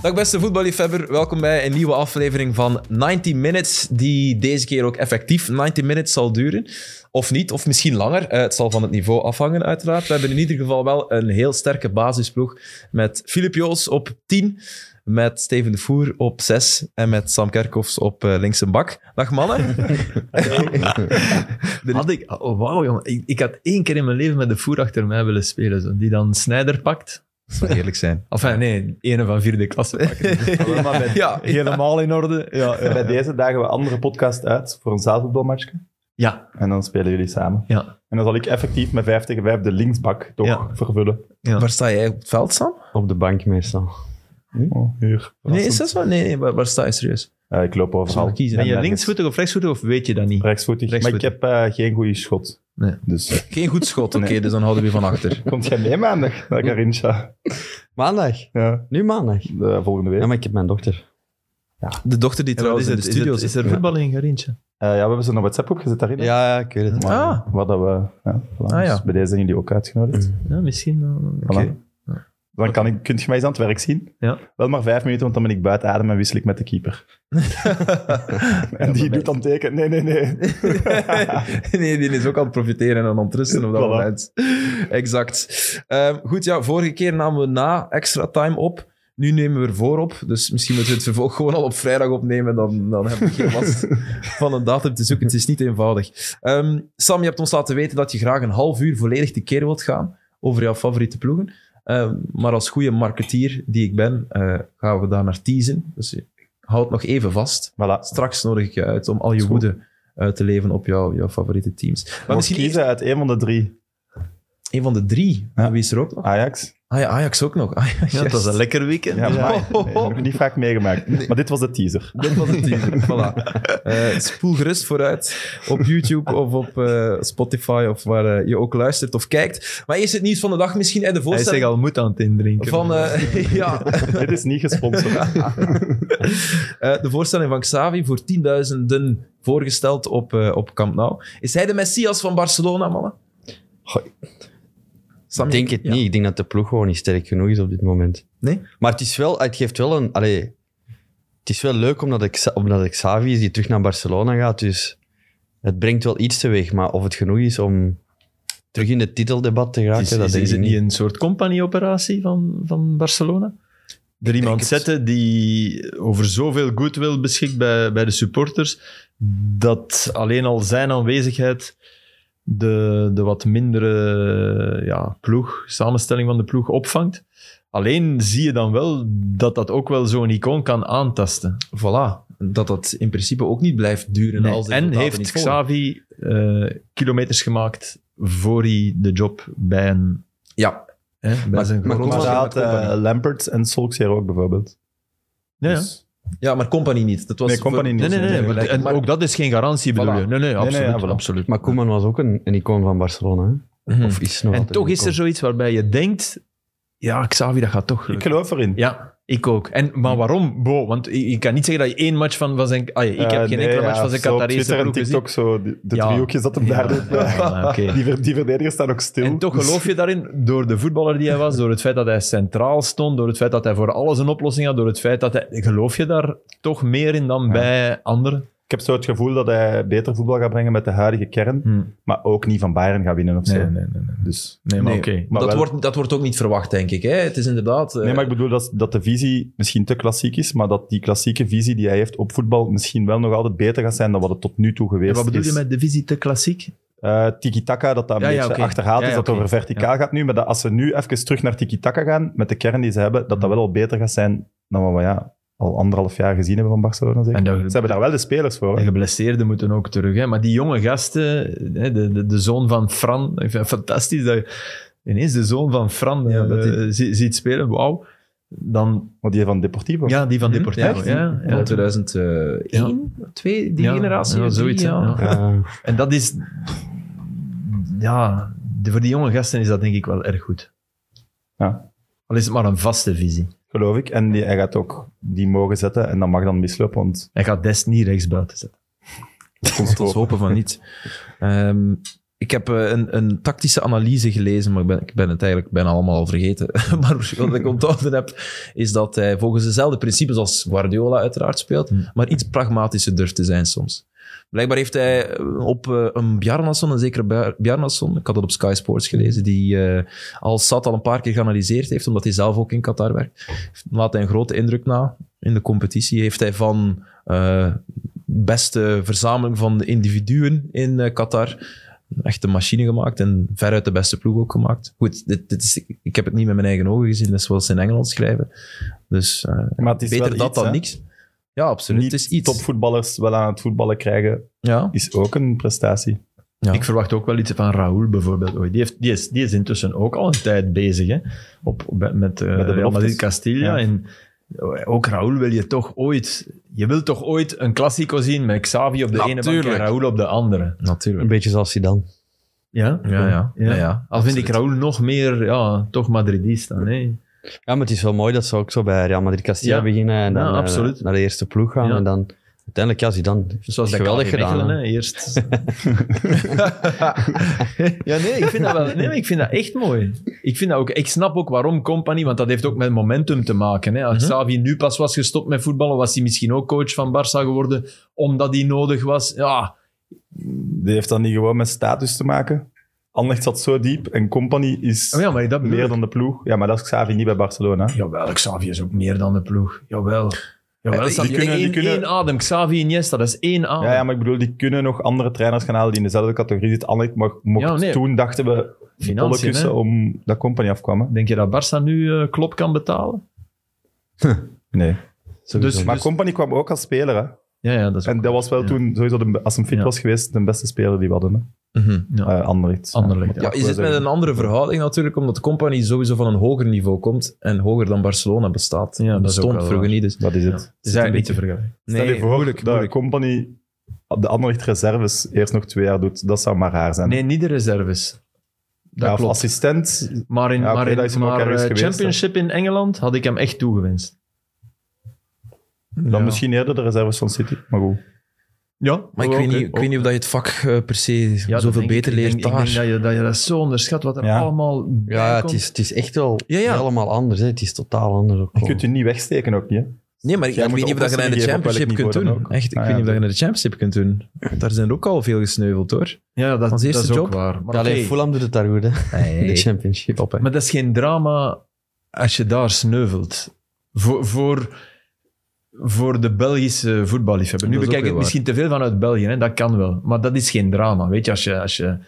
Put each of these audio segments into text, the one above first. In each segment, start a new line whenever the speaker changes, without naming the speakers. Dag beste voetballiefhebber, welkom bij een nieuwe aflevering van 90 Minutes, die deze keer ook effectief 90 Minutes zal duren. Of niet, of misschien langer. Eh, het zal van het niveau afhangen uiteraard. We hebben in ieder geval wel een heel sterke basisploeg met Filip Joos op 10, met Steven de Voer op 6 en met Sam Kerkhoffs op eh, links een bak. Dag mannen.
Had ik, oh, wauw, jongen. Ik, ik had één keer in mijn leven met de voer achter mij willen spelen. Zo. Die dan Snijder pakt.
Laten we eerlijk zijn.
Enfin, nee, ene van vierde klasse pakken.
Ja, maar bij,
Ja,
Helemaal in orde. Ja, ja.
bij deze dagen we andere podcast uit voor een zaalvoetbalmatchje.
ja,
En dan spelen jullie samen.
ja.
En dan zal ik effectief met 5 tegen 5 de linksbak toch
Ja.
vervullen.
Waar sta jij op het veld, Sam?
Op de bank meestal.
Oh, hier.
Nee, is
Verrassend.
dat zo? Nee, nee waar, waar sta je serieus?
Eh, ik loop
Zal
overal.
ik kiezen?
Ben je
nergens.
linksvoetig of rechtsvoetig of weet je dat niet?
Rechtsvoetig. Maar ik
Rechtsvoetig.
heb eh, geen goede schot.
Nee.
Dus
Geen goed schot, oké,
Nee.
dus dan houden we je van achter.
komt jij mee maandag naar Garincha?
Maandag?
Ja,
Nu maandag?
de eh, volgende week.
Ja, maar ik heb mijn dochter.
De dochter die
En wat
trouwens
is,
in
het,
de
is,
studio
het-
zit.
is er voetbal in Garintje?
Eh, ja, we hebben ze in een WhatsApp-groep gezet daarin.
Ja, ja, ik weet het.
Maar,
Ah.
Wat dat we, ja, voilà.
Ah, ja.
Dus bij deze zijn jullie ook uitgenodigd.
Ja, misschien. eh,
Voilà.
oké.
Dan kan ik, kunt je mij eens aan het werk zien.
Ja.
Wel maar vijf minuten, want dan ben ik buiten adem en wissel ik met de keeper. en die doet dan teken. Nee, nee, nee.
nee, die is ook aan het profiteren en aan het rusten op dat
Voilà.
moment. Exact. Ehm, goed, ja, vorige keer namen we na extra time op. Nu nemen we ervoor op. Dus misschien moeten we het vervolg gewoon al op vrijdag opnemen. Dan, dan heb ik geen last van een datum te zoeken. Het is niet eenvoudig. Ehm, Sam, je hebt ons laten weten dat je graag een half uur volledig te keer wilt gaan over jouw favoriete ploegen. Ehm, maar als goede marketeer die ik ben, eh, gaan we daar naar teasen. Dus eh, houd nog even vast.
Voilà.
Straks nodig ik je uit om al je
Is goed.
woede uit te leven op jouw, jouw favoriete teams. Maar
Maar
misschien
kiezen uit een van de drie.
eerst een van de drie.
Ja.
Wie is er ook nog?
Ajax.
Ah ja, Ajax ook nog. Ah, ja,
Ja, het was
juist.
een lekker weekend.
Ja,
Ja.
maar nee, dat heb ik niet vaak meegemaakt. Maar dit was de teaser.
Dat was het teaser. voilà. Eh, spoel gerust vooruit op YouTube of op eh, Spotify of waar eh, je ook luistert of kijkt. Maar eerst het nieuws van de dag misschien en de
Hij is zich
voorstelling
al moed aan het indrinken.
van... eh, ja,
dit is niet gesponsord.
Eh, de voorstelling van Xavi voor tienduizenden voorgesteld op, eh, op Camp Nou. Is hij de Messias van Barcelona, mannen?
Goh,
Sam,
ik denk het
ja.
niet. Ik denk dat de ploeg gewoon niet sterk genoeg is op dit moment.
Nee?
Maar het, is wel, het geeft wel een... Allee, het is wel leuk omdat ik, omdat ik Xavi is die terug naar Barcelona gaat. Dus het brengt wel iets teweeg. Maar of het genoeg is om terug in het titeldebat te geraken,
Is,
dat
is,
denk
is
ik
het
niet.
niet een soort compagnie-operatie van, van Barcelona? Er iemand
het.
zetten die over zoveel goodwill beschikt bij, bij de supporters, dat alleen al zijn aanwezigheid de, de wat mindere ja, ploeg, samenstelling van de ploeg opvangt. Alleen zie je dan wel dat dat ook wel zo'n icoon kan aantasten.
Voilà. Dat dat in principe ook niet blijft duren.
Nee,
Als de
en
resultaten
heeft
niet volgen.
Xavi eh, kilometers gemaakt voor hij de job bij een...
Ja.
Hè, bij
Maar-
zijn
maar
grote-
Maar
Koeman-
ze had eh, Lampert en Solskjaer ook bijvoorbeeld.
Ja, ja.
Dus-
ja, maar Company niet. Dat was
Nee, Company niet.
Nee, nee, nee.
Nee,
maar- En
maar-
ook dat is geen garantie, bedoel
Voilà.
je? Nee, nee, absoluut.
ja, voilà.
absoluut.
Maar Koeman was ook een, een icoon van Barcelona. Hè?
Mhm.
Of is nog
en
altijd
toch
een
is er
icoon.
zoiets waarbij je denkt... Ja, Xavi, dat gaat toch
Ik
lukken.
geloof erin.
Ja, ik ook. En, maar waarom? Bo, want je je kan niet zeggen dat je één match van, van zijn... Ah, ik heb
Eh,
geen
nee,
enkele
ja,
match van zijn
zo op
Qatarese
Twitter en
ploeg gezien.
TikTok, zo de, de
Ja.
driehoekjes dat hem
Ja,
daar doet. eh,
ja, oké.
Die, ver- die verdedigers staan ook stil. Dus
En toch geloof je daarin, door de voetballer die hij was, door het feit dat hij centraal stond, door het feit dat hij voor alles een oplossing had, door het feit dat hij... Geloof je daar toch meer in dan bij anderen?
Ik heb zo het gevoel dat hij beter voetbal gaat brengen met de huidige kern,
Hmm.
maar ook niet van Bayern gaat winnen of zo. Dus,
Nee, maar
Nee.
oké.
maar
dat,
wel-
wordt, dat wordt ook niet verwacht, denk ik. Hè? Het is inderdaad... eh,
Nee, maar ik bedoel dat, dat de visie misschien te klassiek is, maar dat die klassieke visie die hij heeft op voetbal misschien wel nog altijd beter gaat zijn dan wat het tot nu toe geweest
En Wat bedoel
is.
je met de visie te klassiek?
Eh, tiki-taka, dat dat een
Ja, ja,
beetje
oké.
achterhaald
Ja,
is,
ja,
dat het
oké.
over verticaal gaat nu. Maar dat als ze nu even terug naar tiki-taka gaan, met de kern die ze hebben, dat
Mhm.
dat wel al beter gaat zijn dan wat we ja, al anderhalf jaar gezien hebben van Barcelona. Zeker.
En dat-
ze hebben daar wel de spelers voor.
En
hè.
geblesseerden moeten ook terug. Hè? Maar die jonge gasten, hè, de, de, de zoon van Fran, ik vind het fantastisch dat je ineens de zoon van Fran
Ja,
eh,
dat die-
zie- ziet spelen. Wauw. Dan,
Want die van Deportivo.
ja, die van Deportivo.
Echt?
Ja,
van
ja.
2001, 2, die
Ja,
generatie.
ja,
drie,
zoiets, hè. Ja.
Ja.
En dat is... Ja, de- voor die jonge gasten is dat denk ik wel erg goed.
Ja.
Al is het maar een vaste visie.
Geloof ik. En die, hij gaat ook die mogen zetten en dat mag dan mislopen, want
Hij gaat Des niet rechts buiten zetten.
het komt
Laten we
voor.
hopen van niet. Ehm, Ik heb eh, een, een tactische analyse gelezen, maar ik ben, ik ben het eigenlijk bijna allemaal al vergeten. maar wat ik onthouden heb, is dat hij volgens dezelfde principes als Guardiola uiteraard speelt, maar iets pragmatischer durft te zijn soms. Blijkbaar heeft hij eh, op eh, een Bjarnason, een zekere Bjar- Bjarnason, ik had dat op Sky Sports gelezen, die eh, al Sat al een paar keer geanalyseerd heeft, omdat hij zelf ook in Qatar werkt, laat hij een grote indruk na. In de competitie heeft hij van eh, beste verzameling van de individuen in eh, Qatar echt een machine gemaakt en veruit de beste ploeg ook gemaakt. Goed, dit, dit is, ik heb het niet met mijn eigen ogen gezien, dat is wel ze in Engeland schrijven. Dus eh,
Maar het is
beter
wel
dat
iets,
dan
hè.
niks. Ja, absoluut.
Niet
het is iets.
topvoetballers wel aan het voetballen krijgen,
Ja.
is ook een prestatie.
Ja.
Ik verwacht ook wel iets van Raoul bijvoorbeeld. Oei, Die, heeft, die, is, die is intussen ook al een tijd bezig hè? Op, op- met, met, eh,
beloftes.
Real Madrid Castilla.
Ja.
En eh, ook Raoul wil je toch ooit... Je wilt toch ooit een Classico zien met Xavi op de ene bank
Natuurlijk.
en Raoul op de andere.
Natuurlijk.
Een beetje zoals Zidane.
Ja?
Ja, ja. ja. ja.
Al vind ik
Absoluut.
Raoul nog meer, ja, toch Madridista. Nee.
Ja, maar het is wel mooi dat ze ook zo bij Real Madrid Castilla
Ja.
beginnen en dan
Ja,
eh,
absoluut.
naar de eerste ploeg gaan.
Ja.
En dan uiteindelijk, ja, Zidane heeft het
Zoals dat
geweldig
KV
gedaan.
Mechelen,
hè.
hè, eerst. ja, nee, ik vind dat wel. Nee, maar ik vind dat echt mooi. Ik, vind dat ook, ik snap ook waarom Company, want dat heeft ook met momentum te maken. Hè. Als
Mhm.
Xavi nu pas was gestopt met voetballen, was hij misschien ook coach van Barça geworden, omdat hij nodig was. Ja,
Die heeft dat niet gewoon met status te maken. Anderlecht zat zo diep en Company is
oh ja maar dat
meer
meer dan.
dan de ploeg. Ja, maar dat is Xavi niet bij Barcelona.
Jawel, Xavi is ook meer dan de ploeg. Jawel. Jawel,
Eh, die
Xavi-
kunnen- die
één,
kunnen-
één adem. Xavi Iniesta, dat is één adem.
Ja, ja, maar ik bedoel, die kunnen nog andere trainers gaan halen die in dezelfde categorie zitten. Anderlecht mag- mocht
Ja, nee.
toen, dachten we, bollen
Financiën,
kussen
hè.
om dat Company afkwam. hè?
Denk je dat Barça nu eh klop kan betalen?
Nee.
Sowieso.
Dus-
Maar Company kwam ook als speler, hè.
Ja, ja dat is
En dat was wel
ja.
toen, sowieso, de, als hem fit
Ja.
was geweest, de beste speler die we hadden. Hè?
Mhm.
Ja.
Eh, Anderlecht.
Anderlecht,
Ja, is het met een andere verhouding natuurlijk, omdat Company sowieso van een hoger niveau komt en hoger dan Barcelona bestaat.
Ja, dat is ook
bestond
wel
vroeger
waar.
niet, dus het
Dat is het.
is eigenlijk niet te
vergelijken.
Stel je voor dat Company de Anderlecht reserves eerst nog twee jaar doet. Dat zou maar raar zijn.
Nee, niet de reserves. Dat
ja, of
klopt.
assistent.
Maar in,
Ja, oké,
maar in
dat is hem ook
maar,
ergens
eh,
geweest,
Championship in Engeland had ik hem echt toegewenst.
Dan
Ja.
misschien eerder de reserves van City. Maar goed.
Ja,
Maar ik weet, niet, ik weet niet of dat je het vak eh, per se zoveel beter leert
ik, denk-
daar.
Ik denk dat je dat, je dat zo onderschat, wat er
Ja.
allemaal bij
Ja, het
komt.
is, het is echt wel
Ja, ja.
helemaal anders. Hè. Het is totaal anders. Ook
Je
wel.
kunt je niet wegsteken ook niet. hè.
nee, maar ik,
Jij
ik
moet
weet niet of dat je dat in de
oplossingen geven op
championship
welk
kunt
niveau dan
doen.
ook.
Echt, ik
Ah,
weet
ja,
niet of dat je in de championship kunt doen. Daar zijn er ook al veel gesneuveld, hoor.
ja, dat,
Als
dat
eerste
is ook
job.
waar. Maar,
Allee,
oké,
Fulham doet het daar goed, hè. In de championship.
Top, hè.
maar dat is geen drama als je daar sneuvelt. Voor, voor, voor de Belgische voetballiefhebber. Nu
Dat is ook
bekijk ik
weer
het
waar.
misschien te veel vanuit België, hè? dat kan wel. Maar dat is geen drama. Weet je, als je, als je,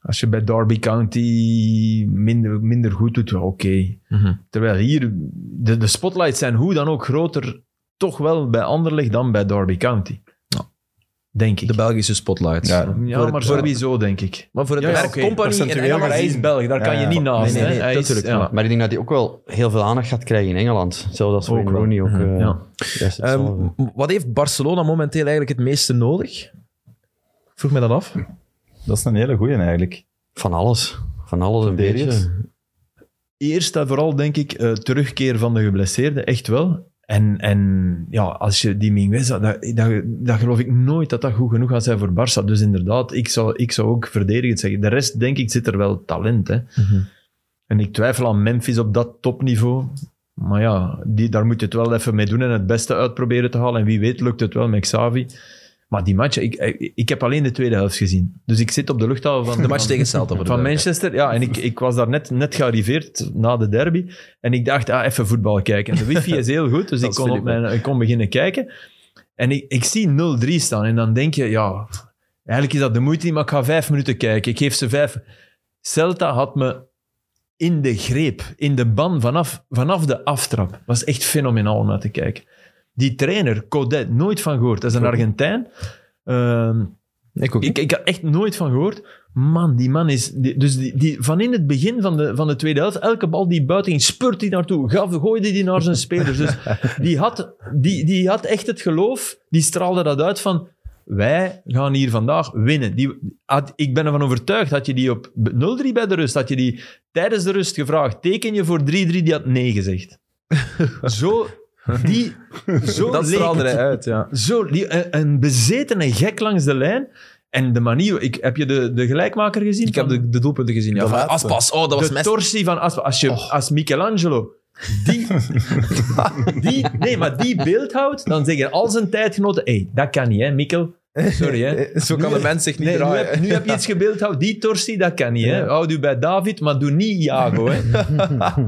als je bij Derby County minder, minder goed doet, ja, oké.
Mhm.
Terwijl hier, de, de spotlights zijn hoe dan ook groter, toch wel bij Anderlecht dan bij Derby County. Denk ik.
De Belgische spotlights.
Ja.
ja, maar sowieso, denk ik.
Maar voor het
Ja, ja,
merk
oké.
Company in
Percentueel
Engeland...
Maar hij is Belg, daar
Ja,
kan je
ja.
niet naast.
Nee, nee, nee,
hè. Hij is-
natuurlijk,
ja.
ja.
Maar ik denk dat hij ook wel heel veel aandacht gaat krijgen in Engeland. Zelfs als Wayne
Ook wel.
Rooney ook.
Mhm.
eh,
Ja.
juist
Ehm,
hetzelfde.
wat heeft Barcelona momenteel eigenlijk het meeste nodig? Ik Vroeg me dat af.
Dat is een hele goeie eigenlijk.
Van alles. Van alles een
Verdedigers?
beetje.
Eerst en vooral, denk ik, eh, terugkeer van de geblesseerde, echt wel. En, en ja, als je die Mingwes, dat, dat, dat geloof ik nooit dat dat goed genoeg gaat zijn voor Barça. Dus inderdaad, ik zou, ik zou ook verdedigend zeggen. De rest, denk ik, zit er wel talent. Hè.
Mhm.
En ik twijfel aan Memphis op dat topniveau. Maar ja, die, daar moet je het wel even mee doen en het beste uitproberen te halen. En wie weet lukt het wel met Xavi. Maar die match, ik, ik, ik heb alleen de tweede helft gezien. Dus ik zit op de luchthaven van...
De match
van-
tegen Celta. voor de
van
Belgen.
Manchester, ja. En ik, ik was daar net, net gearriveerd na de derby. En ik dacht, ah, even voetbal kijken. En de wifi is heel goed, dus
Dat
ik,
is
kon op
Philippe.
mijn, ik kon beginnen kijken. En ik, ik zie 0-3 staan. En dan denk je, ja, eigenlijk is dat de moeite niet, maar ik ga vijf minuten kijken. Ik geef ze vijf. Celta had me in de greep, in de ban, vanaf, vanaf de aftrap. Was echt fenomenaal om naar te kijken. Die trainer, Codet, nooit van gehoord. Dat is een Argentijn. Ehm,
Ik ook niet.
ik, ik had echt nooit van gehoord. Man, die man is... die- dus die, die, van in het begin van de, van de tweede helft, elke bal die buiten ging, spurt hij naartoe. Gaf, gooide die naar zijn spelers. Dus die had, die, die had echt het geloof. Die straalde dat uit van... Wij gaan hier vandaag winnen. Die, had- ik ben ervan overtuigd, had je die op 0-3 bij de rust, had je die tijdens de rust gevraagd, teken je voor 3-3, die had nee gezegd. Zo, die, zo
dat
leek
straalde
het.
hij uit, ja.
Zo, die, een, een bezetene gek langs de lijn. En de manier, ik, heb je de, de gelijkmaker gezien?
Ik heb
van-
de, de doelpunten gezien. Ja.
De
Van
laatste.
Aspas, oh, dat was
de
mes.
torsie van Aspa. Als, je, als Michelangelo die, die, nee, maar die beeld houdt, dan zeggen al zijn tijdgenoten: hé, hey, dat kan niet, hè, Mikkel. Sorry, hè.
Eh, Zo kan de mens zich niet
Nee, nu,
draaien.
heb, nu heb je iets gebeeldhouwd. Die torsie, dat kan niet. Hè? Houd u bij David, maar doe niet Iago. Hè?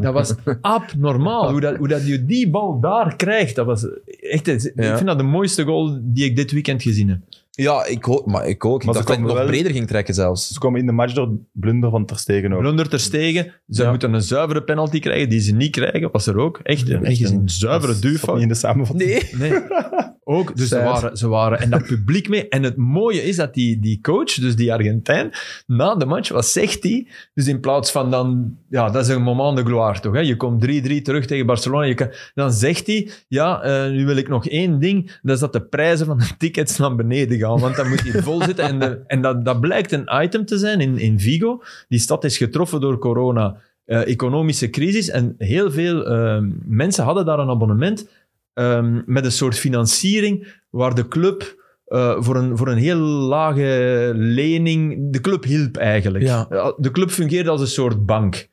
Dat was abnormaal. Hoe dat, hoe dat je die bal daar krijgt, dat was echt...
Ja.
Ik vind dat de mooiste goal die ik dit weekend gezien heb.
Ja, ik ook. Maar ik ook. Ik
Maar ze
dacht dat ik
komen
nog
wel-
breder ging trekken zelfs.
Ze komen in de match door blunder van Ter Stegen ook.
Blunder ter stegen. Ze
Ja.
moeten een zuivere penalty krijgen, die ze niet krijgen. Was er ook. Echt, een, echt een zuivere
Dat zat niet
duwfout.
in de samenvatting.
Nee.
Nee. Ook, dus ze
Sad.
waren, ze waren... En dat publiek mee. En het mooie is dat die, die coach, dus die Argentijn, na de match, wat zegt hij? Dus in plaats van dan... Ja, dat is een moment de gloire, toch? Hè? Je komt 3-3 terug tegen Barcelona. Je kan, dan zegt hij, ja, eh, nu wil ik nog één ding. Dat is dat de prijzen van de tickets naar beneden gaan. Want dan moet hij vol zitten. En, de- en dat, dat blijkt een item te zijn in, in Vigo. Die stad is getroffen door corona, eh, economische crisis. En heel veel ehm, mensen hadden daar een abonnement ehm, met een soort financiering waar de club eh, voor, een, voor een heel lage lening... De club hielp eigenlijk.
Ja.
Eh, De club fungeerde als een soort bank.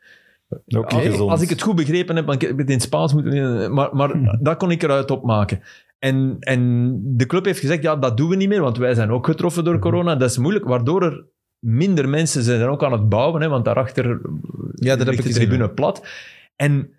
Ook niet
Als-
gezond.
Als ik het goed begrepen heb, want ik heb het in het Spaans moeten... Maar,
Hmm.
maar dat kon ik eruit opmaken. En, en de club heeft gezegd, ja, dat doen we niet meer, want wij zijn ook getroffen
Hmm.
door corona. Dat is moeilijk, waardoor er minder mensen zijn ook aan het bouwen, hè, want daarachter eh,
Ja, dat heb
ligt
ik
de
gezien,
tribune plat. En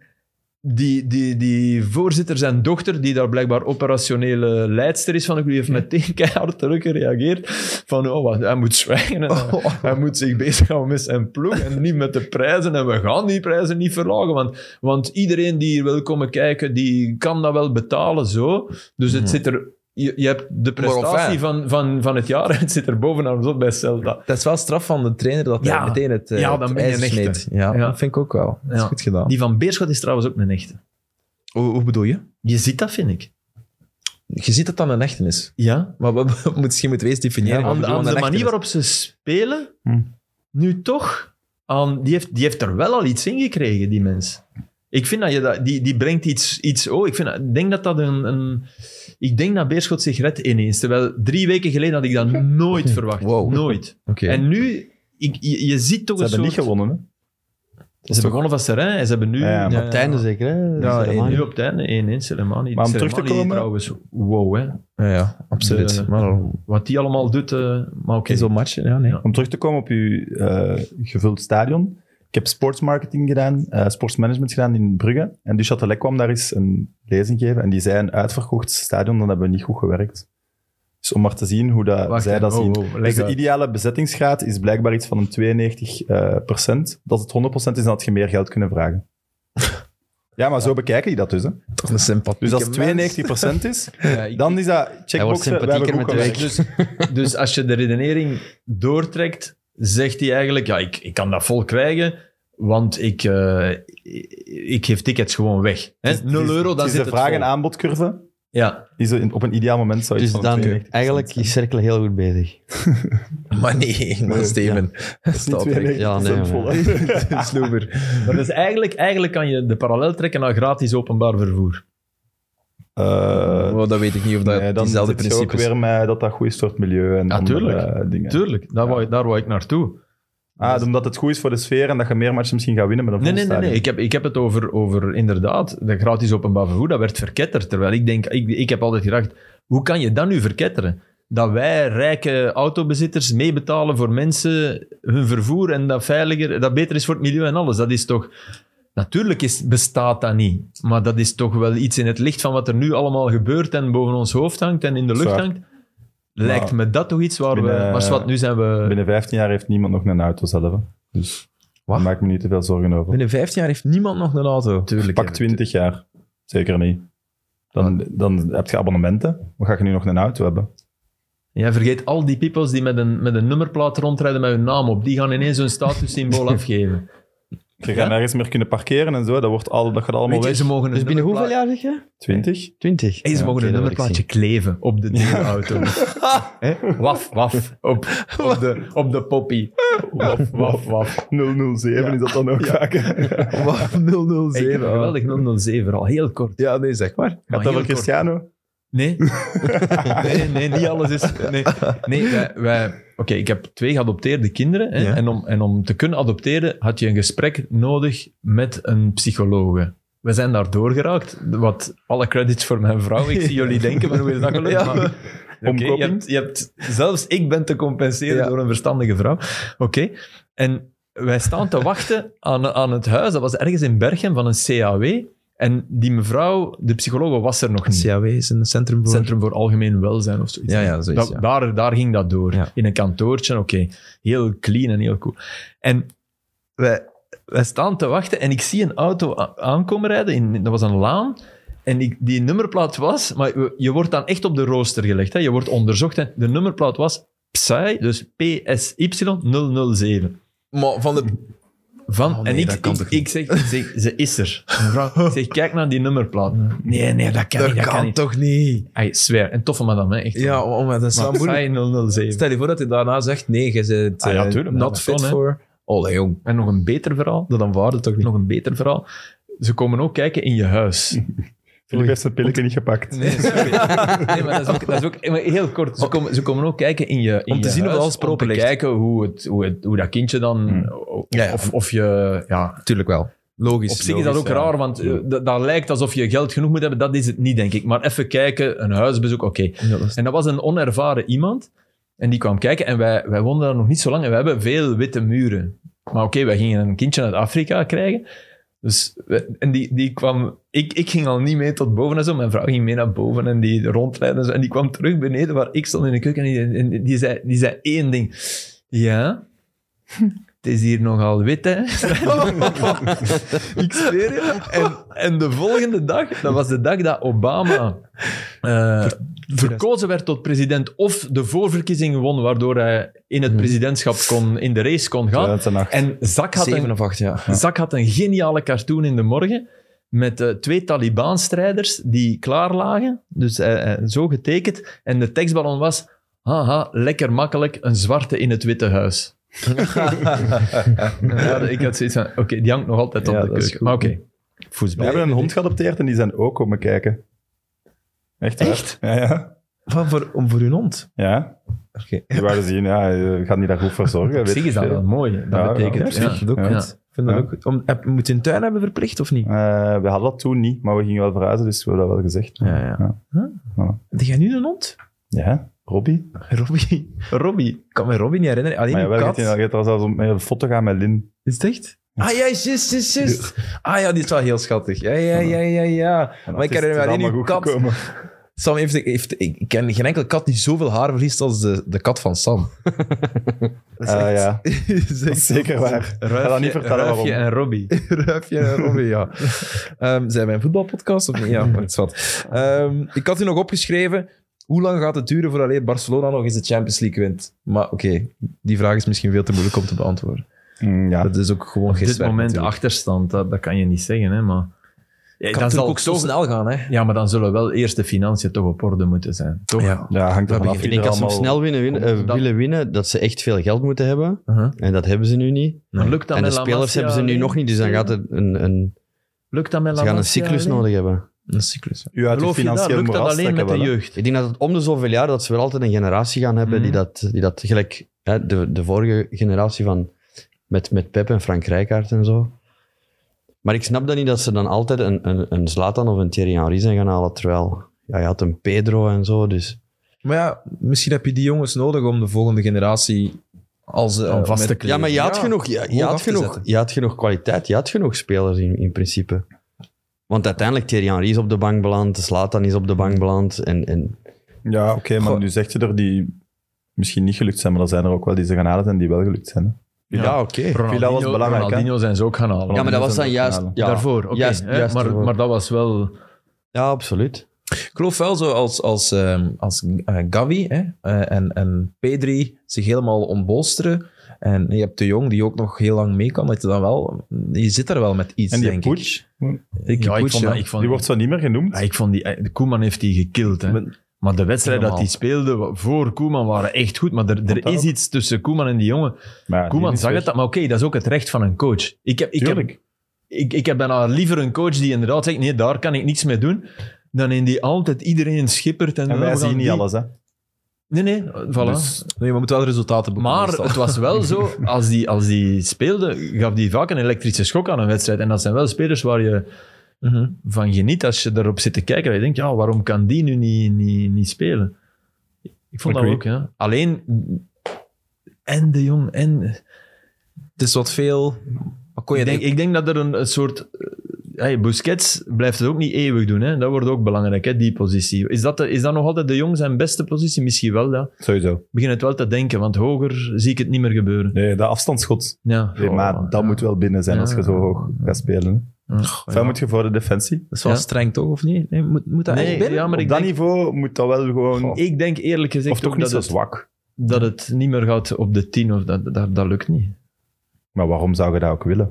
die, die, die voorzitter, zijn dochter, die daar blijkbaar operationele leidster is van de club, die heeft meteen keihard teruggereageerd van, oh, wat, hij moet zwijgen. En, eh, hij moet zich bezighouden met zijn ploeg en niet met de prijzen. En we gaan die prijzen niet verlagen. Want, want iedereen die hier wil komen kijken, die kan dat wel betalen zo. Dus het
Mhm.
zit er... Je, je hebt de
Maar of
prestatie
hij-
van, van, van het jaar en het zit er bovenaan ons op bij Celta.
Dat is wel straf van de trainer dat hij
Ja.
meteen het, eh,
Ja,
het
dan ben je
ijzer
een echte.
sneed. Ja,
Ja.
dat vind ik ook wel. Dat is
Ja.
goed gedaan.
Die van Beerschot is trouwens ook een echte.
Hoe, hoe bedoel je?
Je ziet dat, vind ik.
Je ziet dat dan een echte is.
Ja.
Maar we, we- misschien moeten we eerst definiëren. wat
aan
we
de,
bedoelen
aan de
een echte
manier
is.
waarop ze spelen,
Hm.
nu toch, aan, die, heeft, die heeft er wel al iets in gekregen, die mens. Ik vind dat je dat, die, die brengt iets, iets oh, ik, vind, dat- ik denk dat dat een, een, ik denk dat Beerschot zich redt ineens. Terwijl drie weken geleden had ik dat
Hm.
nooit verwacht.
Wow.
Nooit.
Oké.
En nu, ik, je, je ziet toch
Ze
een
hebben niet
soort...
gewonnen, hè?
ze hebben begonnen van Serrain en ze hebben nu...
Ja, ja, maar
Op het einde zeker, hè?
Ja,
Zeker,
één
man.
Nu op het einde 1 Selemani.
Maar om terug te
Soleimani die
komen-
Trouwens, wow, hè.
Ja, ja, absoluut.
De-
maar in
Wat die allemaal doet, eh, maar oké.
zo'n match, ja, nee.
Ja.
Om terug te komen op uw eh, gevuld stadion. Ik heb sportsmarketing gedaan, eh, sportsmanagement gedaan in Brugge. En dus Châtelet kwam daar eens een lezing geven. En die zei een uitverkocht stadion, dan hebben we niet goed gewerkt. Dus om maar te zien hoe dat,
Wacht,
zij dat
oh,
zien.
oh, leg
Dus de
uit.
ideale bezettingsgraad is blijkbaar iets van een 92 eh, procent. Dat het 100 procent is, dan had je meer geld kunnen vragen. ja, maar zo bekijken die dat dus. Hè.
Toch een sympathieke
Dus als
mens.
92 procent is,
Ja, ik-
dan is dat
wordt
checkboxen. We hebben
sympathieker
goed
met de
gewerkt.
Dus, dus als je de redenering doortrekt, zegt hij eigenlijk: Ja, ik, ik kan dat vol krijgen, want ik, eh, ik, ik geef tickets gewoon weg. Hè?
Het is-
0
het is-
Dus euro, dan
het is
zit
de
het
vraag- en
vol.
aanbodcurve.
Ja,
Is er in- op een ideaal moment zou
Dus
iets van
dan,
92%
eigenlijk
zijn.
is Cerkel heel goed
Dus
bezig.
Maar nee, maar
Nee,
Steven. Dat
Dat is niet 92%
Ja, nee,
vol, hè.
Snoeber.
maar dat is eigenlijk, eigenlijk kan je de parallel trekken naar gratis openbaar vervoer.
Eh,
Oh, dat weet ik niet of dat
nee, dan
diezelfde
zit je ook
principes...
weer met dat dat goed is voor het milieu en
Ja,
andere
tuurlijk.
eh, dingen.
Tuurlijk, daar,
Ja.
wou, daar wou ik naartoe.
Ah, omdat het goed is voor de sfeer en dat je meer matchen misschien gaat winnen met een
Nee,
vol
nee, nee, nee.
stadion.
Ik, heb, ik heb het over, over inderdaad, de gratis openbaar vervoer, dat werd verketterd. Terwijl ik denk, ik, ik heb altijd gedacht, hoe kan je dat nu verketteren? Dat wij rijke autobezitters meebetalen voor mensen hun vervoer en dat veiliger, dat beter is voor het milieu en alles. Dat is toch. Natuurlijk is, bestaat dat niet, maar dat is toch wel iets in het licht van wat er nu allemaal gebeurt en boven ons hoofd hangt en in de lucht
Zwaar.
hangt. Lijkt
Maar eh,
me dat toch iets waar we.
binnen-
Maar zwart, nu zijn we.
Binnen 15 jaar heeft niemand nog een auto zelf. hè. Dus
Wat?
daar maak ik me niet te veel zorgen over.
Binnen 15 jaar heeft niemand nog een auto.
Tuurlijk,
Pak
hè.
20 jaar. Zeker niet. Dan, dan heb je abonnementen. Maar ga je nu nog een auto hebben?
Jij vergeet al die peoples die met een, met een nummerplaat rondrijden met hun naam op. Die gaan ineens hun statussymbool afgeven.
Je
Ja.
gaat nergens meer kunnen parkeren en zo. Dat, wordt al, dat gaat allemaal
Weet je,
weg.
ze mogen een
Dus binnen
nummerplaat-
hoeveel jaar zeg je?
20?
Twintig.
Hey, ze
Ja,
mogen
oké,
een
dat wil ik
nummerplaatje kleven op de nieuwe auto. Hè? waf, waf. Op, op, de, op de poppy. Waf, waf, waf.
007 is dat dan ook vaker.
Wat? 007.
Hey, ik heb een
ah.
geweldig 007 al, heel kort.
Ja, nee, zeg maar.
Maar
Gaat dat
heel
wel
kort.
Cristiano?
Nee. nee, nee, niet alles is... Nee, nee wij, wij, ik heb twee geadopteerde kinderen. Hè,
Ja.
en, om, en om te kunnen adopteren had je een gesprek nodig met een psycholoog. We zijn daar doorgeraakt. Wat alle credits voor mijn vrouw. Ik zie jullie denken, maar hoe is dat gelukt?
Ja.
Maar- Oké,
Omkoping.
je hebt, je hebt, zelfs ik ben te compenseren
Ja.
door een verstandige vrouw. Oké, en wij staan te wachten aan, aan het huis. Dat was ergens in Bergen van een CAW. En die mevrouw, de psycholoog, was er nog niet.
CAW is een centrum voor...
Centrum voor Algemeen Welzijn of zoiets.
Ja, ja, zoiets,
Da-
ja.
daar, daar ging dat door.
Ja.
In een kantoortje, oké. Heel clean en heel cool. En wij, wij staan te wachten en ik zie een auto a- aankomen rijden. In, dat was een laan. En ik, die nummerplaat was... Maar we- je wordt dan echt op de rooster gelegd. Hè? Je wordt onderzocht. En de nummerplaat was Psy, dus PSY 007.
Maar van de...
Van,
Oh nee,
en ik,
dat kan
ik,
toch
ik zeg, ik zeg, ze is er. Mevrouw, ik zeg, kijk naar die nummerplaat. Nee, nee, dat kan
Dat,
niet, dat
kan,
kan, niet.
toch niet?
Ay, zweer. En toffe madame, hè, echt.
Ja, oh, maar dat is wel
maar
moeilijk.
Psy 007.
Stel je voor dat hij daarna zegt, nee, je bent
Ah ja,
eh,
tuurlijk,
not
dat
fit
kan, hè.
for... Oh, Allee, jong.
En nog een beter verhaal.
Dat aanvaarde toch niet?
Nog een beter verhaal. Ze komen ook kijken in je huis.
Filip heeft zijn pilletje niet gepakt.
Nee, sorry. nee maar dat is ook, dat is ook maar heel kort. Ze komen, ze komen ook kijken in je in
Om te
je
zien of
huis,
alles proper
Om te
ligt.
kijken hoe, het, hoe, het, hoe dat kindje dan... Of,
Hmm. Ja, ja.
Of, of je... Ja,
Tuurlijk wel. Logisch.
Op zich is dat ook
logisch, ja.
raar, want eh, dat, dat lijkt alsof je geld genoeg moet hebben. Dat is het niet, denk ik. Maar even kijken, een huisbezoek, oké.
Ja, dat is-
En dat was een onervaren iemand. En die kwam kijken en wij, wij woonden daar nog niet zo lang. En we hebben veel witte muren. Maar oké, wij gingen een kindje uit Afrika krijgen. Dus, we- en die, die kwam... Ik, ik ging al niet mee tot boven en zo. Mijn vrouw ging mee naar boven en die rondleidde en zo. En die kwam terug beneden waar ik stond in de keuken. En die, en die, zei, die zei één ding. Ja... Het is hier nogal wit, hè? ik zweer je. En, en de volgende dag, dat was de dag dat Obama eh, verkozen werd tot president of de voorverkiezing won, waardoor hij in het presidentschap kon, in de race kon gaan. En Zak had,
Zeven
een,
of acht, ja.
Zak had een geniale cartoon in de morgen met eh, twee Taliban-strijders die klaar lagen, dus eh, eh, zo getekend. En de tekstballon was, haha, lekker makkelijk, een zwarte in het Witte Huis. Ja, ik had zoiets van, oké, die hangt nog altijd op
Ja,
de
dat is
keuken.
goed.
maar oké,
We
voetbal.
hebben een hond geadopteerd en die zijn ook komen kijken. Echt? waar.
Echt?
Ja, ja.
Van voor, om voor hun hond.
ja.
Oké.
Die waren zien, ja, je gaat niet daar goed voor zorgen.
Op
weet
zich
ik
is dat
veel.
wel mooi. Dat
Ja,
betekent...
Ja, vind ik ook
Ja.
goed. Ik Vind dat
Ja.
ook goed. Om, heb, moet je een tuin hebben verplicht of niet?
Eh, we hadden dat toen niet, maar we gingen wel verhuizen, dus we hebben dat wel gezegd.
Ja, ja. Heb jij nu een hond?
Ja, Robbie?
Robbie. Robbie. Ik kan me Robbie niet herinneren. Alleen
Maar ja,
die
wel, gaat
kat.
hij gaat er zelfs om met een foto gaan met Lin.
Is het echt? Ah ja, juist, juist, juist. Ah ja, die is wel heel schattig. Ja, ja, ja, ja, ja.
En
Maar ik
dat is-
herinner me
het is
alleen
allemaal
uw
goed
kat.
gekomen.
Sam heeft, heeft... Ik ken geen enkele kat die zoveel haar verliest als de, de kat van Sam.
Ah, ja, Eh, dat is zeker waar. Ik ga dat niet vertellen waarom.
Ruifje en Robbie.
Ruifje en Robbie, ja. Ehm, zijn wij een voetbalpodcast of niet? Ja, maar het is wat. Ehm, ik had u nog opgeschreven. Hoe lang gaat het duren voor alleen Barcelona nog eens de Champions League wint? Maar oké, die vraag is misschien veel te moeilijk om te beantwoorden.
Mm, ja.
Dat is ook gewoon
Op
geen
dit
zwerk
moment
natuurlijk.
achterstand, dat, dat kan je niet zeggen, hè, maar... Ja,
kan
dan zal
natuurlijk ook zo
toch-
snel gaan, hè?
Ja, maar dan zullen wel eerst de financiën toch op orde moeten zijn. Toch?
Ja.
ja, hangt
Dat
ervan af.
begint-
Ik denk
wie er
als ze hem
allemaal-
snel winnen, winnen, eh,
Dan-
willen winnen, dat ze echt veel geld moeten hebben.
Uh-huh.
En dat hebben ze nu niet.
Dan lukt dat
en de
met La
spelers
Masia
hebben ze nu
alleen?
nog niet, dus dan gaat het een, een,
Lukt dat met
ze
La
gaan een
Masia
cyclus
alleen?
nodig hebben.
Een cyclus.
U uit het
Geloof je dat?
financieel
Lukt dat
moeras
alleen met
trekken
de
wel, hè.
jeugd?
Ik denk dat het om de zoveel jaar dat ze wel altijd een generatie gaan hebben die,
Mhm.
dat, die dat gelijk hè, de, de vorige generatie van met, met Pep en Frank Rijkaard en zo. Maar ik snap dan niet dat ze dan altijd een, een, een Zlatan of een Thierry Henry zijn gaan halen, terwijl ja, je had een Pedro en zo, dus
Maar ja, misschien heb je die jongens nodig om de volgende generatie als eh,
Om vast
met-
te kleden.
Ja, maar je had,
Ja,
genoeg, je, je
hoog
had
af te
genoeg,
zetten.
je had genoeg kwaliteit, je had genoeg spelers in, in principe. Want uiteindelijk, Thierry Henry is op de bank beland, Zlatan is op de bank beland. En, en
Ja, oké,
Goh.
maar nu zegt je er die misschien niet gelukt zijn, maar er zijn er ook wel die ze gaan halen en die wel gelukt zijn. hè.
ja,
Ja.
oké.
Villa was belangrijk, hè?
Ronaldinho zijn ze ook gaan halen.
Ja, maar dat was dan
Ronaldinho
juist...
zijn
Ja,
Daarvoor, oké.
juist-
hè,
juist
maar,
daarvoor.
maar dat was wel...
Ja, absoluut.
Ik geloof wel zo als, als, ehm, als eh, Gavi hè, eh, en, en Pedri zich helemaal ontbolsteren. En je hebt de jong die ook nog heel lang mee kan. Dat je, dan wel, je zit er wel met iets,
En die
denk ik.
Poets,
Ik,
Ja, ik
Poets,
vond
ja.
dat- ik vond-
die wordt zo niet meer genoemd.
Ja, ik vond die, de Koeman heeft die gekild. Hè.
Maar-
Maar de wedstrijden dat
Helemaal.
die speelde wa- voor Koeman waren echt goed. Maar er, er
dat
is
ook.
iets tussen Koeman en die jongen.
Maar ja, die
Koeman
is
zag
weg.
het, dat, maar oké, dat is ook het recht van een coach. Ik heb, ik, heb,
Tuurlijk.
ik, ik heb bijna liever een coach die inderdaad zegt, nee, daar kan ik niks mee doen, dan in die altijd iedereen schippert. En,
En
"Oh,
wij
we gaan
zien niet
die-"
alles, hè.
Nee, nee, voilà.
Dus- nee, we moeten wel resultaten boeken.
maar
meestal.
het was wel zo, als die, als die speelde, gaf die vaak een elektrische schok aan een wedstrijd. En dat zijn wel spelers waar je
Mhm.
van geniet als je daarop zit te kijken. Dat je denkt, ja, waarom kan die nu niet, niet, niet spelen? Ik vond dat
Agree.
ook, ja. Alleen, en de jong, en...
Het is wat veel. Maar kon je
Ik denk,
denk,
ik denk dat er een, een soort. eh, Hey, Busquets blijft het ook niet eeuwig doen. Hè? Dat wordt ook belangrijk, hè, die positie. Is dat, de- is dat nog altijd de jong zijn beste positie? Misschien wel. Ja. Ik
Sowieso.
begin het wel te denken, want hoger zie ik het niet meer gebeuren.
Nee, dat afstandsschot.
Ja.
Nee, maar dat moet wel binnen zijn als je zo hoog gaat spelen.
Ja.
Enfin, moet je voor de defensie.
dat is wel
ja.
streng toch, of niet? Nee, moet, moet dat
Nee,
eigenlijk binnen?
ja, maar
Op
ik
dat
denk,
niveau moet dat wel gewoon...
ik denk eerlijk gezegd
Oh. of toch
ook
niet
dat,
zo
het,
zwak.
dat het niet meer gaat op de 10 of dat, dat, dat lukt niet.
Maar waarom zou je dat ook willen?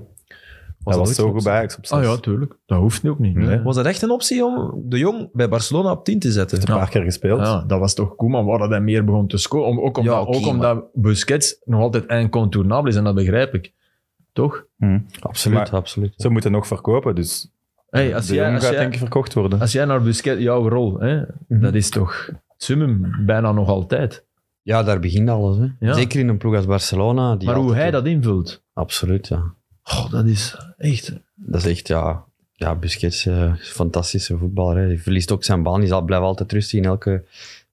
Was
dat
dat
was
ooit
zo
op-
goed bij Ajax op zes.
Ah ja, tuurlijk. Dat hoeft nu ook niet.
Nee.
Nee.
Was dat echt een optie om de Jong bij Barcelona op 10 te zetten?
Een paar keer gespeeld.
Ja, dat was toch Koeman waar dat hij meer begon te scoren. Om- Ook omdat,
Ja, oké,
ook
maar-
omdat Busquets nog altijd incontournabel is en dat begrijp ik. Toch?
Hm.
Absoluut,
Maar-
absoluut.
Ze moeten nog verkopen, dus
Hey, als,
de
jij,
jong
als,
gaat
jij,
denk ik verkocht worden.
als jij naar Busquets, jouw rol, hè,
Mhm.
dat is toch het summum bijna nog altijd.
Ja, daar begint alles. Hè.
Ja.
Zeker in een ploeg als Barcelona. Die
maar hoe
altijd-
hij dat invult,
Absoluut, ja.
goh, dat is echt...
Dat is echt, ja... Ja, Busquets, eh, is een fantastische voetballer. Hè. Hij verliest ook zijn baan. Hij zal, blijft altijd rustig in elke...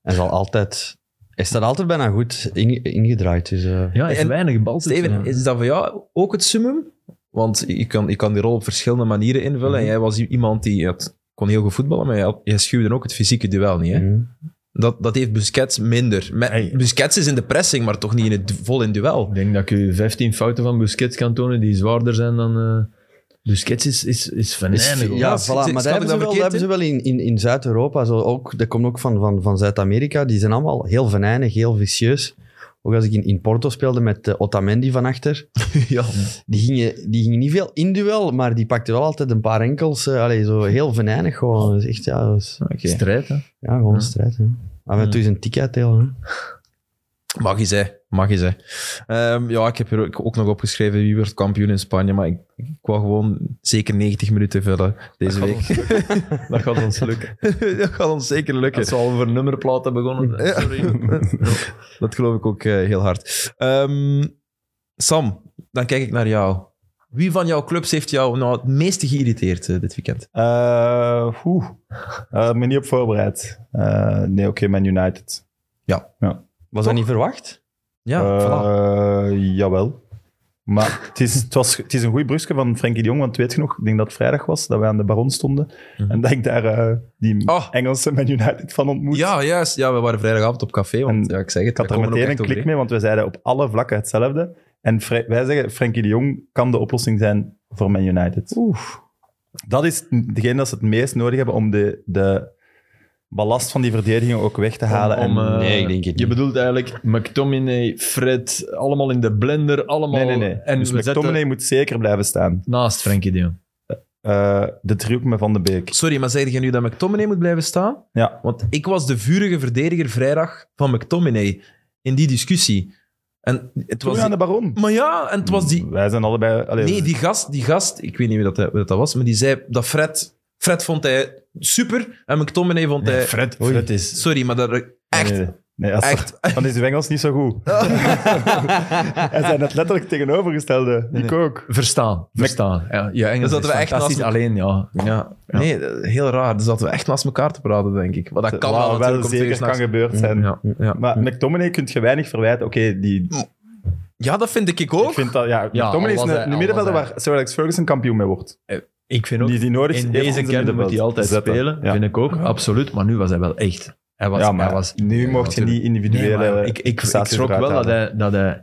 Hij zal altijd... Hij staat altijd bijna goed in- ingedraaid. Dus, eh,
Ja, hij heeft
En-
weinig bal.
Steven, is dat voor jou ook het summum? Want je kan, je kan die rol op verschillende manieren invullen. En jij was i- iemand die had, kon heel goed voetballen, maar jij, had- jij schuwde ook het fysieke duel niet. Hè?
mhm.
Dat, dat heeft Busquets minder. Met,
Hey.
Busquets is in de pressing, maar toch niet in het, du- vol in duel.
Ik denk dat ik u 15 fouten van Busquets kan tonen die zwaarder zijn dan... eh Busquets is, is, is
Is-
venijnig. hoor.
ja,
Ja,
voilà,
snap ik
maar dat hebben, ze
dat
wel, dat
verkeerd
hebben ze wel in, in, in Zuid-Europa. Zo ook, dat komt ook van, van, van Zuid-Amerika. Die zijn allemaal heel venijnig, heel vicieus. Ook als ik in, in Porto speelde met eh, Otamendi van achter.
ja.
Die gingen, die gingen niet veel in duel, maar die pakten wel altijd een paar enkels. eh, allee, zo heel venijnig gewoon. Dat is echt, ja, dat is-
Oké.
Strijd, hè.
ja, gewoon een strijd. Hè. Af en toe is een tik uitdelen. hè.
Mag je zij, mag je zij. Ehm, ja, ik heb hier ook ook nog opgeschreven wie wordt kampioen in Spanje, maar ik, ik wou gewoon zeker 90 minuten vullen deze
Dat
week.
gaat Dat gaat ons lukken.
dat gaat ons zeker lukken.
Als we al over nummerplaten begonnen.
Ja. dat geloof ik ook eh, heel hard. Ehm, Sam, dan kijk ik naar jou. Wie van jouw clubs heeft jou nou het meeste geïrriteerd eh, dit weekend?
Eh, oeh. Eh, me niet op voorbereid. Eh, nee, oké, Man United.
Was dat niet verwacht?
Ja, voilà.
Eh, jawel. Maar het is, het, was, het is een goed brusje van Frenkie de Jong, want weet je nog, ik denk dat het vrijdag was, dat wij aan de Baron stonden.
Mhm.
En dat ik daar eh, die
Oh.
Engelse Man United van ontmoet.
ja, juist. Ja, we waren vrijdagavond op café, want
En
ja, ik zeg het,
Ik had
daar
er
komen we
meteen
ook
een
echt overheen.
klik mee, want we zeiden op alle vlakken hetzelfde. En Fre- wij zeggen, Frenkie de Jong kan de oplossing zijn voor Man United. Oeh. Dat is degene dat ze het meest nodig hebben om de, de ballast van die verdediging ook weg te halen.
Om,
en,
eh,
nee, ik denk het
Je
niet.
bedoelt eigenlijk McTominay, Fred, allemaal in de blender, allemaal...
nee, nee, nee.
En
dus
we zetten
McTominay moet zeker blijven staan.
naast Frenkie de Jong.
Eh, de driehoek met Van de Beek.
Sorry, maar zeg je nu dat McTominay moet blijven staan?
Ja.
Want ik was de vurige verdediger vrijdag van McTominay in die discussie. En het
Toen
was...
aan de Baron.
Maar ja, en het was die...
Wij zijn allebei... Allee,
Nee, die gast, die gast, ik weet niet wie dat, hij- wie dat was, maar die zei dat Fred... Fred vond hij super en McTominay vond hij...
Fred,
Oei.
Fred is...
Sorry, maar dat... Echt,
Nee, nee, nee, als-
echt. Oh.
Dan is uw Engels niet zo goed. en zijn het letterlijk tegenovergestelde. Ik ook.
Verstaan, verstaan. Ja, je
Dus
Engels
dat
is
we echt
fantastisch,
naast-
alleen ja.
Ja. Nee, dat- heel raar. Dus dat we echt naast elkaar te praten, denk ik. Maar dat kan
Wat
wel, natuurlijk, om twee
zeker
uur
kan
s'nachts.
gebeurd zijn.
Mm,
ja, ja.
Maar McTominay kun je weinig verwijten. Oké, die...
ja, dat vind ik ook.
Ik vind dat... Ja,
Ja,
McTominay is
al was hij-
een, een
al
middenvelder
was hij-
waar Sir Alex Ferguson kampioen mee wordt.
Ik vind ook,
Die is die nodig
in
heeft
deze
onze
kern moet
middenveld.
hij altijd
Zetten.
spelen,
Ja.
vind ik ook, absoluut. Maar nu was hij wel echt. Hij was,
ja, maar
hij was,
nu mocht je
natuurlijk.
niet individuele...
Nee, maar ik, ik, ik
prestaties
schrok
eruit
wel dat
halen.
hij, dat hij...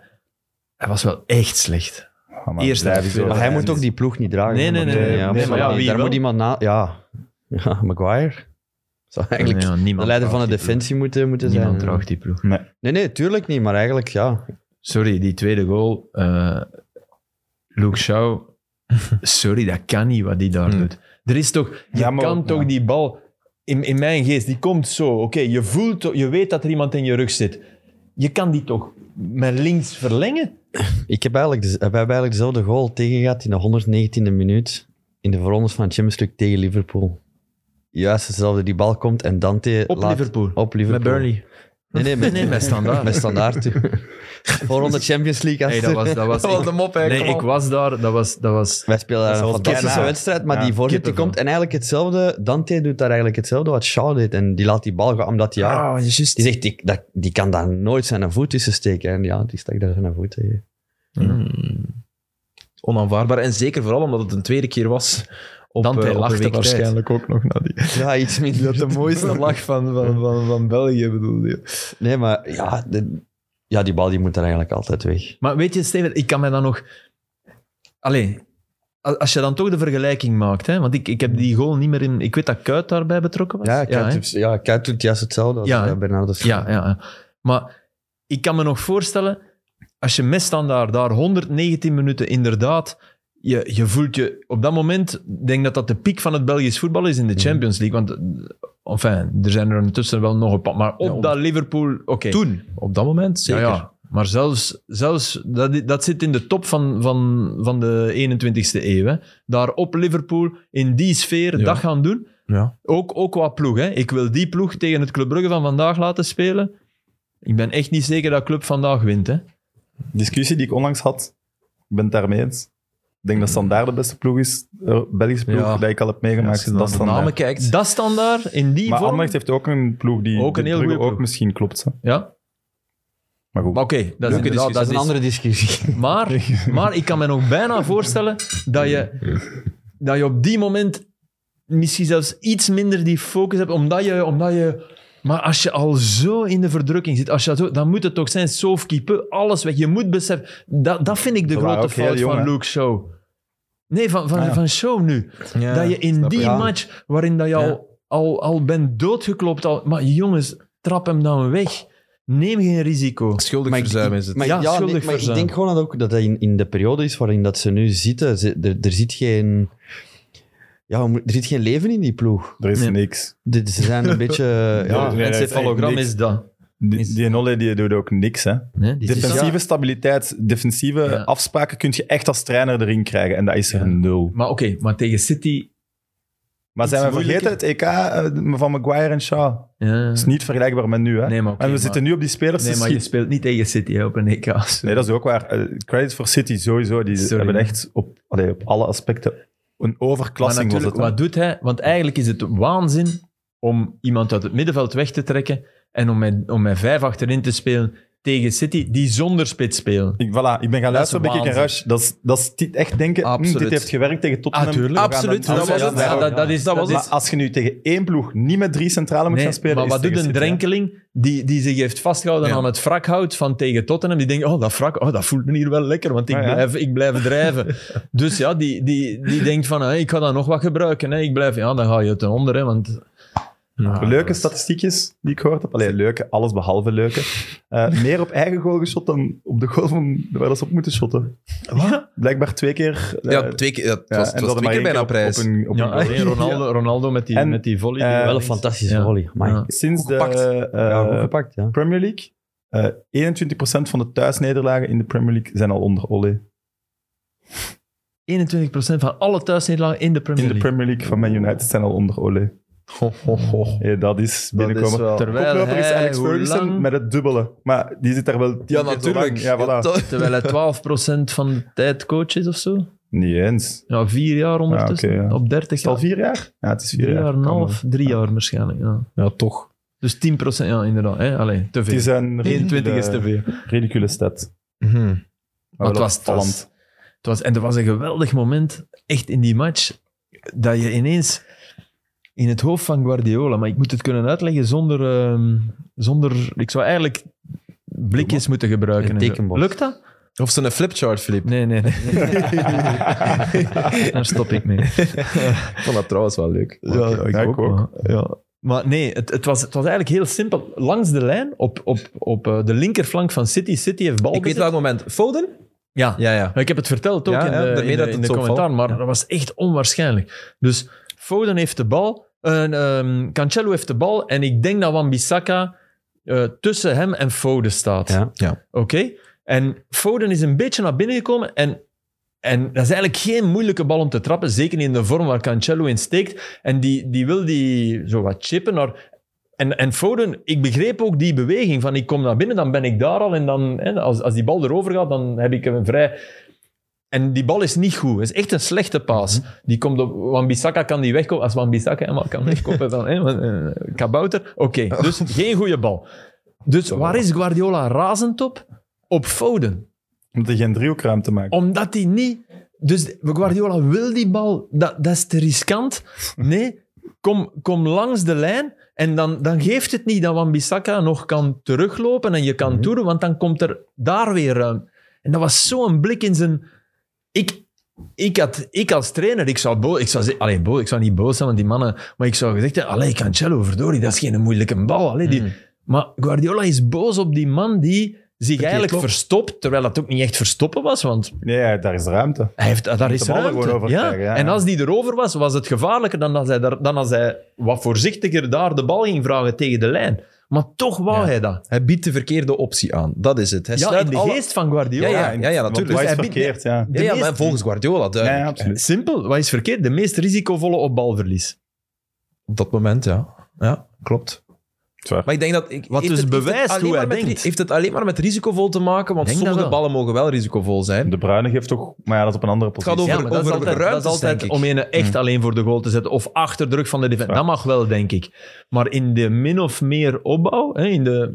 Hij was wel echt slecht.
Ja, maar
eerst
blijf
even
eens
spelen.
over
Maar hij
hem.
moet ook die ploeg niet dragen.
Nee,
hè,
nee,
maar-
nee,
nee.
ja,
Nee,
maar ja, wie
Daar
wel?
moet iemand na... Ja, ja Maguire. Zou eigenlijk
Nee, ja,
de
niemand
leider van
draagt
de
die ploeg.
defensie moeten, moeten zijn. eh.
Niemand draagt die ploeg.
Nee, nee, tuurlijk niet. Maar eigenlijk, ja.
Sorry, die tweede goal. eh, Luke Shaw. Sorry, dat kan niet wat hij daar
Hmm.
doet. Er is toch, je
Ja, maar-
kan toch
ja.
die bal. In, in mijn geest, die komt zo. Oké, je voelt, toch- je weet dat er iemand in je rug zit. Je kan die toch met links verlengen?
Ik heb eigenlijk, de- we hebben eigenlijk dezelfde goal tegen gehad in de 119e minuut. In de voorrondes van het Champions League tegen Liverpool. Juist hetzelfde. Die bal komt en Dante
Op
laat...
Liverpool.
Op Liverpool.
Met Burnley.
Nee, nee, met,
Nee, bij Standaard.
Met standaard. Voorronde Champions League.
Hey,
achter.
dat was, dat was
Wat een mop eigenlijk.
nee, ik was daar. Dat was, dat was
Wij spelen daar een
Zelfs
fantastische
bijna.
wedstrijd, maar
Ja,
die voorzet die
kippenvel.
komt en eigenlijk hetzelfde. Dante doet daar eigenlijk hetzelfde wat Shaw deed. En die laat die bal gaan, omdat hij... Ja,
Ah, juist.
die zegt, die, dat, die kan daar nooit zijn voet tussen steken. En ja, die stak daar zijn voet eh. tegen.
Hmm. Onaanvaardbaar. En zeker vooral omdat het een tweede keer was. Op,
Dante
eh, op een
lachte
week tijd.
waarschijnlijk ook nog naar die.
Ja, iets minder.
mooiste lach van, van, van, van België, bedoel je.
Nee, maar ja, de- ja, die bal die moet er eigenlijk altijd weg.
Maar weet je, Steven, ik kan mij dan nog... Allee, a- als je dan toch de vergelijking maakt, hè, want ik, ik heb die goal niet meer in... Ik weet dat Kuit daarbij betrokken was.
Ja,
hè?
Kuit ja, Kuit doet juist hetzelfde als
Ja,
eh,
hè?
Bernardo Silva.
ja, ja, ja. Maar ik kan me nog voorstellen, als je misstandaard daar 119 minuten inderdaad... Je, je voelt je... Op dat moment denk dat dat de piek van het Belgisch voetbal is in de Champions League. Want, eh, enfin, er zijn er intussen wel nog een paar. Maar op
Ja,
dat Liverpool... Oké.
Toen, op dat moment, zeker.
Ja, ja. Maar zelfs, zelfs dat, dat zit in de top van, van, van de 21ste eeuw. Hè. Daar op Liverpool, in die sfeer,
Ja.
dat gaan doen.
Ja.
Ook, ook qua ploeg. Hè. Ik wil die ploeg tegen het Club Brugge van vandaag laten spelen. Ik ben echt niet zeker dat Club vandaag wint. Hè.
discussie die ik onlangs had, ik ben het daarmee eens. Ik denk dat Standaard de beste ploeg is, eh, Belgische ploeg,
Ja.
dat ik al heb
Als
meegemaakt.
je naar
dat
de namen
Standaard.
kijkt.
Dat standaard, in die
Maar
vorm...
Anderlecht heeft ook een ploeg die
Ook een
de
heel
Brugge
goede
ook
ploeg.
misschien klopt. hè.
Ja,
Maar goed.
maar oké. dat is
Leuke
inderdaad...
discussie.
Dat
Dat
is
is een andere discussie.
Maar, maar ik kan me nog bijna voorstellen dat je, dat je op die moment misschien zelfs iets minder die focus hebt, omdat je... Omdat je maar als je al zo in de verdrukking zit, als je dat zo, dan moet het toch zijn, safekeeper, alles weg. Je moet beseffen, dat, dat vind ik de
We waren
grote
ook heel
fout
jong,
van
hè?
Luke Show. Nee, van, van,
Ah, ja.
van Show nu.
Ja,
dat je in
snap
die
ik.
Ja.
match, waarin dat je al, al, al bent doodgeklopt, al, maar jongens, trap hem dan weg. Neem geen risico.
Schuldig
ik-
verzuim is het.
Maar,
Ja,
ja,
schuldig
nee, maar ik
verzuim.
denk gewoon dat ook dat, dat in, in de periode is waarin dat ze nu zitten, ze- er, er zit geen... Ja, hoe moet- er zit geen leven in die ploeg.
Er is
Nee.
niks.
Dit- Ze zijn een beetje... Ja,
nee, dat is
encefalogram
echt
is,
niks.
dat.
Die, die Nolle die doet ook niks. Hè.
Nee, dit is-
Defensieve stabiliteit, defensieve
Ja.
afspraken kun je echt als trainer erin krijgen. En dat is er nul.
Maar oké, maar tegen City...
Maar zijn we
Iets
vergeten het EK eh, van Maguire en Shaw?
Ja.
Dat is niet vergelijkbaar met nu. Hè.
Nee, maar oké,
en we
maar-
zitten nu op die spelers
Nee,
te
maar je
schieten.
speelt niet tegen City hè, op een EK.
Nee, dat is ook waar. Eh, credit voor City sowieso. Die
Sorry.
hebben echt op, allee, op alle aspecten een
maar
overklassing was
natuurlijk,
het. hè.
wat doet hij? Want eigenlijk is het waanzin om iemand uit het middenveld weg te trekken en om met, om met vijf achterin te spelen tegen City, die zonder spits spelen.
Ik, voilà, ik ben gaan
Dat is
luisteren bij Kick en
waanzin.
Rush. Dat is, dat is dit echt denken, hm,
Absoluut.
dit heeft gewerkt tegen Tottenham.
Ah, tuurlijk.
We gaan dat-
Absoluut,
dat
dat
was
was
het.
het. Ja,
dat, dat is, dat
Dat
is,
was
Maar als je nu tegen één ploeg niet met drie centrale moet
Nee,
gaan spelen...
maar
is
wat
het
doet een
tegen City, hè.
drenkeling die, die zich heeft vastgehouden
Ja.
aan het wrakhout van tegen Tottenham? Die denkt, oh, dat wrak, oh, dat voelt me hier wel lekker, want ik,
Ah, ja.
blijf, ik blijf drijven. dus ja, die, die, die denkt van, hé, ik ga dat nog wat gebruiken. Hè. Ik blijf, ja, dan ga je ten onder, hè, want... Ah,
De leuke statistiekjes die ik gehoord heb. Allee, leuke, alles behalve leuke. Eh, meer op eigen goal geschot dan op de goal van, waar dat ze op moeten shotten.
Wat?
Blijkbaar twee keer. eh,
Ja, twee keer, ja, het
ja,
was,
en
het
ze
was
hadden
twee keer
maar
bijna
één
prijs.
keer Op, op een, op
Ja,
een goal.
alleen Ronaldo, Ronaldo met, die,
En-
met die volley. die
eh,
wel
wel
een
een fantastische
Ja.
volley. Amai.
Ja.
Sinds
Goed gepakt.
de eh,
Ja, goed gepakt, ja.
Premier League, eh 21% van de thuisnederlagen in de Premier League zijn al onder Olé.
21% van alle thuisnederlagen in de Premier
In de
League.
Premier League van Man United zijn al onder Olé. Ja, dat is binnenkomen.
wel- Terwijl
Koploper is
hij,
Alex
hoe
Ferguson
lang?
met het dubbele. Maar die zit daar wel tien
Ja,
keer zo
natuurlijk.
lang. Ja, voilà.
dat-
Terwijl hij 12% van de tijd coach is of zo.
Niet eens.
Ja, vier jaar ondertussen.
Ah, oké, ja.
Op 30
Is het
jaar.
al vier jaar? Ja, het is vier
Vier jaar en een
Kan wel.
half, drie jaar waarschijnlijk. Ja.
ja, toch.
Dus 10%, ja, inderdaad. Hè? Allee, te
Het
veel.
is een
21 is te
ridicule,
veel.
ridicule stat.
Mhm.
Maar het
wel
was, het
opvallend.
was, het was- en er was een geweldig moment, echt in die match, dat je ineens in het hoofd van Guardiola, maar ik moet het kunnen uitleggen zonder, ehm, zonder ik zou eigenlijk blikjes moeten gebruiken.
Een
en zo.
tekenbord.
Lukt dat?
Of ze een flipchart, Filip.
Nee, nee, nee. Daar stop ik mee.
Ik vond dat trouwens wel leuk.
Ja,
ik ook,
Maar, ja. maar nee, het, het, was, het was eigenlijk heel simpel. Langs de lijn, op, op, op eh, de linkerflank van City. City heeft bal
Ik weet welk moment. Foden?
Ja,
Ja, ja.
Maar Ik heb het verteld ook
Ja,
in
ja,
de,
daarmee
in de,
dat
in
het
de
zo
commentaar,
valt.
maar
Ja.
dat was echt onwaarschijnlijk. Dus Foden heeft de bal, en, ehm, Cancelo heeft de bal en ik denk dat Wan-Bissaka eh, tussen hem en Foden staat.
Ja.
Ja.
Oké? En Foden is een beetje naar binnen gekomen en, en dat is eigenlijk geen moeilijke bal om te trappen, zeker niet in de vorm waar Cancelo in steekt. En die, die wil die zo wat chippen, maar En, en Foden, ik begreep ook die beweging van ik kom naar binnen, dan ben ik daar al en dan, hè, als, als die bal erover gaat, dan heb ik een vrij... En die bal is niet goed. Het is echt een slechte paas. Die komt op... Wan-Bissaka kan die wegkopen. Als Wan-Bissaka helemaal kan wegkopen, dan... Hè, want, eh, kabouter. Oké, dus geen goede bal. Dus waar is Guardiola razend op? Op Foden.
Om er geen driehoekruimte te maken.
Omdat hij niet... Dus Guardiola wil die bal. Dat, dat is te riskant. Nee, kom, kom langs de lijn. En dan, dan geeft het niet dat Wan-Bissaka nog kan teruglopen en je kan toeren, want dan komt er daar weer ruimte. En dat was zo'n blik in zijn... Ik, ik, had, ik als trainer, ik zou, boos, ik, zou zeggen, allee, boos, ik zou niet boos zijn, want die mannen... Maar ik zou gezegd hebben, allee, Cancelo, verdorie, dat is geen moeilijke bal. Allee, die,
Mhm.
Maar Guardiola is boos op die man die zich eigenlijk
klopt.
verstopt, terwijl dat ook niet echt verstoppen was, want
Nee, ja, daar is ruimte.
hij heeft, daar is
de bal er
ruimte.
gewoon over
ja.
krijgen, ja,
En
ja.
als die erover was, was het gevaarlijker dan als, hij daar, dan als hij wat voorzichtiger daar de bal ging vragen tegen de lijn. Maar toch wou
Ja.
hij dat.
Hij biedt de verkeerde optie aan. Dat is het. Hij
Ja,
sluit
in de
alle-
geest van Guardiola.
Ja, ja,
in-
ja, ja,
want
natuurlijk.
Hij is
Hij biedt-
verkeerd, ja.
Ja, ja, maar volgens Guardiola
Ja,
duidelijk.
ja, absoluut.
Simpel, wat is verkeerd? De meest risicovolle opbalverlies.
Op dat moment, ja. Ja, klopt.
Zwaar.
Maar ik denk dat... Ik,
Wat
heeft
dus
het- heeft
bewijst
het alleen
hoe hij
maar met
denkt.
ri- Heeft het alleen maar met risicovol te maken? Want
Denk dat
sommige
wel.
ballen mogen wel risicovol zijn.
De Bruyne geeft toch... Maar ja, dat is op een andere
gaat
positie.
over-
maar dat is altijd,
ruimtes,
dat is altijd
denk ik.
om een echt alleen voor de goal te zetten of achter druk van de defensie. Dat mag wel, denk ik. Maar in de min of meer opbouw, hè, in, de,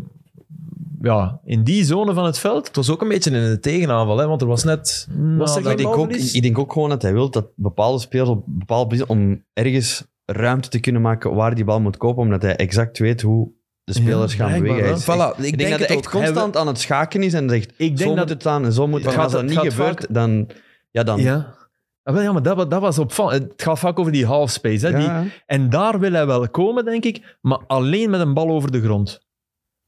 ja, in die zone van het veld... nou,
Het was ook een beetje in de tegenaanval, hè, want er was net... Was er geen
dat-
Ik denk, ook,
balverlies?
ik denk ook gewoon dat hij wil dat bepaalde spelers op bepaalde posities- om ergens ruimte te kunnen maken waar die bal moet kopen, omdat hij exact weet hoe de spelers gaan
blijkbaar
bewegen. Hij
wel.
is echt-
Voilà, ik,
ik denk, dat hij
het
echt
ook.
constant aan het schaken is en zegt,
Ik
zo
denk dat
moet het staan en zo moet het
Het
gaan. Als
gaat-
dat
het
niet
gaat
gebeurt, dan... Ja, dan...
Ja. Ah, wel, ja, maar dat, wa- dat was opvallend. Het gaat vaak over die half space. Hè? Die,
Ja.
en daar wil hij wel komen, denk ik, maar alleen met een bal over de grond.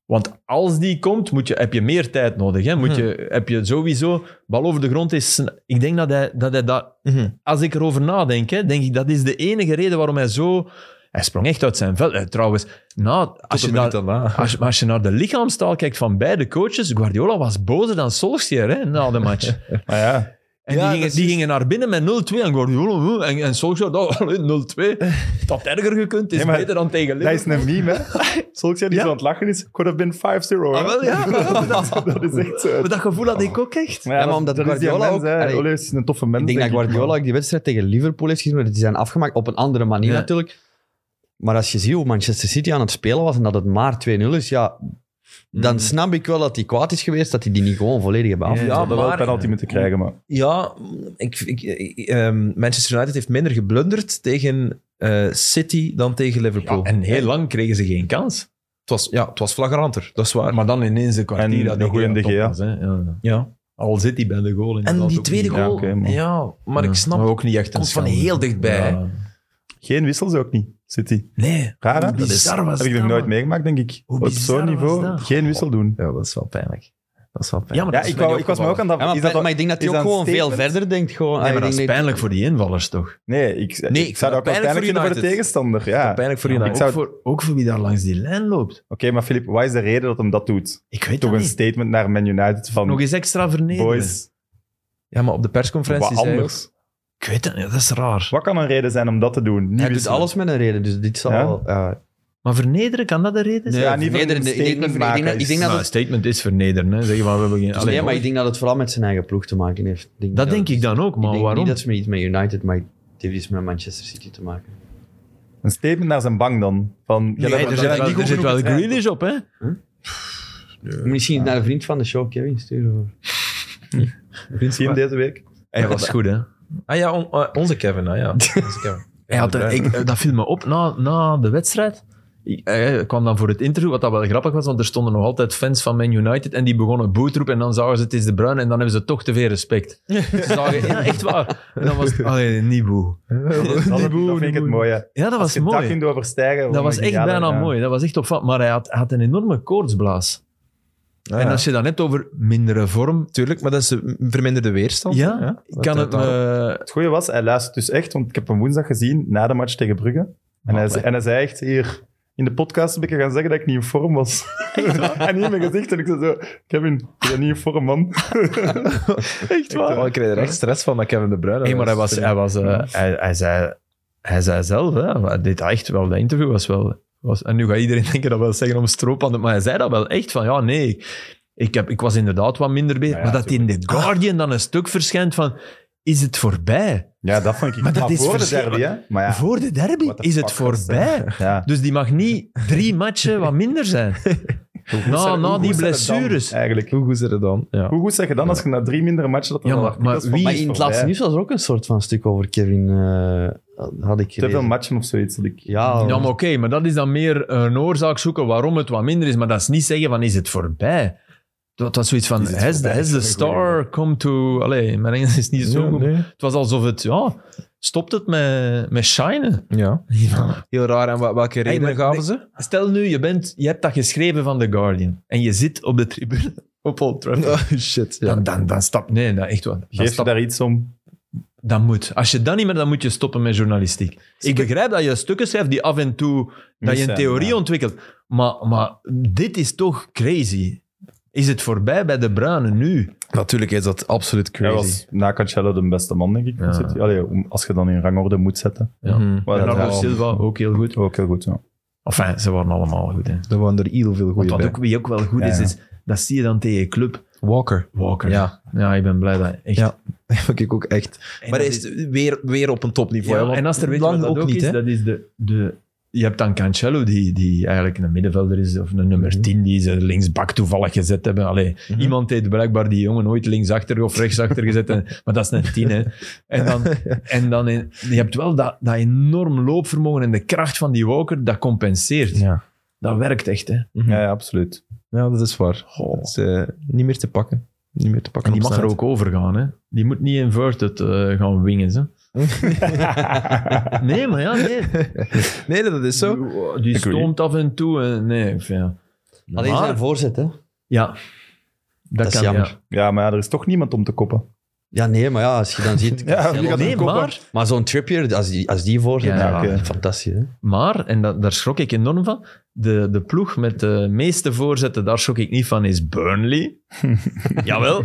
Want als die komt, moet je, heb je meer tijd nodig. Hè? Moet
Hm.
je, heb je sowieso... Bal over de grond is... sn- Ik denk dat hij dat... Hij dat
Mhm.
als ik erover nadenk, hè, denk ik dat is de enige reden waarom hij zo... Hij sprong echt uit zijn vel. Eh, trouwens, nou, als je,
Tot een
daar,
minuut daarna.
als, je- maar als je naar de lichaamstaal kijkt van beide coaches, Guardiola was bozer dan Solskjaer hè, na de match.
Maar ja,
En
Ja,
die,
dat
gingen,
is
die
juist.
gingen naar binnen met 0-2 en Guardiola "Oh, en, en Solskjaer, dat, allee, 0-2. Dat had erger gekund, is
Nee, maar
beter dan tegen
dat
Liverpool.
is een meme, hè. Zal ik zeggen, die
Ja.
zo aan het lachen is. Could have been 5-0, hoor.
Ah, wel, ja, maar dat,
Dat is echt... eh,
maar dat Ah. gevoel had ik ook echt.
Maar ja,
Ja, maar
dat-
omdat
dat is die
Guardiola
mens,
ook-
hè.
Allee,
Ole is een toffe mens.
Ik denk dat Guardiola ook die wedstrijd tegen Liverpool heeft gezien, maar die zijn afgemaakt op een andere manier
Ja.
natuurlijk. Maar als je ziet hoe Manchester City aan het spelen was en dat het maar 2-0 is, ja, dan
Mm.
snap ik wel dat hij kwaad is geweest dat hij die niet gewoon volledig hebben afgemaakt.
Ja,
Ja, wel een
maar-
penalty moeten krijgen, maar...
Ja, ik, ik, ik- ehm, Manchester United heeft minder geblunderd tegen eh, City dan tegen Liverpool.
Ja, en heel lang kregen ze geen kans.
het, was, ja, het was flagranter, dat is waar.
Maar dan ineens een kwartier
En
dat
een
De
goeie
Gea
De
top
Gea.
was, hè. Ja.
ja.
Al zit hij bij de goal.
En
inderdaad
die
ook
tweede
niet.
goal, ja,
oké,
maar,
maar-
ik
Ja. Oh.
snap
Maar ook niet echt een
komt van
schande.
heel dichtbij,
Ja.
Geen wissels ook niet, City.
Nee,
Raar, hè?
Hoe
Dat is-
bizar was
heb ik nog
dat,
nooit
man.
meegemaakt, denk ik.
Hoe
Op
bizar
zo'n
was
niveau
dat?
geen wissel doen.
ja, dat is wel pijnlijk. Dat is wel pijnlijk.
Ja, maar
Ja,
dat is
ik,
mij
wou-
ook
ik was me ook
opgevallen.
aan dat...
Ja, maar,
is dat
maar
ook-
ik denk dat
is
hij ook
dat een
gewoon veel
statement?
verder denkt. Gewoon.
Nee, maar
Ik
dat is
denk
pijnlijk voor die invallers, toch?
Nee, ik,
Nee,
ik zou dat ook wel
pijnlijk
pijnlijk
voor
vinden voor de
United.
tegenstander. Ja. Oké,
pijnlijk voor
Ja,
United.
ook,
zou-
voor, ook voor wie daar langs die lijn loopt.
maar Filip, wat is de reden dat hem dat doet?
Ik weet
Toch
dat
een
niet.
statement naar Man United van...
Nog eens extra vernederen.
boys,
Ja, maar op de persconferentie
wat
zei hij ook-
anders.
Ik weet het niet, dat is raar.
Wat kan een reden zijn om dat te doen? Niet
Hij doet
wisselen.
eh,
alles met een reden, dus dit zal
Ja?
wel... ja.
Maar vernederen, kan dat de reden zijn?
Ja, niet
Nee,
van
ik denk- ik denk dat- ik denk dat- ik denk dat
Nou,
het-
statement is vernederen. Hè. Zeg maar, we hebben geen...
Dus
Allee,
nee, maar
hoor.
ik denk dat het vooral met zijn eigen ploeg te maken heeft. Ik denk
dat
niet
denk ik dan ook, maar
ik denk
waarom?
niet dat ze met iets met United, maar het heeft iets met Manchester City te maken.
Een statement naar zijn bank dan. Van, ja,
Nee,
dat-
er
dat-
zit
dat-
wel, er zit wel Grealish op, hè?
Misschien naar een vriend van de show, Kevin, sturen.
Zie je hem deze week?
Hij was goed, hè?
Ah ja, on- eh, onze Kevin. Ah, ja. Onze Kevin.
Hij had, eh,
Ja,
ik, dat viel me op na, na de wedstrijd. Ik, hij kwam dan voor het interview, wat dat wel grappig was, want er stonden nog altijd fans van Man United en die begonnen boetroep en dan zagen ze het is de Bruin en dan hebben ze toch te veel respect. Ze zagen, ja, echt waar. En dan was het, allee, niet boe.
Dat
Die
dat
boe,
vind
die
ik het
boe.
mooie.
Ja, dat
Als
was
je dat
mooi.
kunt overstijgen...
Dat
dan
was
moet
echt
je genialer
bijna
gaan.
mooi. Dat was echt opvallend. Maar hij had, had een enorme koortsblaas.
ja.
En als je dan hebt over mindere vorm,
Tuurlijk, maar dat is een verminderde weerstand.
ja,
hè? Dat
kan
duidt
het
daarop.
me...
Het goede was, hij luistert dus echt, want ik heb hem woensdag gezien na de match tegen Brugge. En, hij, en hij zei echt hier in de podcast een beetje gaan zeggen dat ik niet in vorm was. en niet in mijn gezicht. En ik zei zo, Kevin, ik ben niet in vorm, man. echt
Oh,
waar.
ik kreeg er echt stress van dat Kevin De Bruyne
Nee, maar hij, was,
Ja.
hij, was, eh, hij, hij, zei, hij zei zelf, hè, dit, echt wel, dat interview was wel... was. En nu gaat iedereen denken dat wel zeggen om stroophanden. Maar hij zei dat wel echt van, ja, nee. Ik, heb, ik was inderdaad wat minder bezig.
Ja, ja,
maar dat in The Guardian dan een stuk verschijnt van, is het voorbij?
Ja, dat vond ik.
Maar dat is
voor de
verschil-
derby, hè? Maar ja.
Voor de derby
What the
is het
fuck was
voorbij.
ja.
Dus die mag niet drie matchen wat minder zijn.
Hoe goed
Na-
zijn-
na
hoe
die
goed zijn het dan,
blessures.
Eigenlijk.
Hoe goed is het dan? Ja.
Hoe goed zeg je dan als je na drie mindere matchen dat dan
Ja,
wel
maar-
artikels
maar
van mij
wie
Maar
is
in het
voorbij.
laatste nieuws was er ook een soort van stuk over Kevin. eh, had ik
Te
gelezen.
veel matchen of zoiets. Dat ik...
Ja,
Oh.
Ja, maar oké, maar dat is dan meer een oorzaak zoeken waarom het wat minder is. Maar dat is niet zeggen van, is het voorbij? Dat was zoiets van,
Is het
has the,
voorbij?
has the
Dat is een goeie
star come to... Allee, mijn Engels is niet zo
Ja,
goed.
nee.
Het was alsof het, ja, stopt het met, met shinen.
Ja. Heel raar. En wa- welke redenen
maar-
gaven
nee.
ze?
Stel nu, je, bent, je hebt dat geschreven van The Guardian en je zit op de tribune op Old Trafford.
shit.
Dan, dan, dan stap... Nee, dat echt wat. Dan,
Geef je
stap,
daar iets om?
dat moet. Als je dat niet meer, dan moet je stoppen met journalistiek. Ik begrijp dat je stukken schrijft die af en toe... Dat je
Mis
een
zijn,
theorie
ja.
ontwikkelt. Maar, maar dit is toch crazy. Is het voorbij bij de Bruinen nu?
Natuurlijk is dat absoluut
Hij
crazy.
was na Cancelo de beste man, denk ik. van
Ja.
City. Allee, om- als je dan in rangorde moet zetten.
Ja.
Mhm.
Maar dat
Bernardo
is wel-
Silva, ook heel goed.
Ook heel goed, ja.
Enfin, ze waren allemaal goed. Hè.
Er waren er heel veel
Want
goede
wat
bij.
ook, wie ook wel goed
Ja,
is,
ja.
is, dat zie je dan tegen je club.
Walker.
Walker. Ja,
Ja,
ik ben blij dat echt...
Ja. vind ik ook echt.
En
maar
dat
hij is weer, weer op een topniveau.
Ja,
hè, want
en als er weet je wat
lang
dat ook, is,
hè.
dat is de, de... Je hebt dan Cancelo, die, die eigenlijk een middenvelder is, of een nummer 10, die ze linksbak toevallig gezet hebben. Allee,
Mhm.
Iemand heeft blijkbaar die jongen nooit linksachter of rechtsachter gezet, en- maar dat is een 10. Hè. En dan, en dan in- je hebt wel dat, dat enorm loopvermogen en de kracht van die Walker, dat compenseert.
Ja.
Dat werkt echt. Hè.
Mhm.
Ja, ja, absoluut.
ja, dat is waar.
Goh.
Dat is eh, niet meer te pakken. Niet meer te pakken.
En die
op
mag er
snelheid.
ook over gaan. Hè. Die moet niet inverted eh, gaan wingen. Ze. Nee, maar ja, nee.
Nee, dat is zo.
Die, die
Agree.
stoomt af en toe. eh, nee, enfin, ja.
Alleen
Maar-
zijn voorzet, hè?
Ja. Dat,
is
kan,
jammer.
ja.
Ja, maar ja, er is toch niemand om te koppen.
Ja, nee, maar ja, als je dan ziet.
Ja,
Cancelo-
wie gaat-
Nee,
koppen.
maar,
Maar zo'n Trippier, als die, als die voorzet,
Ja,
ja,
ja, oké.
fantastisch. Hè?
maar, en dat, daar schrok ik enorm van, de, de ploeg met de meeste voorzetten, daar schrok ik niet van, is Burnley. Jawel.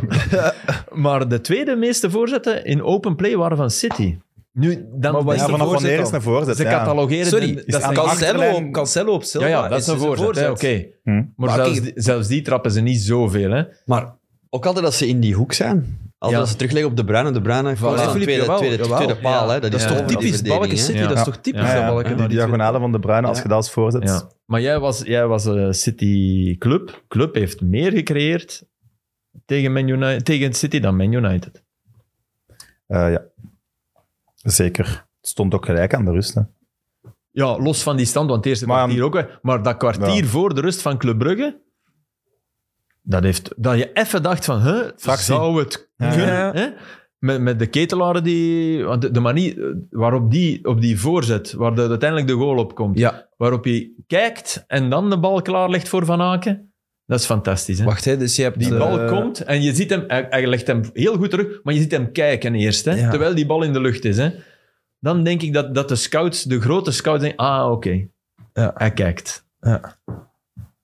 maar de tweede meeste voorzetten in open play waren van City. Nu, dan,
Maar wat
Ja,
is er
vanaf
voorzet
wanneer
dan?
is naar voorzet?
ze
ja.
catalogeren...
Sorry,
de-
is
dat
aan
is
de
een-
Cancelo,
achterlijn-
Cancelo op Silva.
ja, ja, dat is een voorzet. hè, Oké.
Hm.
Maar,
Maar
zelfs,
kijk-
die- zelfs die trappen ze niet zoveel. Hè?
Maar ook altijd als ze in die hoek zijn. Altijd
Ja.
als ze terugleggen op de bruine, de bruine. Voilà,
Filip,
tweede,
jawel,
tweede,
jawel.
tweede paal, hè? Dat,
Dat
is
is toch
Ja,
toch die
typisch
verdediging,
Balken
hè?
City.
Ja.
Dat is toch typisch
Ja,
dat
ja,
Balken
die
dat-
diagonale van de Bruine, als
Ja.
je dat als voorzet...
Ja. Maar jij was, jij was eh, City Club. Club heeft meer gecreëerd tegen, Man United, tegen City dan Man United.
Eh, ja. Zeker. Het stond ook gelijk aan de rust. Hè.
Ja, los van die stand, want het eerste
Maar-
kwartier ook. wel. Maar dat kwartier
Ja.
voor de rust van Club Brugge, dat, heeft, dat je even dacht van, huh,
Fractie.
zou het kunnen?
Ja.
Hè? Met, met de ketelaren die... Want de, de manier eh, waarop die op die voorzet, waar de, uiteindelijk de goal op komt,
Ja,
waarop je kijkt en dan de bal klaar legt voor Van Aken, dat is fantastisch. Hè?
wacht, hè, dus je hebt
Die
eh,
bal komt en je ziet hem, hij, hij legt hem heel goed terug, maar je ziet hem kijken eerst, hè,
Ja.
terwijl die bal in de lucht is. Hè. Dan denk ik dat, dat de scouts, de grote scouts, denken, ah, oké,
Ja.
hij kijkt.
Ja.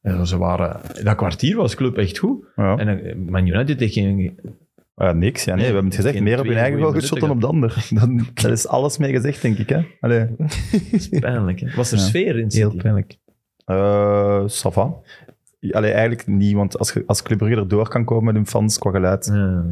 Ja, ze waren, dat kwartier was club echt goed.
Ja.
En eh, Man United heeft geen...
Eh, niks, ja, nee,
Nee,
we hebben het gezegd.
geen
Meer op
twee
je eigen
goeie
goal geschoten dan op de
minuten
ander. Dan, daar is alles mee gezegd, denk ik. Hè? Allee.
Pijnlijk, hè. Was er
Ja.
sfeer in
Heel
City?
pijnlijk.
Eh, ça va. Allee, eigenlijk niet, want als, je- als Club Brugge erdoor kan komen met hun fans qua geluid,
Ja.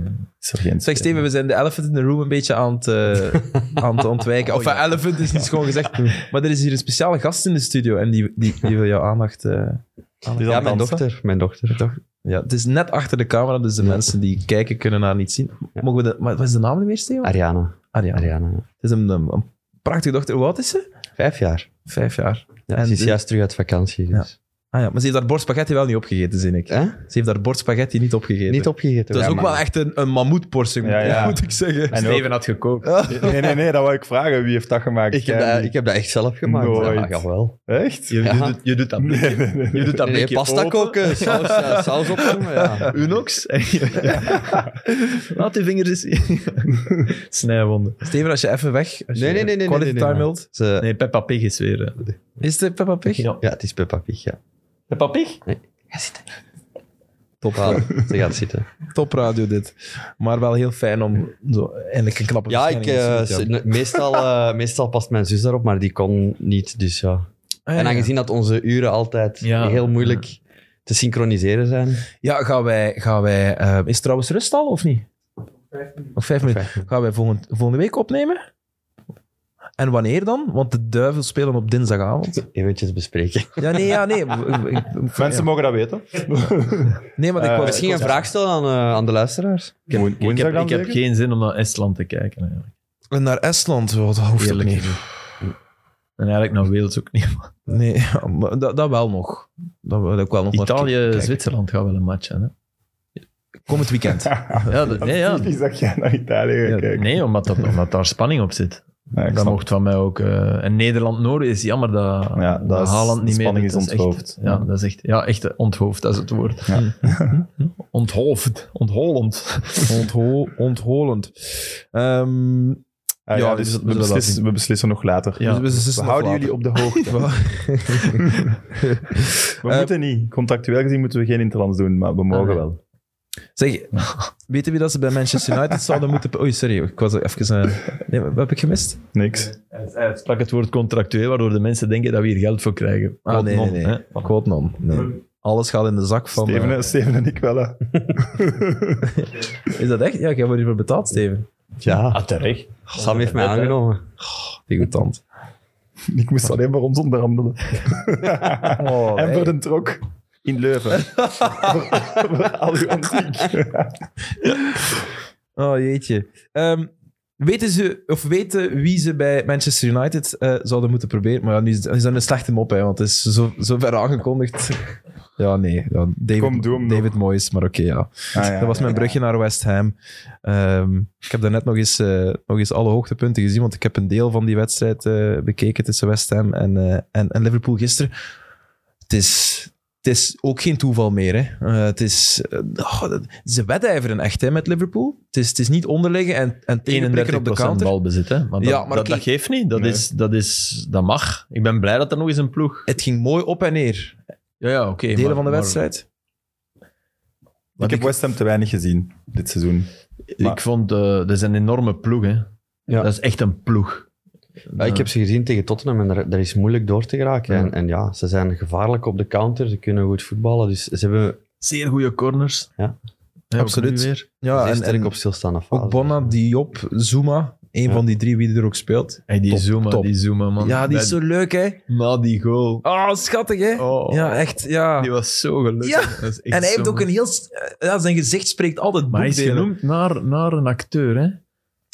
is er geen...
Zeg Steven, we zijn de elephant in the room een beetje aan het, eh, aan het ontwijken.
Oh,
Of eh, elephant is niet schoon gezegd. Maar er is hier een speciale gast in de studio en die, die, die wil jouw aandacht... eh, aandacht.
aan
Ja,
het
mijn
dansen.
dochter. Mijn dochter.
Ja, het is net achter de camera, dus de
Ja.
mensen die kijken kunnen haar niet zien.
Ja.
Mogen we de, maar wat is de naam niet meer, Steven?
Ariana.
Ariane.
Ariana. ja.
Het is een, een, een prachtige dochter. Hoe oud is ze?
Vijf jaar.
Vijf jaar.
Ja,
En
ze is
de-
juist terug uit vakantie. Dus.
Ah ja, maar ze heeft haar bord spaghetti wel niet opgegeten, zie ik.
Hè?
Ze heeft haar bord spaghetti niet opgegeten.
Niet opgegeten.
Dat is
Ja,
ook
maar-
wel echt een, een mammoetportie,
Ja, ja.
moet ik zeggen.
En ook-
Steven had gekookt.
Nee, nee, nee, dat wou ik vragen. Wie heeft dat gemaakt?
Ik heb,
Jij
dat,
niet.
ik heb dat echt zelf gemaakt.
Nooit.
Ja, jawel.
Echt?
Je,
Ja.
doet, je doet dat blikje,
Nee, nee, nee.
je doet dat
Nee, nee,
blikje
pasta
open.
koken, saus, eh, saus opdoen. maar Ja.
Unox. Laat die vingers eens... Snijwonden.
Steven, als je even weg... als je
Nee, nee, nee, nee, nee,
Quality
nee, nee,
time
nee.
wilt.
Ze-
Nee, Peppa Pig is weer... eh,
Is de Peppa Pig?
Ja.
Ja, het is Peppa Pig, ja.
Peppa Pig?
Ga zitten. Top. Ja, ze gaat zitten.
Topradio dit. Maar wel heel fijn om zo eindelijk een knappe
Ja, ik,
verschijning te
eh,
zien, ja.
ze- meestal, eh, meestal past mijn zus daarop, maar die kon niet, dus ja.
Ah, ja,
En
ja.
aangezien dat onze uren altijd
Ja.
heel moeilijk te synchroniseren zijn.
Ja, gaan wij... Gaan wij eh, is het trouwens rust al, of niet? Nog vijf minuten. Gaan wij volgend, volgende week opnemen? En wanneer dan? Want de duivels spelen op dinsdagavond.
Eventjes bespreken.
Ja, nee, ja, nee. Ik- ik- ik-
Mensen
ja.
mogen dat weten.
Nee, maar ik
Eh,
wou-
Misschien een vraag stellen aan, eh, aan de luisteraars.
Ik heb,
Woen-
ik
woensdag
heb,
dan
ik heb
zeker?
geen zin om naar Estland te kijken. Eigenlijk.
En naar Estland, wat dat hoeft ook
Eerlijk
niet.
gezien. En eigenlijk naar Wales ook niet.
Nee, ja, maar dat, dat wel nog. Dat wil ik wel nog maar kijken.
Italië, Zwitserland gaat wel een match hebben.
Komend weekend.
hè. Ja, dat- nee, ja.
Typisch dat jij naar Italië gaat
Ja,
kijken.
nee omdat, dat, omdat daar spanning op zit.
Ja, ik
Dat
snap.
mocht van mij ook. eh, en Nederland-Noorden is jammer dat,
Ja, dat is-
Haaland
de
niet meer
spanning
doet.
is
Dat echt-
onthoofd.
ja, dat is echt, ja, echt eh, onthoofd, dat is het woord. Hmm.
Ja.
Onthoofd, ontholend.
Ontho ontholend. Ehm,
Ah,
Ja,
ja,
dus
dus
dat-
we,
we zullen dat
beslissen,
zien.
we beslissen nog later.
Ja.
dus we- dus
We
nog
houden
later.
jullie op de hoogte. We
Eh,
moeten niet. Contractueel gezien moeten we geen interlands doen, maar we mogen
Ah.
wel.
Zeg, weten we dat ze bij Manchester United zouden moeten... Oei, sorry, ik was even... eh, Nee, wat heb ik gemist?
Niks.
Hij hij sprak het woord contractueel, waardoor de mensen denken dat we hier geld voor krijgen.
Ah,
Wat
nee,
non,
nee,
hè?
nee. Quote non. Nee. Alles gaat in de zak van... eh,
Steven, Steven en ik wel. hè.
is dat echt? Ja, ik heb ervoor betaald, Steven.
Ja,
terecht.
Sam heeft mij aangenomen.
Degoutant.
Ik moest alleen maar ons onderhandelen.
Oh,
en
hey.
voor de trok. In Leuven. voor, voor al uw antiek.
Oh, jeetje. Ehm, weten ze, of weten wie ze bij Manchester United eh, zouden moeten proberen? Maar ja, nu is, is dat een slechte mop, hè, want het is zo, zo ver aangekondigd. Ja, nee. Ja, David,
Kom, doe hem nog.
David Moyes, maar oké, ja.
Ah,
dat was mijn brugje naar West Ham. Ehm, ik heb daarnet nog eens, eh, nog eens alle hoogtepunten gezien, want ik heb een deel van die wedstrijd eh, bekeken tussen West Ham en, eh, en, en Liverpool gisteren. Het is, het is ook geen toeval meer. Hè. Eh, het is, eh, oh, dat- ze wedijveren echt hè, met Liverpool. Het is, het is niet onderliggen en, en tegenprikken
31%
op de counter.
balbezit, hè? Maar dat,
Ja, maar
dat,
kijk-
dat geeft niet. Dat,
Nee.
is, dat, is, dat mag. Ik ben blij dat er nog eens een ploeg.
Het ging mooi op en neer.
Ja, ja, oké.
Delen
maar-
van de
maar-
wedstrijd.
Ik heb West Ham te weinig gezien dit seizoen. Maar-
Ik vond, eh dat is een enorme ploeg, hè?
Ja.
Dat is echt een ploeg.
Ja, ik heb ze gezien tegen Tottenham en daar, daar is moeilijk door te geraken. En, en ja, ze zijn gevaarlijk op de counter, ze kunnen goed voetballen. Dus ze hebben
Zeer goede corners.
Ja.
ook
Absoluut.
nu weer.
Ja,
zeer
en,
sterk
en
op stilstaande fase.
ook Bonna, Diop, Zuma. Een
Ja.
van die drie, wie er ook speelt.
Hey, die
Top,
Zuma,
top.
die Zuma, man.
Ja, die
Bij-
is zo leuk, hè?
Na die goal.
Oh, schattig, hè?
Oh.
Ja, echt, ja.
Die was zo gelukkig.
Ja.
Dat is echt
En hij
zo
heeft ook
mooi.
een heel... s- eh, Ja, zijn gezicht spreekt altijd
Maar hij is
boekdelen.
genoemd naar, naar een acteur, hè?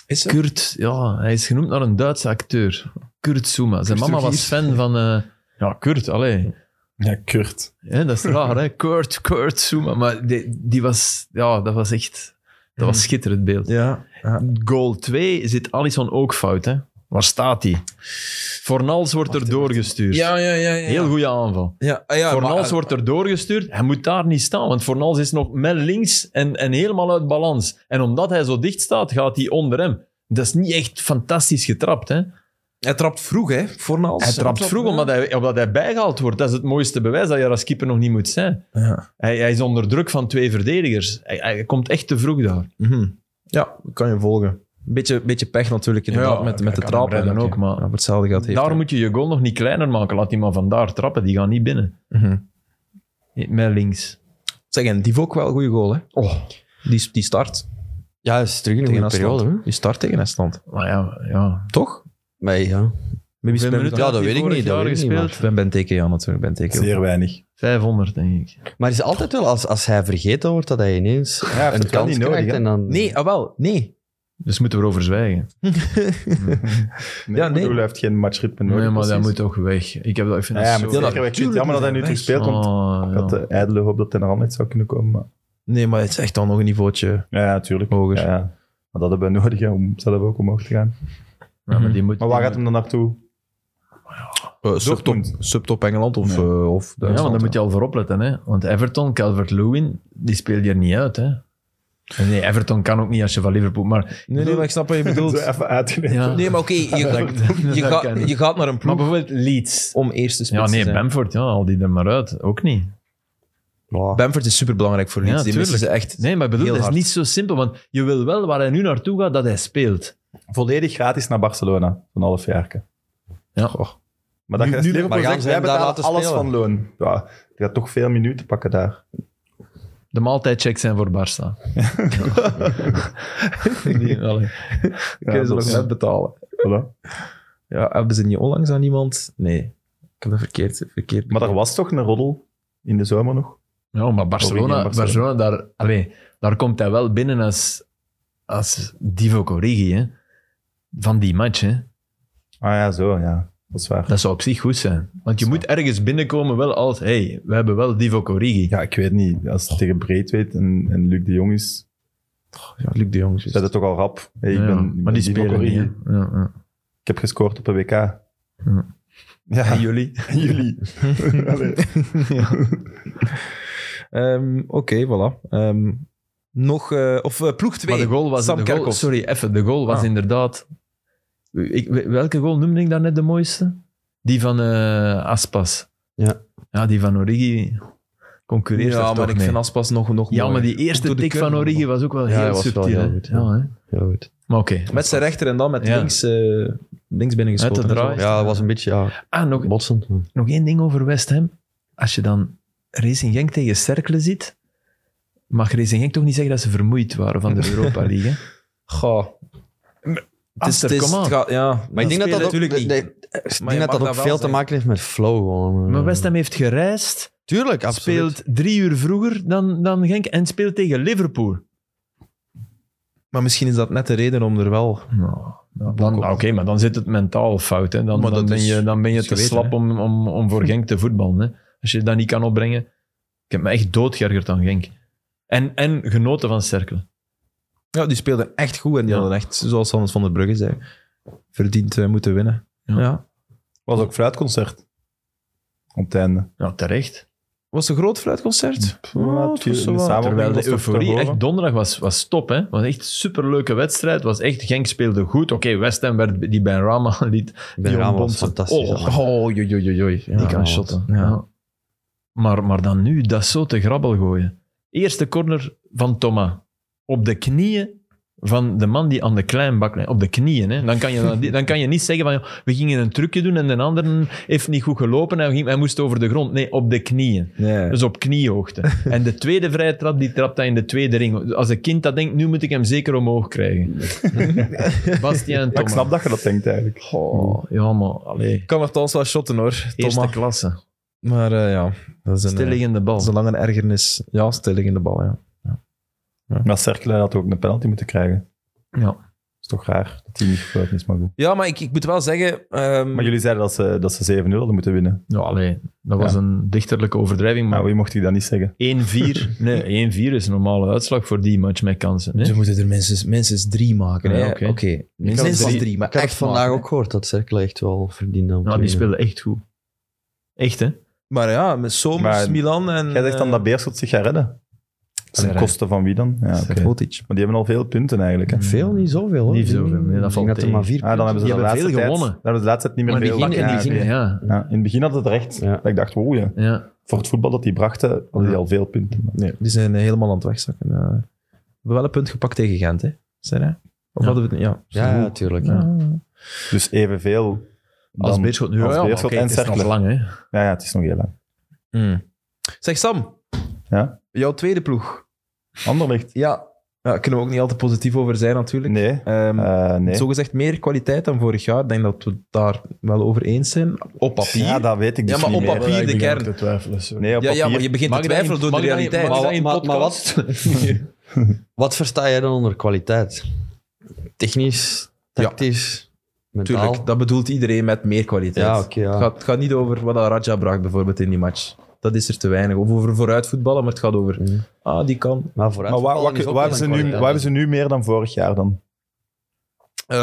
Is zo?
Kurt, ja, hij is genoemd naar een Duitse acteur. Kurt Zuma. Zijn
Kurt
mama
ook
was fan van... eh, ja, Kurt, allee.
Ja, Kurt.
Hè, dat is raar, hè? Kurt, Kurt Zuma. Maar die, die was... Ja, dat was echt... Dat was schitterend beeld.
Ja. ja.
Goal 2 zit Allison ook fout, hè? Waar staat hij? Fornals wordt er doorgestuurd.
Ja, ja, ja. ja.
Heel goede aanval.
Ja, ah, ja,
Fornals
maar-
wordt er doorgestuurd. Hij moet daar niet staan, want Fornals is nog met links en, en helemaal uit balans. En omdat hij zo dicht staat, gaat hij onder hem. Dat is niet echt fantastisch getrapt. Hè?
Hij trapt vroeg, hè? Fornals.
Hij trapt vroeg omdat hij, omdat hij bijgehaald wordt. Dat is het mooiste bewijs dat je er als keeper nog niet moet zijn.
Ja.
Hij, hij is onder druk van twee verdedigers. Hij, hij komt echt te vroeg daar.
Mhm. ja, ik kan je volgen. Beetje, beetje pech natuurlijk, inderdaad,
Ja,
met,
hij
met de
kan
trap.
hem redden ook, maar-
Op hetzelfde gaat heeft
Daar
hij-
moet je je goal nog niet kleiner maken. Laat die man vandaar trappen. Die gaat niet binnen.
Mhm.
Met links.
Zeg, en die ook wel een goede goal, hè?
Oh,
Die, die start
Ja, het is terug in een
tegen
goede
Estland.
periode. Hè?
Die start tegen Estland.
maar ja, ja.
Toch?
Maar ja,
Maybe
Hoeveel
Sven-
minuten
Ja,
had
dat
hij
weet ik
vorig
niet, dat
jaar
weet ik niet,
gespeeld?
Ik ben Benteke, ja, natuurlijk. Benteke.
Zeer weinig.
500, denk ik.
Maar is het altijd wel als, als hij vergeten wordt dat hij ineens
heeft
een
het wel
kans
niet nodig,
krijgt
hè?
en dan...
Nee, ah wel, nee.
Dus moeten we erover zwijgen.
Nee,
Ja,
ik
nee.
bedoel, hij heeft geen matchritme nodig.
nee, maar dat
precies.
moet toch weg. Ik, heb dat, ik vind
Ja, ja,
dat
maar
zo...
zeker, ik vind het jammer dat hij nu terug
Tuurlijk,
speelt, want
Oh,
ik
ja.
had de ijdele hoop dat hij naar Anderlecht zou kunnen komen. Maar...
Nee, maar het is echt al nog een niveautje
Ja, ja, tuurlijk.
hoger.
Ja, ja. Maar dat hebben we nodig hè, om zelf ook omhoog te gaan.
Ja, maar die moet...
Maar waar gaat hem dan naartoe?
Eh, subtop,
Dortmund.
subtop Engeland of, eh,
Nee.
of
Ja, want
Duitsland.
daar moet je al voor opletten. Hè? Want Everton, Calvert-Lewin, die speelt hier niet uit. Hè? En Nee, Everton kan ook niet als je van Liverpool... Maar,
Nee, nee, maar ik snap wat je bedoelt.
Zo even uitgelegd.
Ja.
Nee, maar oké, je,
dat
je,
kan
gaat,
niet.
je gaat naar een
maar
ploeg
bijvoorbeeld Leeds.
om eerste spits
Ja,
te
nee,
zijn.
Bamford, ja, al die er maar uit. Ook niet.
Ja.
Bamford is superbelangrijk voor Leeds.
Ja,
die missen ze echt.
Nee, maar ik bedoel,
Heel
dat is
hard.
niet zo simpel. Want je wil wel waar hij nu naartoe gaat, dat hij speelt.
Volledig gratis naar Barcelona, een half jaar.
Ja.
Maar dat
Nu-
je als
nu-
Liverpool
maar gaan
zegt,
ze
wij
hem daar
betalen
laten
alles
spelen?
van loon. Ja, je gaat toch veel minuten pakken daar.
De maaltijdchecks zijn voor Barça. Die- allee.
Kunnen ze nog
dat is-
net betalen?
Voilà.
Ja, hebben ze niet onlangs aan iemand? Nee. Ik heb dat verkeerd, verkeerd
Maar er was toch een roddel in de zomer nog?
Ja, maar Barcelona,
Origi en Barcelona.
Barcelona daar, allee, daar komt hij wel binnen als, als Divo Origi, hè. Van die match, hè.
Ah ja, zo, ja. Dat is waar.
Dat zou op zich goed zijn. Want je moet ergens binnenkomen wel als, hey, we hebben wel Divo Origi.
Ja, ik weet niet. Als het tegen Breedweit en, en Luc de Jong is,
Ja, Luc de Jong. dus.
zijn het toch al rap. Hey, ik
Ja,
ben, ik ben
maar die
Divock
spelen niet,
Origi.
hè. Ja, ja.
Ik heb gescoord op een WK. Ja,
En jullie?
jullie. Allee.
Ehm, Oké, voilà. Ehm, nog, eh, of eh, ploeg 2.
Maar de goal was...
Sam
de goal,
Kerkhoff.
sorry, even. De goal was
Ah.
inderdaad... Ik, welke goal noemde ik daar net de mooiste? Die van eh, Aspas.
Ja.
Ja, die van Origi concurreert daar
Ja,
toch
maar ik
mee.
vind Aspas nog, nog
Ja, maar
mooier.
die eerste
Door de
tik
curve.
van Origi was ook wel
Ja,
heel
hij was wel
subtiel. hè.
heel goed, ja.
Ja, hè.
Heel goed.
Maar oké.
Met zijn rechter en dan met
Ja.
links, eh links binnengeschoten.
Uit de draai.
Ja, dat was een beetje ja,
Ah, nog,
botsend.
nog één ding over West Ham. Als je dan Racing Genk tegen Cercle ziet, mag Racing Genk toch niet zeggen dat ze vermoeid waren van de Europa League. hè?
Goh. Het is,
Aster,
het is,
come on.
het gaat- ja,
Maar ik denk dat dat ook,
natuurlijk niet.
nee, ik denk
je
dat
mag
dat ook
dat wel
veel te
zeggen.
maken heeft met flow. Gewoon. eh.
Maar West Ham heeft gereisd,
Tuurlijk, absoluut.
speelt drie uur vroeger dan, dan Genk en speelt tegen Liverpool.
Maar misschien is dat net de reden om er wel...
Dan- ah, Oké, maar dan zit het mentaal fout. Hè. Dan,
Maar
dan,
dat
ben
is-
je, dan ben je
is
te
geweten,
slap om, om, om voor Genk te voetballen. Hè. Als je dat niet kan opbrengen. Ik heb me echt doodgeërgerd aan Genk. En, en genoten van Cercle.
Ja, die speelden echt goed en die
Ja.
hadden echt, zoals Hans van der Brugge zei, verdiend eh, moeten winnen. Ja.
Ja.
was ook fluitconcert. Op het einde.
Nou, terecht.
Was het een groot fluitconcert?
Ja,
Oh,
het
het
viel
was zo
in de
wat.
samen-
Terwijl
dat
de
was toch te
euforie,
horen?
echt donderdag was, was top. Hè. Was echt een superleuke wedstrijd. Was echt, Genk speelde goed. Oké, West Ham werd die bij Rama liet.
Ben Rama
die
was
ontbond ze.
fantastisch.
Oh,
allemaal.
Oh, joi, joi, joi, joi.
die
Ja.
kan
Rama
shotten.
was- ja.
Ja. Maar, maar dan nu dat zo te grabbel gooien. Eerste corner van Thomas. Op de knieën van de man die aan de kleinbak ligt. Op de knieën. Hè. Dan, kan je, dan- dan kan je niet zeggen van "Joh, we gingen een trucje doen en de ander heeft niet goed gelopen en ging- hij moest over de grond. Nee, op de knieën.
Nee.
Dus op kniehoogte. En de tweede vrije trap, die trapt hij in de tweede ring. Als een kind dat denkt, nu moet ik hem zeker omhoog krijgen. Bastiaan
Maar ik
Thomas.
snap dat je dat denkt eigenlijk.
Goh, ja, maar allee.
kan althans wel shotten hoor,
Eerste
Thomas.
klasse.
Maar eh, ja, dat is een, eh,
Stilliggende bal.
dat is een lange ergernis. Ja, stilliggende bal, ja.
Maar Cercle had ook een penalty moeten krijgen.
Ja.
is toch raar dat die niet gefluit is, maar goed.
Ja, maar ik, ik moet wel zeggen... ehm,
Maar jullie zeiden dat ze, dat ze 7-0 hadden moeten winnen.
Ja, allee. Dat was
Ja.
een dichterlijke overdrijving, maar
Maar wie mocht ik dat niet zeggen?
1-4. Nee, 1-4 is een normale uitslag voor die match met kansen. hè?
Ze moeten er minstens, minstens drie maken.
Ja,
hè.
oké.
minstens
drie-
drie, maar
Ik heb
echt
het vandaag
maken.
ook gehoord dat Cercle echt wel verdiende. om te
Nou,
winnen.
die speelden echt goed. Echt, hè?
Maar ja, met Somers,
Maar
Milan en... eh,
Jij zegt dan dat Beerschot zich gaat redden. Ten
Serre.
koste van wie dan? Ja, oké.
eh, Botic.
Maar die hebben al veel punten eigenlijk. Hè.
Veel, niet zoveel. Hoor.
Niet zoveel, nee, dat
Ik denk
valt
dat er
tegen.
maar vier
Ah, dan hebben ze
Mm. Die
de laatste
hebben veel
tijd,
gewonnen.
dan hebben ze de laatste tijd niet meer
Maar die
veel
gingen,
pakken.
die
Ja,
gingen,
oké.
ja.
Ja, in het begin hadden ze het recht.
Ja.
Ik dacht, wow, ja.
ja.
voor het voetbal dat die brachten, hadden die al veel punten.
Nee, die zijn helemaal aan het wegzakken. eh. we hebben wel een punt gepakt tegen Gent, hè? Serre? Of
Ja.
hadden we het niet? Ja.
Ja, natuurlijk. Ja.
Dus evenveel. dan-
Als Beerschot nu.
als
ja, maar
Beerschot
oké,
en
het is nog
Cercle.
lang, hè?
Ja, ja, het is nog heel lang.
Hmm. Zeg Sam.
Ja?
Jouw tweede ploeg.
Anderlicht?
Ja. Daar kunnen we ook niet al te positief over zijn, natuurlijk.
Nee.
Ehm
Eh, nee.
Zo gezegd meer kwaliteit dan vorig jaar. Ik denk dat we het daar wel over eens zijn. Op papier.
Ja, dat weet ik dus
Ja, maar
niet
op
meer.
papier de kern.
Nee, op
Ja, ja,
papier.
maar je begint
Mag
te
ik dat in-
twijfelen door de
mag ik dat in-
realiteit.
mag ik dat
Maar,
in
maar, maar wat,
podcast?
wat versta jij dan onder kwaliteit? Technisch,
Ja.
tactisch, mentaal?
Tuurlijk, dat bedoelt iedereen met meer kwaliteit.
Ja, oké, ja.
het, gaat, het gaat niet over wat dat Raja bracht bijvoorbeeld in die match. Dat is er te weinig. Of over vooruit voetballen, maar het gaat over...
Mhm.
Ah, die kan.
Maar vooruit.
Maar waar, waar,
voetballen is
waar,
ook
hebben
wel
ze nu,
een
waar
kwaliteit.
hebben ze nu meer dan vorig jaar dan?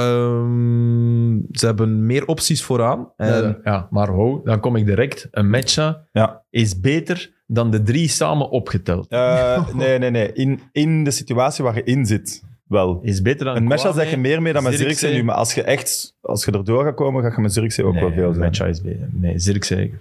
Ehm, ze hebben meer opties vooraan. En
Eh, ja, maar ho, dan kom ik direct. Een matcha
Ja.
is beter dan de drie samen opgeteld.
Eh, nee, nee, nee. In, in de situatie waar je in zit, wel.
Is beter dan
Een matcha
Kwame.
zeg je meer mee dan met
Zirkzee.
Zirkzee nu, maar als je echt als je erdoor gaat komen, ga je met Zirkzee ook
nee,
wel veel
een
zijn.
matcha is beter. Nee, Zirkzee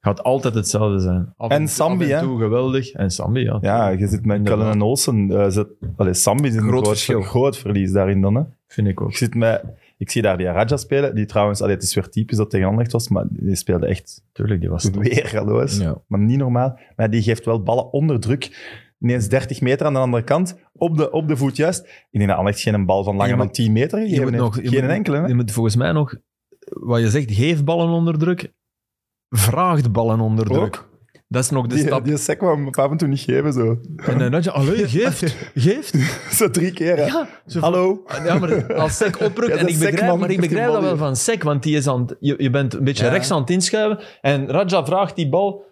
gaat altijd hetzelfde zijn. Af
En
toe-
Sambi,
af en
hè?
toe geweldig. En Sambi, ja.
Ja, je zit met
Inderdaad.
Cullen en Olsen. eh zit, allee, Sambi is een
Groot
groot,
verschil.
groot verlies daarin dan. Hè.
Vind ik ook.
Je zit met Ik zie daar die Araja spelen, die trouwens, allee, het is weer typisch dat tegen Anderlecht was, maar die speelde echt
Tuurlijk, die was top.
weergaloos.
Ja.
Maar niet normaal. Maar die geeft wel ballen onder druk. Ineens 30 meter aan de andere kant, op de, op de voet juist. Ik denk dat Anderlecht geen bal van langer
Je
dan
moet-
10 meter
Je
gegeven
moet
heeft.
nog, je
geen
moet-
enkele, hè?
Je moet volgens mij nog, wat je zegt, geef ballen onder druk. Vraagt ballen onder druk.
Ook.
Dat is nog de
Die,
stap.
die sec wou hem af en toe niet geven, zo.
En dan had je, allee, geeft, geeft.
zo drie keer, hè.
Ja, zo van-
Hallo.
Ah, Ja, maar als Sek oprukt,
Ja,
en
dat
ik
Sek,
begrijp,
man,
maar ik
heeft die
begrijp dat
bal
wel
hier.
van Sek, want die is aan het- je, je bent een beetje
Ja.
rechts aan het inschuiven. En Raja vraagt die bal.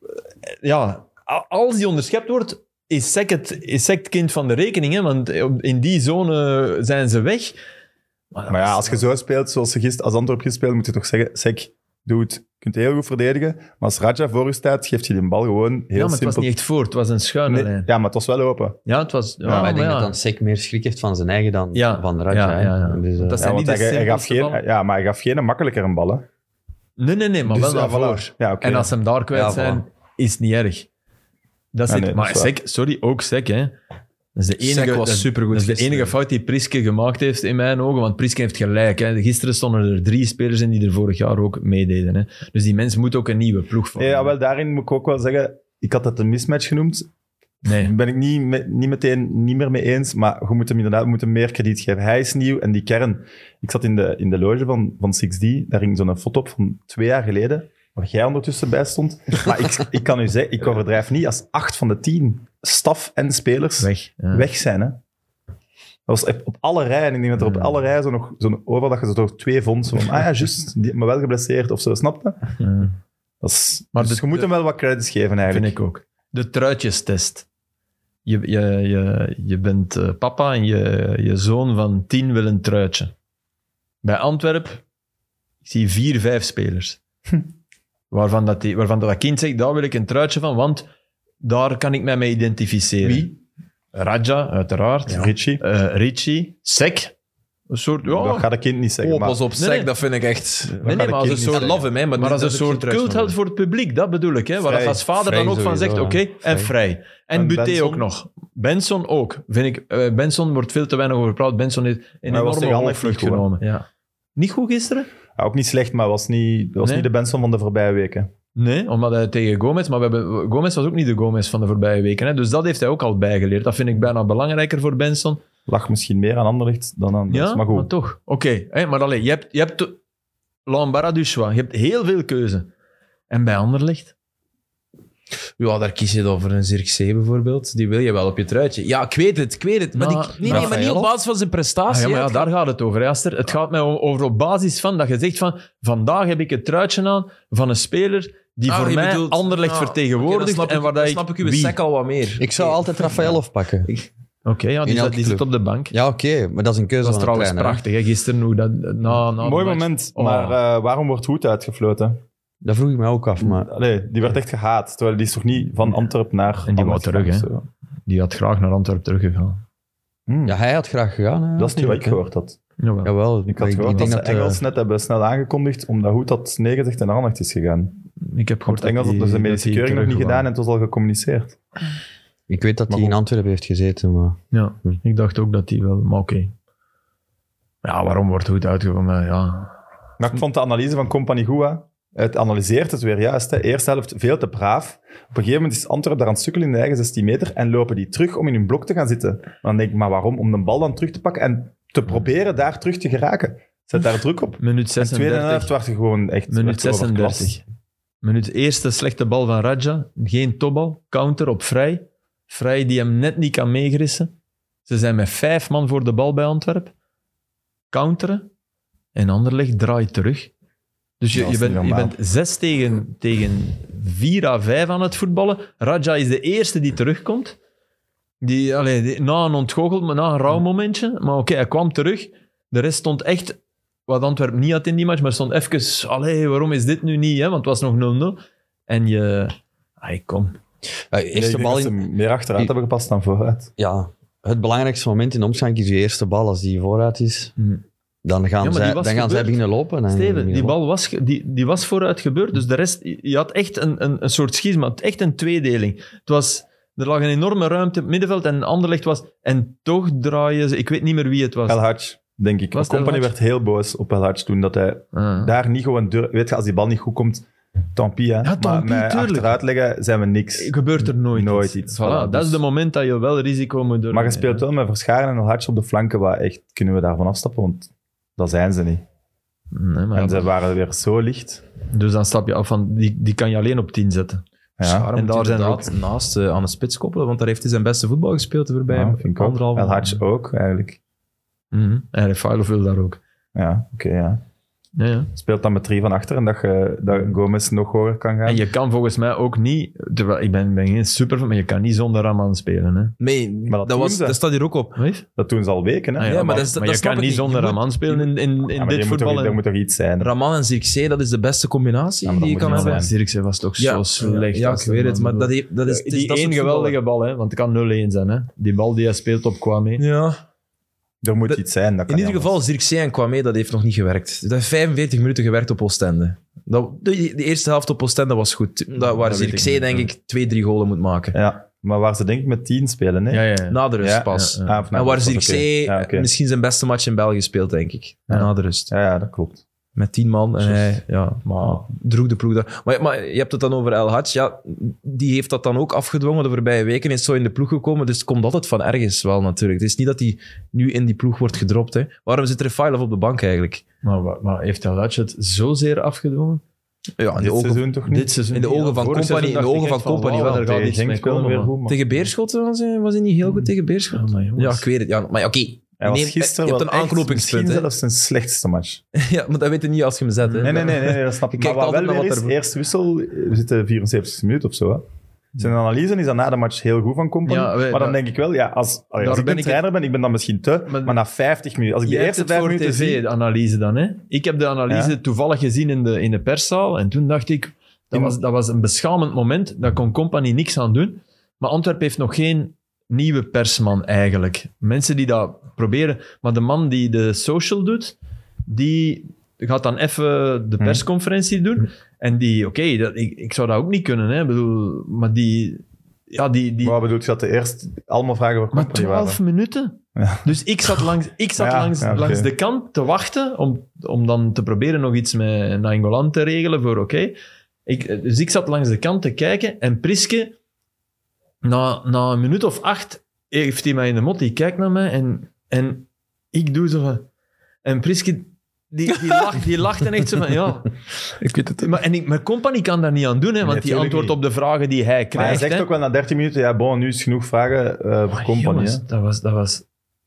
eh, Ja, a- als die onderschept wordt, is Sek het, is Sek het kind van de rekening. Hè, want op- in die zone zijn ze weg.
Maar ja, als je zo speelt zoals ze gisteren als Antwerp gespeeld, moet je toch zeggen: Sek, doe het. Je kunt heel goed verdedigen. Maar als Raja voor je staat, geeft je die bal gewoon heel
ja, maar het was
simpel.
niet echt voor, het was een schuine
Nee,
lijn.
ja, maar het was wel open.
Ja, het was. Ja,
maar ik denk
Ah, ja.
dat dan Sek meer schrik heeft van zijn eigen dan
Ja,
van Raja.
ja,
hè.
ja, ja.
Dus, eh,
Dat is-
Ja,
zijn
want
niet de
hij, hij gaf
simpelste
geen,
ballen.
ja, maar hij gaf geen makkelijker ballen.
Nee, nee, nee, maar
Dus,
wel
ja,
naar
voilà.
voor.
Ja, oké.
En als ze hem daar kwijt
Ja, voilà.
zijn, is het niet erg. Dat
Ja,
zit,
nee, dat
maar
is waar.
Sek, sorry, ook Sek, hè. Dat is de enige,
Sek was
dat-
supergoed
Dat is de
gisteren.
enige fout die Priske gemaakt heeft in mijn ogen, want Priske heeft gelijk. Hè. Gisteren stonden er drie spelers in die er vorig jaar ook meededen. Hè. Dus die mens moet ook een nieuwe ploeg vormen.
Nee, ja, wel, daarin moet ik ook wel zeggen: ik had dat een mismatch genoemd.
Nee.
Daar ben ik niet, me- niet meteen niet meer mee eens. Maar we moeten hem inderdaad we moeten hem meer krediet geven. Hij is nieuw en die kern. Ik zat in de, in de loge van, van 6D. Daar ging zo'n foto op van twee jaar geleden. Waar jij ondertussen bij stond. Maar ik, ik kan u zeggen: ik overdrijf niet als acht van de tien staf en spelers
Weg. Ja.
weg zijn. Hè? Dat was op- op alle rijen. Ik denk dat er op
Ja.
alle rijen zo nog zo'n over dat je ze toch twee vond. Zo van, ah ja, juist, die- maar wel geblesseerd of zo, snap je?
Ja.
Dat is,
Maar
maar dus je
de-
moet
de-
hem wel wat credits geven
Vind
eigenlijk.
ik ook. De truitjestest. Je, je, je, je bent eh, papa en je, je zoon van tien wil een truitje. Bij Antwerpen ik zie vier, vijf spelers. Waarvan, dat die, waarvan dat kind zegt, daar wil ik een truitje van, want daar kan ik mij mee identificeren.
Wie?
Raja, uiteraard. Eh
Richie.
Richie. Sek. Een soort... Ja,
Dat gaat het kind niet zeggen.
Oh,
maar
pas op,
Nee,
Sek,
nee.
dat vind ik echt...
nee,
dat
nee,
ga
maar
ik
dus- als een
niet
I
soort...
love him, hè, maar,
Maar als
dat
een
is geen
soort
trash
cultheld
moment.
voor het publiek, dat bedoel ik. Hè? Waar
Vrij.
als vader
Vrij
dan ook van
sowieso,
zegt, oké,
ja.
en
Vrij.
vrij. En
En
Buté
Benson.
ook nog. Benson ook. Vind ik, eh, Benson wordt veel te weinig over gepraat. Benson heeft een
hij was
enorme
tegen Anderlecht
hoogvlucht
niet goed, hè?
genomen. Ja. Niet goed gisteren?
Ja, ook niet slecht, maar was niet, was
Nee.
niet de Benson van de voorbije weken.
Nee, omdat hij tegen Gomez... Maar we hebben, Gomez was ook niet de Gomez van de voorbije weken. Hè? Dus dat heeft hij ook al bijgeleerd. Dat vind ik bijna belangrijker voor Benson.
Lag misschien meer aan Anderlecht dan aan
Ja,
ons, maar goed.
toch. Oké, hè, maar alleen, je hebt, je hebt de- Lambara du choix. Je hebt heel veel keuze. En bij Anderlecht?
Ja, daar kies je dan voor een Zirk C bijvoorbeeld. Die wil je wel op je truitje. Ja, ik weet het, ik weet het. Maar,
Maar-
die, nee, nee, maar niet op
Rafaelov?
basis van zijn
Ah,
prestatie.
ja, maar
hè.
ja,
Het
daar gaat het over, hè, Aster. Het gaat mij o- over op basis van dat je zegt van vandaag heb ik het truitje aan van een speler die
Ah,
voor
je
mij
bedoelt-
Anderlecht
ah, oké, dan
vertegenwoordigt
snap
en
ik-
waar dat
dan
ik...
snap ik uw
wie-
sek al wat meer.
ik zou altijd Rafael oppakken.
Oké, ja, die,
In
zat-
elke
die zit
club.
op de bank.
Ja, oké, maar dat is een keuze
dat is
van de
trouwens
trainer. hè.
prachtig, hè, gisteren hoe dat... eh, Na, na de
Mooi
match.
moment,
Ah, Oh.
maar eh, waarom wordt Hoed uitgefloten?
Dat vroeg ik me ook
Mm.
af, maar...
Allee, die werd echt gehaat, terwijl die is toch niet van Antwerp naar
En die wou terug, hè? Die had graag naar Antwerpen teruggegaan.
Ja, hij had graag gegaan. hè,
dat is niet wat ik
natuurlijk, hè.
gehoord had.
Jawel.
Jawel,
Ik had gehoord dat
denk
ze
eh,
Engels net hebben snel aangekondigd, omdat Hoed had nee gezegd en naar Anderlecht is gegaan.
Ik heb
Want
gehoord
Engels
dat
had
die-
dus de
dat
medische
die
keuring nog niet
terug
gedaan en
waren.
het was al gecommuniceerd.
Ik weet dat
Maar
hij in
goed.
Antwerpen heeft gezeten, maar...
Ja,
Hm.
ik dacht ook dat die wel... Maar oké. Ja, waarom wordt goed uitgekomen? Ja,
Maar ik vond de analyse van Company Goua. Het analyseert het weer juist. Hè. Eerste helft veel te braaf. Op een gegeven moment is Antwerp daar aan het sukkelen in de eigen 16 meter. En lopen die terug om in hun blok te gaan zitten. Maar dan denk ik, maar waarom? Om de bal dan terug te pakken en te proberen daar terug te geraken. Zet daar druk op.
Minuut
En tweede
36.
helft werd je gewoon echt
Minuut
werd je overklast.
36. Minuut eerste slechte bal van Raja. Geen topbal. Counter op Vrij. Vrij die hem net niet kan meegrissen. Ze zijn met vijf man voor de bal bij Antwerp. Counteren. En Anderlecht draait terug. Dus je,
Dat is
je, bent,
niet
je
normaal.
bent zes tegen, tegen vier à vijf aan het voetballen. Raja is de eerste die terugkomt. Die, allee, die- na een ontgoocheld, maar na een rauw momentje. Maar oké, hij kwam terug. De rest stond echt wat Antwerpen niet had in die match, maar stond even, allee, waarom is dit nu niet? Hè? Want het was nog 0-0. En je... Ai, kom.
eh,
Nee, ik
eerste
denk
bal
dat
in...
ze meer achteruit hebben gepast dan vooruit.
Ja, het belangrijkste moment in de omschank is je eerste bal. Als die vooruit is,
Mm.
dan gaan,
maar die
zij,
was
dan gaan zij
gebeurd.
beginnen lopen. Dan
Steven,
beginnen
die
lopen.
bal was, ge- die, die was vooruit gebeurd, dus de rest... Je had echt een, een, een soort schisma, echt een tweedeling. Het was... Er lag een enorme ruimte in het middenveld en Anderlecht was... En toch draaien ze... Ik weet niet meer wie het was.
El Hadj. denk ik.
Was het
Company
El
werd heel boos op El Hadj toen dat hij
Ah.
daar niet gewoon durf... Weet je, als die bal niet goed komt, tant pis, hè.
tant
maar
pis,
met
tuurlijk.
achteruit leggen zijn we niks.
Gebeurt er nooit,
Nooit
iets.
iets. Voilà,
Voilà, Dat
dus-
is het moment dat je wel risico moet durven.
Maar je speelt wel met Verscharen en El Hadj op de flanken, waar echt kunnen we daarvan afstappen, want dat zijn ze niet.
Nee, maar
en
ja,
ze waren weer zo licht.
Dus dan stap je af van, die, die kan je alleen op 10 zetten.
Ja,
Schaar
en
moet
daar zijn er
inderdaad naast eh, aan de spits koppelen, want daar heeft hij zijn beste voetbal gespeeld de voorbije
ja, vind ik ook.
anderhalve
El Hadj ook, eigenlijk.
Mhm. En Refailov wil daar ook.
Ja, oké, ja.
Ja, ja.
Speelt dan met drie van achter en dat, je, dat Gomez nog hoger kan gaan.
En je kan volgens mij ook niet, terwijl ik ben, ben geen superfan, maar je kan niet zonder Raman spelen. Hè?
Nee,
Maar
dat,
dat doen
was,
ze.
dat staat hier ook op.
Weet?
Dat doen ze al weken, hè.
Ah ja,
ja, maar
maar
dat is-
maar
dat
je
snap
kan
ik
niet
niet. Je
zonder
moet-
Raman spelen in, in,
Ja,
in
maar
dit
die moet toch-
voetbal.
Er moet toch iets zijn.
Raman en Zirkzee, dat is de beste combinatie
Ja, maar dat
die je
moet
kan
niet
hebben.
zijn.
Zirkse was toch
Ja,
zo slecht.
ja,
als
ik weet
de
het, maar
man
dat,
door-
heeft- dat is... het is
die
dat soort
één geweldige bal, hè, want het kan 0-1 zijn. Hè? Die bal die hij speelt op Kwame.
voetballer. Ja.
Er moet
Dat-
iets zijn. Dat kan
In ieder
niet
geval, Zirkzee en Kwame, dat heeft nog niet gewerkt. Dat heeft 45 minuten gewerkt op Oostende. Dat, de, de eerste helft op Oostende was goed. Dat, waar
Dat weet ik
Zirkzee,
niet,
denk
ja.
ik, twee, drie golen moet maken.
anders. Ja, maar waar ze denk ik met tien spelen, hè?
Ja, ja, ja.
Na de rust
Ja,
pas.
ja, ja.
Ah, of nou,
en waar
dat is
Zirkzee eh,
oké. Ja, oké.
misschien zijn beste match in België speelt, denk ik.
Ja.
Na de rust.
Ja, ja, dat klopt.
Met tien man. eh, En
Juist.
hij ja, maar droeg de ploeg daar. Maar, maar je hebt het dan over El Hadj. Ja, die heeft dat dan ook afgedwongen de voorbije weken. Is zo in de ploeg gekomen. Dus het komt altijd van ergens wel natuurlijk. Het is niet dat hij nu in die ploeg wordt gedropt. Hè. Waarom zit Refailov op de bank eigenlijk?
Maar, wa- maar heeft El Hadj het zozeer afgedwongen?
Ja, in
Dit
de ogen,
seizoen toch niet?
Dit seizoen
in de
niet,
ogen van
vorig
Company-
seizoen
in de
dacht
ogen
ik
van
echt
Company
wauw,
wel.
er gaat
Tegen
niets
Genk
mee
speelde
komen,
weer
man.
goed, man.
tegen Beerschot was hij, was hij niet heel goed tegen Beerschot.
Ja, maar
Ja,
jongens.
ik weet het. Ja, maar ja, oké.
Hij was
Nee,
gisteren
je hebt
wel
een
echt
aanknopingspunt,
Misschien
hè.
zelfs zijn slechtste match.
Ja, maar dat weet je niet als je hem zet. Hè.
Nee, nee, nee, nee, nee, dat snap
Je
ik. Maar
kijkt
wat wel
altijd naar
weer
wat
is,
er-
eerste wissel, eh, we zitten 74 minuten of zo. Hè. Zijn analyse is dan na de match heel goed van Company.
Ja, wij-
maar dan
dat-
denk ik wel, ja, als, allee,
Daar
als ik
ben
een
ik
trainer ben, ik ben dan misschien te,
Maar-
maar, na 50 minuten. Als ik de
Jij hebt
eerste
het
5
voor
minuten
tv,
zie...
de analyse dan. Hè? Ik heb de analyse toevallig gezien in de, in de perszaal. En toen dacht ik, dat
In-
was, dat was een beschamend moment. Daar kon Company niks aan doen. Maar Antwerpen heeft nog geen nieuwe persman eigenlijk. Mensen die dat proberen. Maar de man die de social doet, die gaat dan even de
Hmm.
persconferentie doen. En die, oké, dat ik, ik zou dat ook niet kunnen. Hè? Ik bedoel, maar die... Ja, die, die,
Wat bedoel je, dat de eerste allemaal vragen voor
maar
Company waren?
12 minuten?
Ja.
Dus ik zat langs, ik zat
Ja,
langs,
ja, oké.
langs de kant te wachten om, om dan te proberen nog iets met Nangolan te regelen voor oké. Ik- Dus ik zat langs de kant te kijken en Priske, na, na een minuut of acht, heeft hij mij in de mot. Die kijkt naar mij en, en ik doe zo van... En Priske, die, die, lacht, die lacht en echt zo van ja.
Ik weet het
Maar, en ik, maar Company kan daar niet aan doen, hè, want die
natuurlijk
antwoordt
niet.
op de vragen die hij krijgt.
Maar hij zegt
hè.
ook wel na 13 minuten, ja, bon, nu is genoeg vragen eh voor
Maar
Company. hè.
jongens, dat was, dat was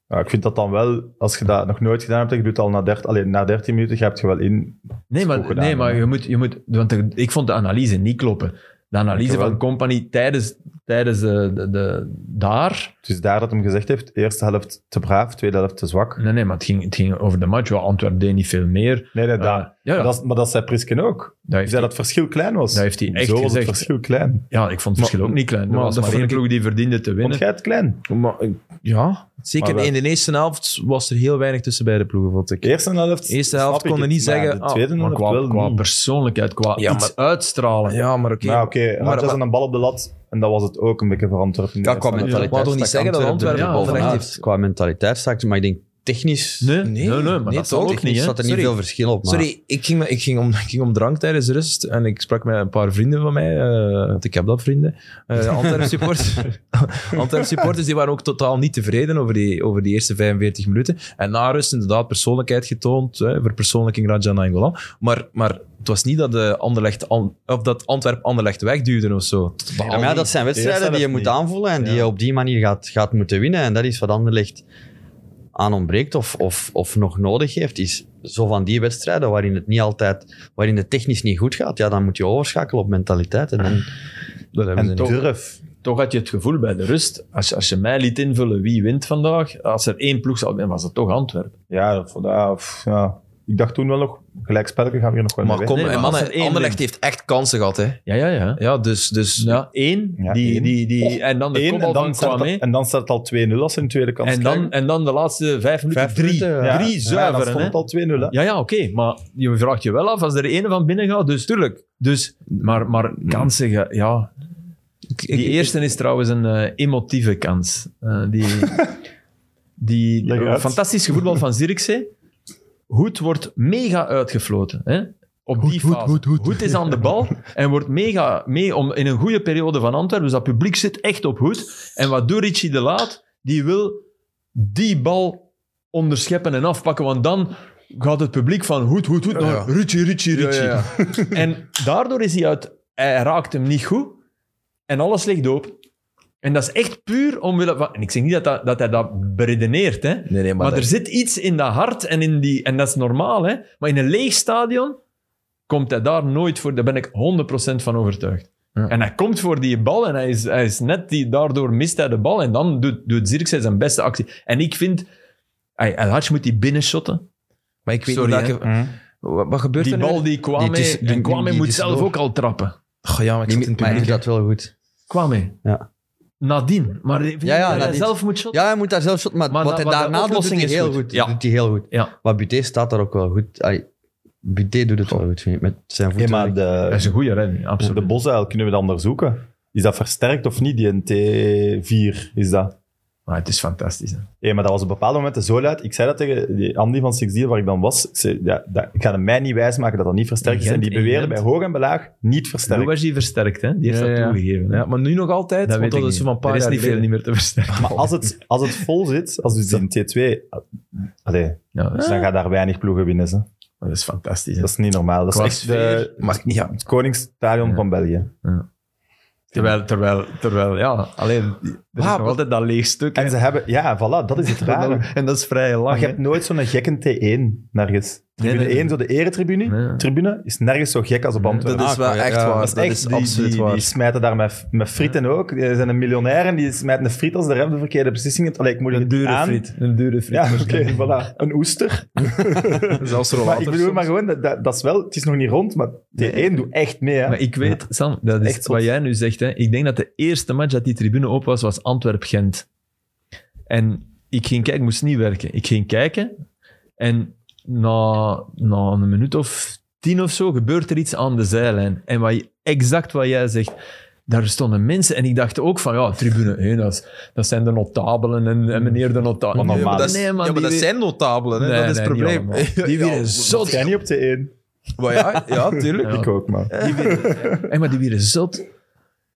Ja, ik vind dat dan wel, als je dat nog nooit gedaan hebt, je doet het al na 13, alleen na 13 minuten, je hebt je wel in.
Nee, maar,
goed gedaan,
nee, maar
hè?
je moet, je moet, want de- ik vond de analyse niet kloppen. De analyse
Dankjewel.
van Company tijdens, tijdens de, de, de- daar.
Dus daar dat hem gezegd heeft, eerste helft te braaf, tweede helft te zwak.
Nee, nee, maar het ging, het ging over de match. Ja, Antwerpen deed niet veel meer.
Nee, nee,
Eh,
daar.
ja, ja,
Maar
dat,
Dat, is- maar dat zei Prisken ook.
heeft
Hij zei
hij-
dat het verschil klein was.
Dat heeft hij echt
Zo was
gezegd.
het verschil klein.
ja, ik vond het verschil
Maar-
ook niet klein. Er
maar
was
dat
maar één
vond ik-
ploeg die verdiende te
Vond
winnen.
jij het klein?
Maar, eh, ja, zeker
Maar
in
wel-
de eerste helft was er heel weinig tussen beide ploegen, vond ik.
De eerste helft.
Eerste helft
snap ik
konden
het,
niet
maar
zeggen,
De
ah,
tweede
Maar
helft
qua,
wel.
qua
niet.
persoonlijkheid, qua
Ja,
iets uitstralen.
Ja, maar oké.
Nou, oké,
Maar-
Rangers
maar-
en een bal op de lat. En dat was het ook een beetje verantwoord.
Dat kwam
met-
mentaliteit. Maar toch niet zeggen dat Antwerpen
Ja,
bovenaan
vanuit.
heeft.
Qua mentaliteit straks, maar ik denk technisch
Nee, nee, nee, maar
nee,
dat zal
toch?
ook niet. Hè?
staat er niet
Sorry.
veel verschil op. Maar
Sorry, ik ging, ik, ging om, ik ging om drank tijdens de rust en ik sprak met een paar vrienden van mij, eh, want ik heb dat vrienden, eh Antwerp supporters. Antwerp supporters die waren ook totaal niet tevreden over die, over die eerste 45 minuten. En na rust inderdaad persoonlijkheid getoond, hè, verpersoonlijking Raja Nainggolan. Maar, maar het was niet dat, de Anderlecht, An- of dat Antwerp Anderlecht wegduwde of zo.
Ja, maar ja, dat zijn wedstrijden die je
Eerst
moet
zelf niet.
aanvoelen en die
Ja.
je op die manier gaat, gaat moeten winnen. En dat is wat Anderlecht aan ontbreekt of, of, of nog nodig heeft, is zo van die wedstrijden waarin het niet altijd, waarin het technisch niet goed gaat, ja, dan moet je overschakelen op mentaliteit. En dan,
Dat hebben ze
En
niet.
durf.
Toch had je het gevoel bij de rust, als, als je mij liet invullen wie wint vandaag, als er één ploeg zou winnen, was het toch Antwerpen.
Ja, dat vond- ah, pff, ja. Ik dacht toen wel nog, gelijkspelletje gaan we hier nog wel
Maar
mee
kom,
Nee,
en
maar als
mannen,
er één
Anderlecht
wint.
heeft echt kansen gehad. Hè.
Ja, ja, ja.
Ja, dus, dus
Ja, één.
Ja,
die,
één.
Die, die, en dan de
Eén,
kopbal
en
van
dan, staat
Kwame.
het, en dan staat het al 2-0 als ze een tweede kans
En dan, en dan de laatste vijf minuten.
Vijf
drie.
minuten, ja.
Drie
Ja, dan
zuiveren.
stond
hè.
het al 2-0. hè.
ja, ja, oké. Maar je vraagt je wel af als er ene van binnen gaat. Dus tuurlijk. Dus, maar, maar kansen, ge- ja. Die
ik-
eerste is trouwens een eh, emotieve kans. Eh, die, die
Leg uit.
fantastische voetbal van Zirkzee. Hoed wordt mega uitgefloten. Hè? Op die fase. Hoed, is aan de bal en wordt mega mee om, in een goede periode van Antwerpen. Dus dat publiek zit echt op Hoed. En wat doet Richie de Laat? Die wil die bal onderscheppen en afpakken. Want dan gaat het publiek van Hoed, Hoed, Hoed naar
Ja.
Richie, Richie, Richie. En daardoor is hij uit... Hij raakt hem niet goed. En alles ligt open. En dat is echt puur omwille van... En ik zeg niet dat, dat, dat hij dat beredeneert, hè.
Nee, nee, maar,
Maar,
dat-
er zit iets in dat hart en in die... En dat is normaal, hè. Maar in een leeg stadion komt hij daar nooit voor. Daar ben ik 100% van overtuigd.
Ja.
En hij komt voor die bal en hij is, hij is net die... Daardoor mist hij de bal en dan doet, doet Zirkzee zijn beste actie. En ik vind... Ay, El Hadj moet die binnenshotten.
maar ik weet
Sorry,
niet welke-
Hm.
Wat, wat gebeurt
Die
er nu?
bal die Kwame...
Die- die- die-
en Kwame
die- die-
moet
die-
zelf
die-
ook al trappen.
Goh, ja, maar ik zit in het
maar hij
publiek.
doet dat wel goed.
Kwame.
Ja.
Nadien. Maar vind je
Ja, ja,
dat hij
nadien.
zelf moet shotten?
Ja, hij moet daar zelf shot, maar,
Maar
wat hij
dat- wat de
daarna doet, doet
oplossing
hij
is
heel
goed.
goed.
Ja.
Doet hij heel goed.
Ja.
Maar Buté staat daar ook wel goed. Allee, Buté doet het wel goed, vind ik, met zijn
Nee,
voeten.
maar
Dat is
de,
een goede redding, absoluut.
de bosuil kunnen we dan onderzoeken. Is dat versterkt of niet? Die NT4 is dat.
Maar het is fantastisch. Hè.
Hé, maar dat was op bepaalde momenten zo luid. Ik zei dat tegen die Andy van Six Deal, waar ik dan was. Ik, zei, ja, dat, ik ga hem mij niet wijsmaken dat dat niet versterkt
In
is. En die
Gent, in
beweerde bij
Gent.
hoog en belaag niet versterkt.
Hoe is die versterkt, hè? Die heeft
Ja,
dat
ja.
toegegeven. hè.
Ja, maar nu nog altijd,
dat
want
weet
dat
ik
is zo
niet.
van een paar
er is
jaar
niet veel
geleden.
niet meer te versterken.
Maar als het, als het vol zit, als dus die T2... Allee,
Ja,
dus dan gaan daar weinig ploegen winnen. Ze.
dat is fantastisch. hè.
Dat is niet normaal. Dat is
Qua
echt de,
Maar ja,
het koningsstadion
Ja.
van België.
Terwijl, terwijl, terwijl, ja, alleen, er is
Ah,
nog altijd dat leeg stuk.
En ze hebben... Ja, voilà, dat is Ah, het rare.
en dat is vrij lang.
Maar je
hè.
hebt nooit zo'n gekke T1 nergens. Tribune
nee, nee.
1, zo de eretribune,
Nee.
tribune, is nergens zo gek als op Antwerpen.
dat is wel
Ah, ja,
echt
ja.
waar.
Dat is echt, die,
absoluut
die,
waar.
die smijten daar met, met frieten ook. Die zijn een miljonair en die smijten een friet als de rem de verkeerde beslissing heeft. Allee, ik moet
Een
het
dure
aan.
friet. Een dure friet.
Ja, oké, voilà. Een oester.
Zelfs
Maar ik
rollators
bedoel
soms.
maar gewoon, dat- dat, dat is wel, het is nog niet rond, maar de één doet echt mee. Hè.
Maar ik weet, Sam, dat is
Echt zot.
wat jij nu zegt. Hè. Ik denk dat de eerste match dat die tribune op was, was Antwerp-Gent. En ik ging kijken, ik moest niet werken. Ik ging kijken en na, na een minuut of tien of zo gebeurt er iets aan de zijlijn. En wat, je- exact wat jij zegt, daar stonden mensen en ik dacht ook van, ja, tribune 1, dat, is- dat zijn de notabelen en, en meneer de notabelen.
Maar normaal.
dat is- ja, maar dat zijn notabelen, hè. dat is het probleem.
Die
Ja,
wieren zot.
Zot, jij niet op de één.
maar ja, ja, tuurlijk.
Ja.
Ik ook, maar.
Die wieren- Hey, maar die wieren zot.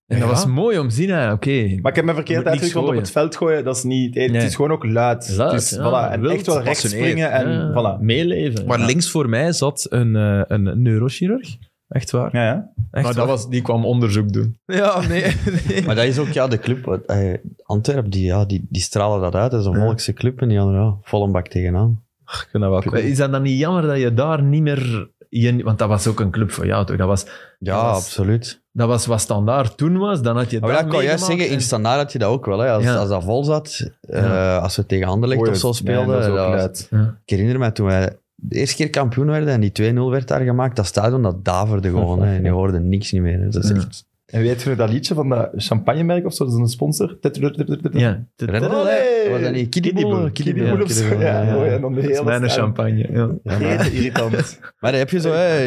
En dat
Ja.
was mooi om te zien, hè. oké.
Maar ik heb me verkeerd
Moet niks
uitgedrukt, want op
gooien.
het veld gooien, dat is niet... Het,
Nee.
is gewoon ook luid.
Luid,
Het is,
ja,
voilà, en
wild,
echt wel rechts
gepassioneerd.
springen en
Ja,
voilà.
meeleven.
Maar
Ja.
links voor mij zat een, eh, een neurochirurg. Echt waar.
Ja, ja.
Echt
maar dat
waar.
was, die kwam onderzoek doen.
Ja, nee. nee.
Maar dat is ook ja, de club. wat, eh, Antwerpen, die, ja, die, die stralen dat uit. Dat is een volkse club en die hadden ja, vol een bak tegenaan.
Ik vind dat wel cool.
Is dat dan niet jammer dat je daar niet meer... Je, want dat was ook een club voor jou, toch? Dat was,
Ja,
Dat is-
absoluut.
dat was wat standaard toen was, dan had je
Ah, Maar
dat
dat kan jij
meegemaakt
zeggen, in
en-
standaard had je dat ook wel. Hè. Als,
Ja.
als dat vol zat, eh,
Ja.
als we tegen Anderlecht
Oei,
of zo
nee,
speelden.
dat is ook
dat was-
luid.
ik herinner me toen wij de eerste keer kampioen werden en die 2-0 werd daar gemaakt, dat stadion dat daverde gewoon. Hè. En je hoorde niks niet meer. hè. Dat is
Ja.
echt...
En weet je nog dat liedje van dat champagnemerk of zo? Dat is een sponsor. Ja.
Ja. Dat
Redden,
Olé!
hè. Was dat niet? Kiddieboel.
Kiddieboel,
Kiddieboel,
of zo.
Kiddieboel,
Ja,
ja,
mooi.
ja.
En dan de
is
hele
mijn
stad.
champagne. Ja.
Ja, maar-
Eten irritant.
Maar dan heb je zo, hè,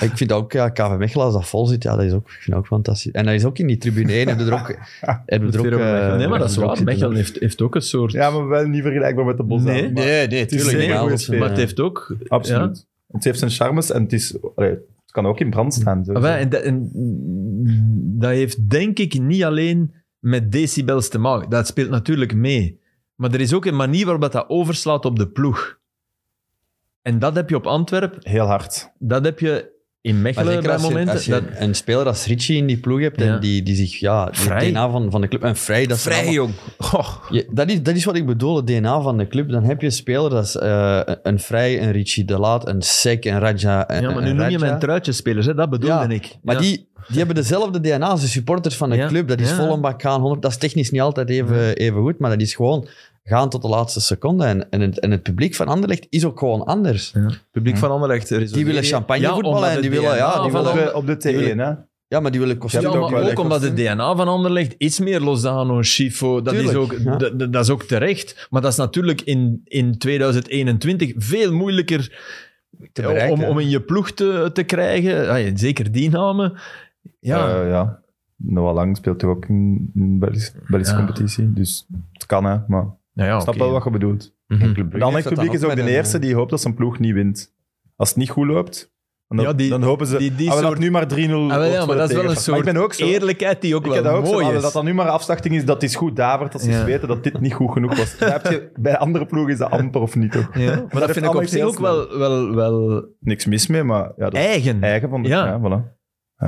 ik vind ook, ja, KV Mechelen, als dat vol zit, ja, dat is ook, ik vind dat ook fantastisch. En dat is ook in die tribune 1, hebben we er ook... Hebben we er ook eh,
nee, maar dat is
ook
waar.
zitten.
Mechelen heeft, heeft ook een soort...
Ja, maar wel niet vergelijkbaar met de bos.
Nee.
Nee, nee,
is
tuurlijk.
een
niet,
goede
maar
sfeer.
maar
anders,
het
eh,
heeft ook...
Absoluut. Het heeft zijn charmes en het, is, allee, het kan ook in brand staan. zo.
Ah, wel, en dat, en dat heeft denk ik niet alleen met decibels te maken. Dat speelt natuurlijk mee. Maar er is ook een manier waarop dat overslaat op de ploeg. En dat heb je op Antwerpen,
Heel hard.
dat heb je in
Maar
Mechelen
zeker
bij
als je,
momenten.
als je
dat,
een speler als Ritchie in die ploeg hebt,
Ja.
en die, die zich, ja, die
Vrij.
DNA van, van de club... En vrij, dat is
Vrij,
allemaal-
jong. Goh.
Je- dat, is, dat is wat ik bedoel, het DNA van de club. Dan heb je spelers als eh, een- een Vrij, een Ritchie de Laat, een Sek, een Raja... Een,
ja, maar nu
een
noem je
Radja.
mijn truitjespelers, hè? dat bedoelde
Ja,
ik.
Maar
Ja.
die, die hebben dezelfde DNA als de supporters van de
Ja,
club. Dat is
ja.
vol een bak gaan. 100, dat is technisch niet altijd even, even goed, maar dat is gewoon gaan tot de laatste seconde. En, en, het, en het publiek van Anderlecht is ook gewoon anders.
Publiek van Anderlecht. er is
Die
ook-
willen champagne
Dus Ja,
voetballen
omdat
en die
het
willen...
DNA
Ja, die
van
willen,
Op
Voilà.
de, op de T1, hè.
ja, maar die willen
Ja,
kostuum.
hebt
maar
ook
ook,
wel echt
omdat het DNA van Anderlecht is meer Lozano, Schifo. Dat, is
Tuurlijk,
ook,
ja.
dat, dat- dat is ook terecht. Maar dat is natuurlijk in, in 2021 veel moeilijker
Te bereiken,
om,
hè.
om in je ploeg te, te krijgen. Ah, ja, zeker die namen. Ja,
Eh, ja. Noah Lang speelt toch ook in, in Belgische, Belgische
Ja.
competitie. Dus het kan, hè. Maar
Nou ja,
Snap
oké.
wel wat je bedoelt.
Mhm.
Het andere publiek is ook eh, de eerste die hoopt dat zijn ploeg niet wint. Als het niet goed loopt, dan,
Ja, die-
dan hopen ze...
die- die
ah, we laten
soort-
nu maar 3-0
Ah, wel, ja, maar dat is wel een
Maar
soort
ik ben ook zo...
eerlijkheid die ook
Ik
wel
heb dat ook zo,
mooi
maar
is.
dat dat nu maar afslachting is, dat is goed davert, dat ze
Ja.
weten dat dit niet goed genoeg was. Dan heb je- bij andere ploegen is dat amper of niet, toch?
Ja, maar dat
heeft
vind ik op
allemaal
zich
heel
ook wel, wel, wel
Niks mis mee, maar ja, dat is
eigen.
eigen van de...
Ja.
Ja,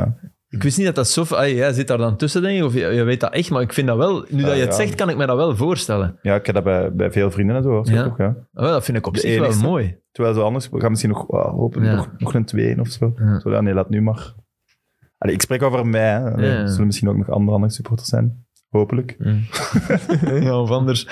voilà.
Ik wist niet dat dat zo... ah, jij zit daar dan tussen, denk ik, of je, je weet dat echt, maar ik vind dat wel... Nu dat je
Ah, ja.
het zegt, kan ik me dat wel voorstellen.
Ja, ik heb dat bij, bij veel vrienden en zo, of zo,
Ja.
toch? Ja.
Ah, wel, dat vind ik op
De
zich
enigste.
wel mooi.
Terwijl zo anders, we gaan misschien nog ah, hopen,
Ja.
nog, nog een 2 of zo.
Ja.
Zo, ja, nee, laat nu maar. Allee, ik spreek over mij, hè. Allee,
Ja.
Er zullen misschien ook nog andere, andere supporters zijn. Hopelijk.
ja, of anders.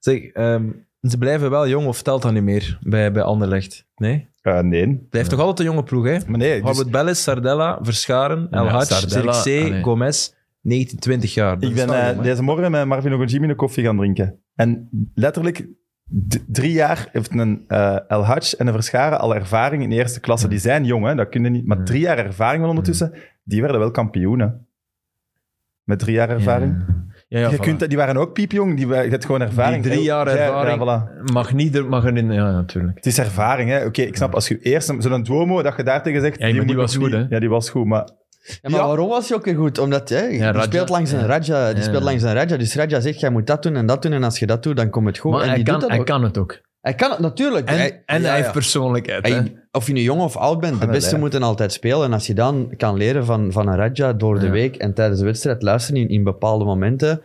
Zeg, ehm, ze blijven wel jong of telt dat niet meer bij, bij Anderlecht? Nee?
Eh, nee.
Blijft toch altijd een jonge ploeg, hè?
Maar nee, dus
Harwood Bellis, Sardella, Verscharen, El
Ja,
Hadj,
Sardella,
Zirkzee,
ah, nee.
Gomez. 19, 20 jaar. Dat
ik
is
ben
wel
eh,
jong, hè?
deze morgen met Marvin Ogojimi een koffie gaan drinken. En letterlijk d- drie jaar heeft een eh El Hadj en een Verscharen al ervaring in de eerste klasse. Die zijn jong, hè. Dat kunnen niet. Maar drie jaar ervaring wel ondertussen. Die werden wel kampioenen. Met drie jaar ervaring.
Ja, ja,
je
voilà.
kunt, dat- die waren ook piepjong. Die, wa- je hebt gewoon ervaring.
Die drie jaar
Ja,
ervaring.
Ja, voilà.
Mag niet, er- mag erin... Ja, natuurlijk.
Het is ervaring, hè. Oké, ik snap, als je eerst een- zo'n Duomo, dat je daar tegen zegt...
Ja, maar die
moet
was
ik
goed,
niet-
hè.
Ja, die was goed, maar...
Ja, maar
Ja.
waarom was hij ook weer goed? Omdat hè, die
Radja.
speelt langs een
Ja.
Raja. Die
Ja.
speelt langs een Raja. Dus Raja zegt, jij moet dat doen en dat doen. En als je dat doet, dan komt het goed.
Maar
en
hij
die
kan,
doet dat
hij
ook.
kan het ook.
Hij kan het natuurlijk.
En,
hij,
en
ja,
hij heeft
ja.
persoonlijkheid. hè.
Hij- of je nu jong of oud bent, de
Gewoon
beste
een
moeten altijd spelen. En als je dan kan leren van, van een Raja door de
Ja.
week en tijdens de wedstrijd luisteren in, in bepaalde momenten.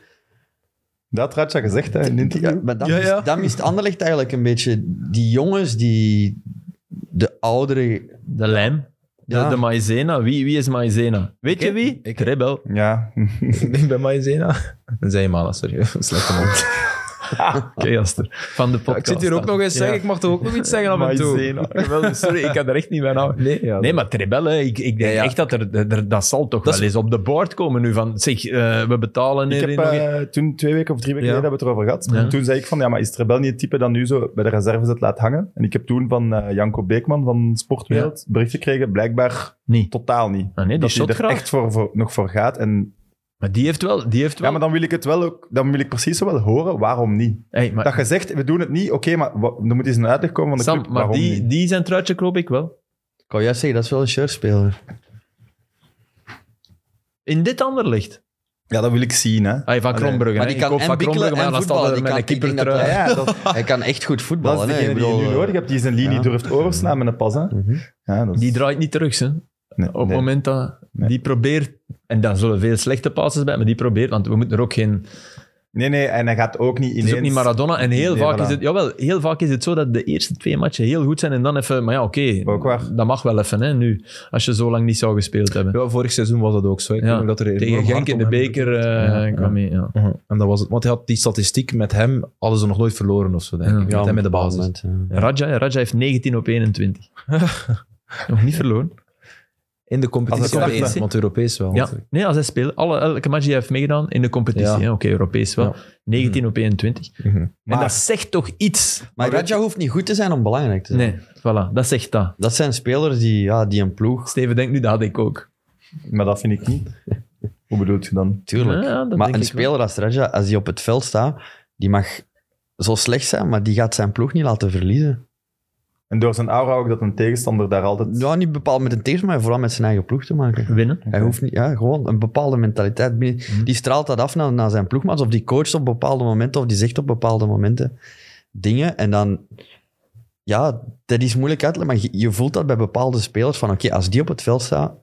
Dat had je gezegd, hè, in een interview.
Ja, maar dan,
Ja, ja.
Mist, dan mist Anderlecht eigenlijk een beetje die jongens die de oudere...
De lijm. De,
Ja.
de Maizena. Wie, wie is Maizena? Weet je wie? Ik Rebel.
Ja.
Ik denk bij Maizena. Dan zei je Mala, sorry. Slechte mond.
Oké, Jaster. Van de podcast.
ik zit hier ook nog eens zeggen. Ik mag toch ook nog iets zeggen af en toe?
Maizena. Geweldig, Sorry, ik had er echt niet bij nou.
Nee, ja,
Nee, maar Trebel, hè, ik, ik denk
Ja, ja.
echt dat er, er- dat zal toch
Dat
wel eens op de board komen nu van, zeg, eh, we betalen
Ik
hier
heb
nog een-
eh, toen twee weken of drie weken
Ja.
geleden hebben we het erover gehad.
Ja.
Toen zei ik van, ja, maar is Trebel niet het type dat nu zo bij de reserves het laat hangen? En ik heb toen van eh, Janko Beekman van Sportwereld bericht gekregen, blijkbaar
niet.
totaal niet.
Ah, nee, die
dat hij
shot
er
graag.
echt voor, voor- nog voor gaat. En,
Maar die heeft wel, die heeft wel.
ja, maar dan wil ik het wel ook, dan wil ik precies zo wel horen waarom niet.
Hey, maar-
Dat je zegt, we doen het niet, oké, maar wa- dan moet eens een uitleg komen van de
Sam,
club
maar
waarom
die,
niet.
die zijn truitje koop ik wel.
Ik kan juist zeggen, dat is wel een shirtspeler.
In dit ander licht.
Ja, dat wil ik zien, hè.
Hey, van
Allee.
Kronbrugge.
Maar
hè.
die kan
ik koop
en
van Kronbrugge,
bikkelen
maar
en
dan staat
voetballen.
er
Die
met een
kan, ik
keeper
denk dat
trui.
hij-
Ja, dat,
Hij kan echt goed voetballen.
dat is
hè.
degene
Ik
die je nu
bedoel, eh,
nodig hebt, die zijn linie
ja.
durft overslaan met een pas, hè.
Mhm.
Ja, dat is-
Die draait niet terug, hè.
nee,
Op het
nee.
moment dat...
Nee.
Die probeert... En daar zullen veel slechte passes bij, maar die probeert... Want we moeten er ook geen...
Nee, nee, en hij gaat ook niet
Het is ook niet
ineens-
Maradona. En heel,
Nee,
vaak
voilà.
is het, jawel, heel vaak is het zo dat de eerste twee matchen heel goed zijn en dan even... Maar ja, oké,
Ook waar.
dat mag wel even hè, nu, als je zo lang niet zou gespeeld hebben.
Ja, vorig seizoen was dat ook zo. Ik
Ja.
weet nog dat er
Tegen
enorm
Genk
hard
in
om
de
hem-
beker eh,
Ja,
kwam hij, ja.
Mhm. En dat was het. Want hij had die statistiek met hem, hadden ze nog nooit verloren of zo, denk
Ja.
ik. met hem in de
op een
basis.
moment, ja.
Raja, ja, Raja heeft 19 op 21. Nog niet verloren.
In de competitie.
Als het
alleen,
start, hè.
want Europees wel.
Ja, nee, als hij speelt, alle, elke match die hij heeft meegedaan in de competitie,
Ja.
hè, oké, Europees wel,
Ja.
19 op 21.
Mhm.
En
Maar-
dat zegt toch iets?
Maar Raja hoeft niet goed te zijn om belangrijk te zijn.
Nee, voilà, dat zegt dat.
Dat zijn spelers die, ja, die een ploeg...
Steven denkt nu, dat had ik ook.
Maar dat vind ik niet. Hoe bedoelt je dan?
Tuurlijk.
Ja, dat
maar
denk
een
ik wel.
speler als Raja, als die op het veld staat, die mag zo slecht zijn, maar die gaat zijn ploeg niet laten verliezen.
En door zijn aura ook dat een tegenstander daar altijd...
Nou, niet bepaald met een tegen, maar vooral met zijn eigen ploeg te maken.
Winnen.
Hij hoeft niet, ja, gewoon een bepaalde mentaliteit. binnen-
Mhm.
Die straalt dat af naar, naar zijn ploegmaats, of die coacht op bepaalde momenten, of die zegt op bepaalde momenten dingen. En dan, ja, dat is moeilijk uit te leggen, maar je, je voelt dat bij bepaalde spelers van, oké, als die op het veld staat.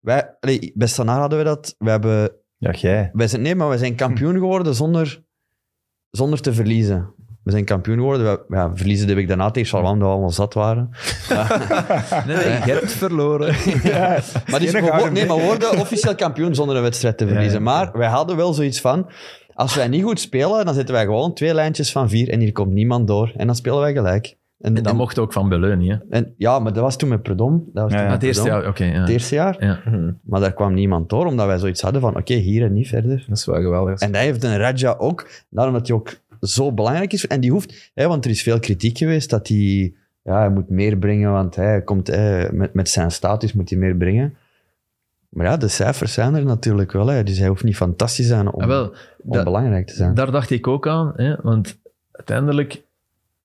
Wij, allee, bij Standaard hadden we dat. We hebben
Ja, jij.
wij zijn, nee, maar wij zijn kampioen geworden zonder, zonder te verliezen. We zijn kampioen geworden. We, ja, verliezen heb ik daarna tegen Charlam, dat we allemaal zat waren.
Nee, nee, je hebt verloren.
Maar, dus,
Geen
we,
gouden
wo- nee, maar we worden officieel kampioen zonder een wedstrijd te verliezen.
ja.
Maar wij hadden wel zoiets van... Als wij niet goed spelen, dan zitten wij gewoon twee lijntjes van vier en hier komt niemand door. En dan spelen wij gelijk.
En dat mocht ook van Beleunie, hè.
en- ja, maar dat was toen met Predom. Dat was
Ja,
toen
ja.
Maar
met
het eerste
Predom.
jaar, oké. ja.
Het eerste jaar. Maar daar kwam niemand door, omdat wij zoiets hadden van... Oké, hier en niet verder.
Dat is wel geweldig.
En dat heeft een Raja ook, daarom dat hij ook zo belangrijk is. En die hoeft, hè, want er is veel kritiek geweest dat hij, ja, hij moet meer brengen, want hij komt hè, met, met zijn status moet hij meer brengen. Maar ja, de cijfers zijn er natuurlijk wel. Hè. Dus hij hoeft niet fantastisch te zijn om,
Ah, wel,
om
da-
belangrijk te zijn.
daar dacht ik ook aan. Hè, want uiteindelijk,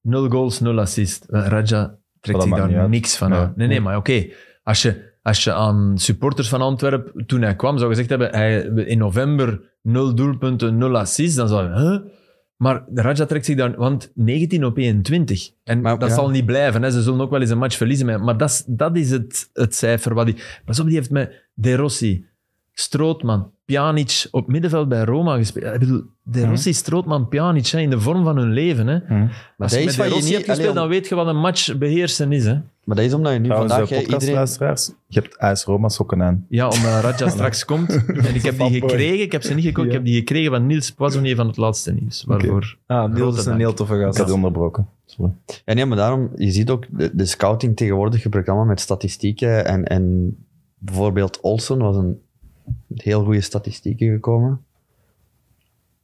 nul goals, nul assist. Raja trekt
dat
zich
maakt niet
daar
uit.
niks van
Nee.
aan. Nee, nee, maar oké. Als, je, als je aan supporters van Antwerpen, toen hij kwam, zou gezegd hebben, hij, in november nul doelpunten, nul assist, dan zou je... Huh? Maar Raja trekt zich daar... Want 19 op 21. En
Maar-
dat
ja.
zal niet blijven. Hè. Ze zullen ook wel eens een match verliezen. Maar maar dat is, dat is het, het cijfer wat hij... Pas op, die heeft met De Rossi, Strootman, Pjanic op middenveld bij Roma gespeeld. Ik bedoel, De Rossi, Strootman, Pjanic zijn in de vorm van hun leven. Hè.
Maar
Als
dat,
je met
is
De
wat je
Rossi
niet,
hebt gespeeld,
allee,
dan
om-
weet je wat een match beheersen is. Hè.
maar dat is omdat je nu
Trouwens,
vandaag...
eh,
hè, iedereen,
podcastluisteraars, je hebt AS Roma sokken aan.
Ja, omdat Raja straks komt. En ik heb die
Fanboy.
gekregen. Ik heb ze niet gekocht. Ik
Ja.
heb die gekregen van Niels Poissonnier van het laatste nieuws. Waarvoor...
Ah, Niels is
Grote
een
dank.
heel toffe
Ik had
gast.
die onderbroken. Sorry.
ja, nee, maar daarom, je ziet ook, de, de scouting tegenwoordig gebruikt allemaal met statistieken. En, en bijvoorbeeld Olsen was een met heel goede statistieken gekomen.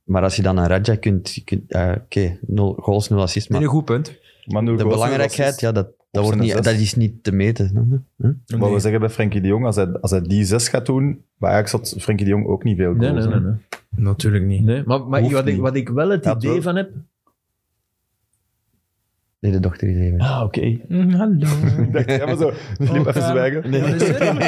Maar als je dan aan Raja kunt... je kunt eh, Oké, nul goals, nul
Vind
assists.
je
Maar
een goed punt.
Maar nu
de
Goosens
belangrijkheid,
was-
ja, dat, dat, wordt
zijn
niet,
zes.
dat is niet te meten. snap je? Huh?
Wat we zeggen bij Frenkie de Jong, als hij, als hij die zes gaat doen, bij Ajax had Frenkie de Jong ook niet veel
Nee,
goals,
nee,
hè.
nee. nee.
Natuurlijk niet.
nee maar maar
Hoeft
wat, ik,
niet.
wat ik wel het
Ja,
idee
wel.
van heb...
Nee, de dochter is even.
Ah, oké.
hallo.
Ik dacht, ja, maar zo, liep even zwijgen.
Nee.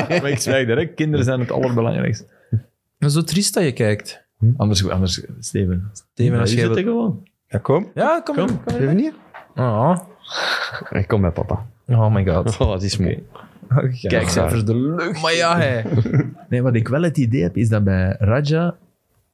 maar ik zwijg direct. Kinderen zijn het allerbelangrijkste.
Dat is zo triest dat je kijkt.
Anders, anders Steven.
Steven, als
je
jij
zit er
wilt-
gewoon.
Ja, kom.
Ja, kom.
Kom.
in, kom in.
Even hier?
Ah.
Ik kom bij papa.
Oh my god.
Oh, het is mooi.
Kijk, cijfers de lucht. Maar ja, hè.
Nee, wat ik wel het idee heb, is dat bij Raja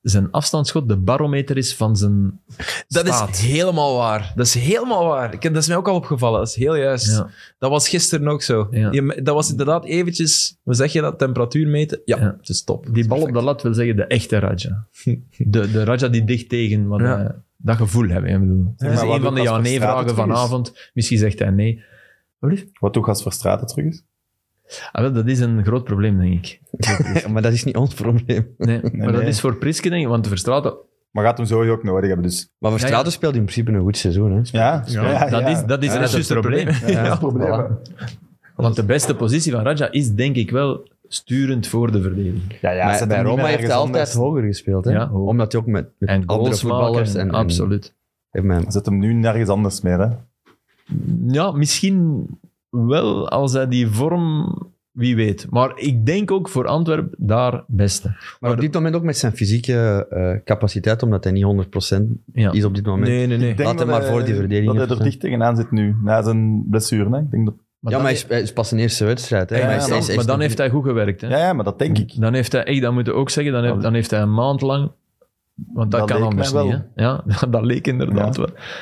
zijn afstandsschot de barometer is van zijn
Dat
staat.
is helemaal waar. Dat is helemaal waar. Ik, heb- dat is mij ook al opgevallen. Dat is heel juist.
Ja.
Dat was gisteren ook zo.
Ja.
Je- dat was inderdaad eventjes... Hoe zeg je dat? Temperatuur meten? Ja,
Ja.
het is top.
Die bal op de lat wil zeggen de echte Raja. De, de Raja die dicht tegen, wat,
Ja.
eh, dat gevoel hebben. hè, Ik bedoel,
maar
dat is
wat
een van
doet Casper
de
Straat
ja-nee-vragen
het goed is?
vanavond. Misschien zegt hij nee. Wat lief?
Wat doet Gas Verstraten terug is?
Ah, wel, dat is een groot probleem, denk ik.
maar dat is niet ons probleem.
Nee, maar dat
nee.
is voor Priske, denk ik, want de Verstraten...
Maar gaat hem sowieso ook nodig hebben, dus...
Maar Verstraten
Ja, ja.
speelt in principe een goed seizoen. Hè?
Ja, ja,
dat
ja.
is, dat is
Ja,
net het probleem.
Ja, dat is het
Ja,
probleem.
voilà.
Want de beste positie van Raja is, denk ik wel, sturend voor de verdediging.
Ja, ja,
maar
zet
bij
hem niet
Roma
meer
heeft hij
ergens
altijd
anders.
hoger gespeeld. Hè?
Ja, hoog.
Omdat hij ook met, met
En
andere
goals
voetballers...
maken,
En, en-
absoluut.
Heeft mij-
Zet hem nu nergens anders meer, hè.
Ja, misschien wel als hij die vorm, wie weet. Maar ik denk ook voor Antwerpen daar beste.
Maar op dit moment ook met zijn fysieke eh, capaciteit, omdat hij niet 100%
Ja.
is op dit moment.
Nee, nee, nee.
Ik denk
Laat hem
dat
maar voor die verdediging
Dat hij
even
er dicht tegenaan zit nu, na zijn blessure. Hè? Ik denk dat...
ja,
dan-
maar hij is, hij is pas een eerste wedstrijd. Hè?
Ja,
maar hij
maar
is-
dan,
hij is echt
maar dan
nog
heeft hij goed gewerkt. Hè?
ja, ja, maar dat denk ik.
Dan heeft hij, echt, dat moet je ook zeggen, dan heeft, dan heeft hij een maand lang... Want dat,
Dat
kan
leek
anders
mij
niet.
wel.
Hè? Ja, dat leek inderdaad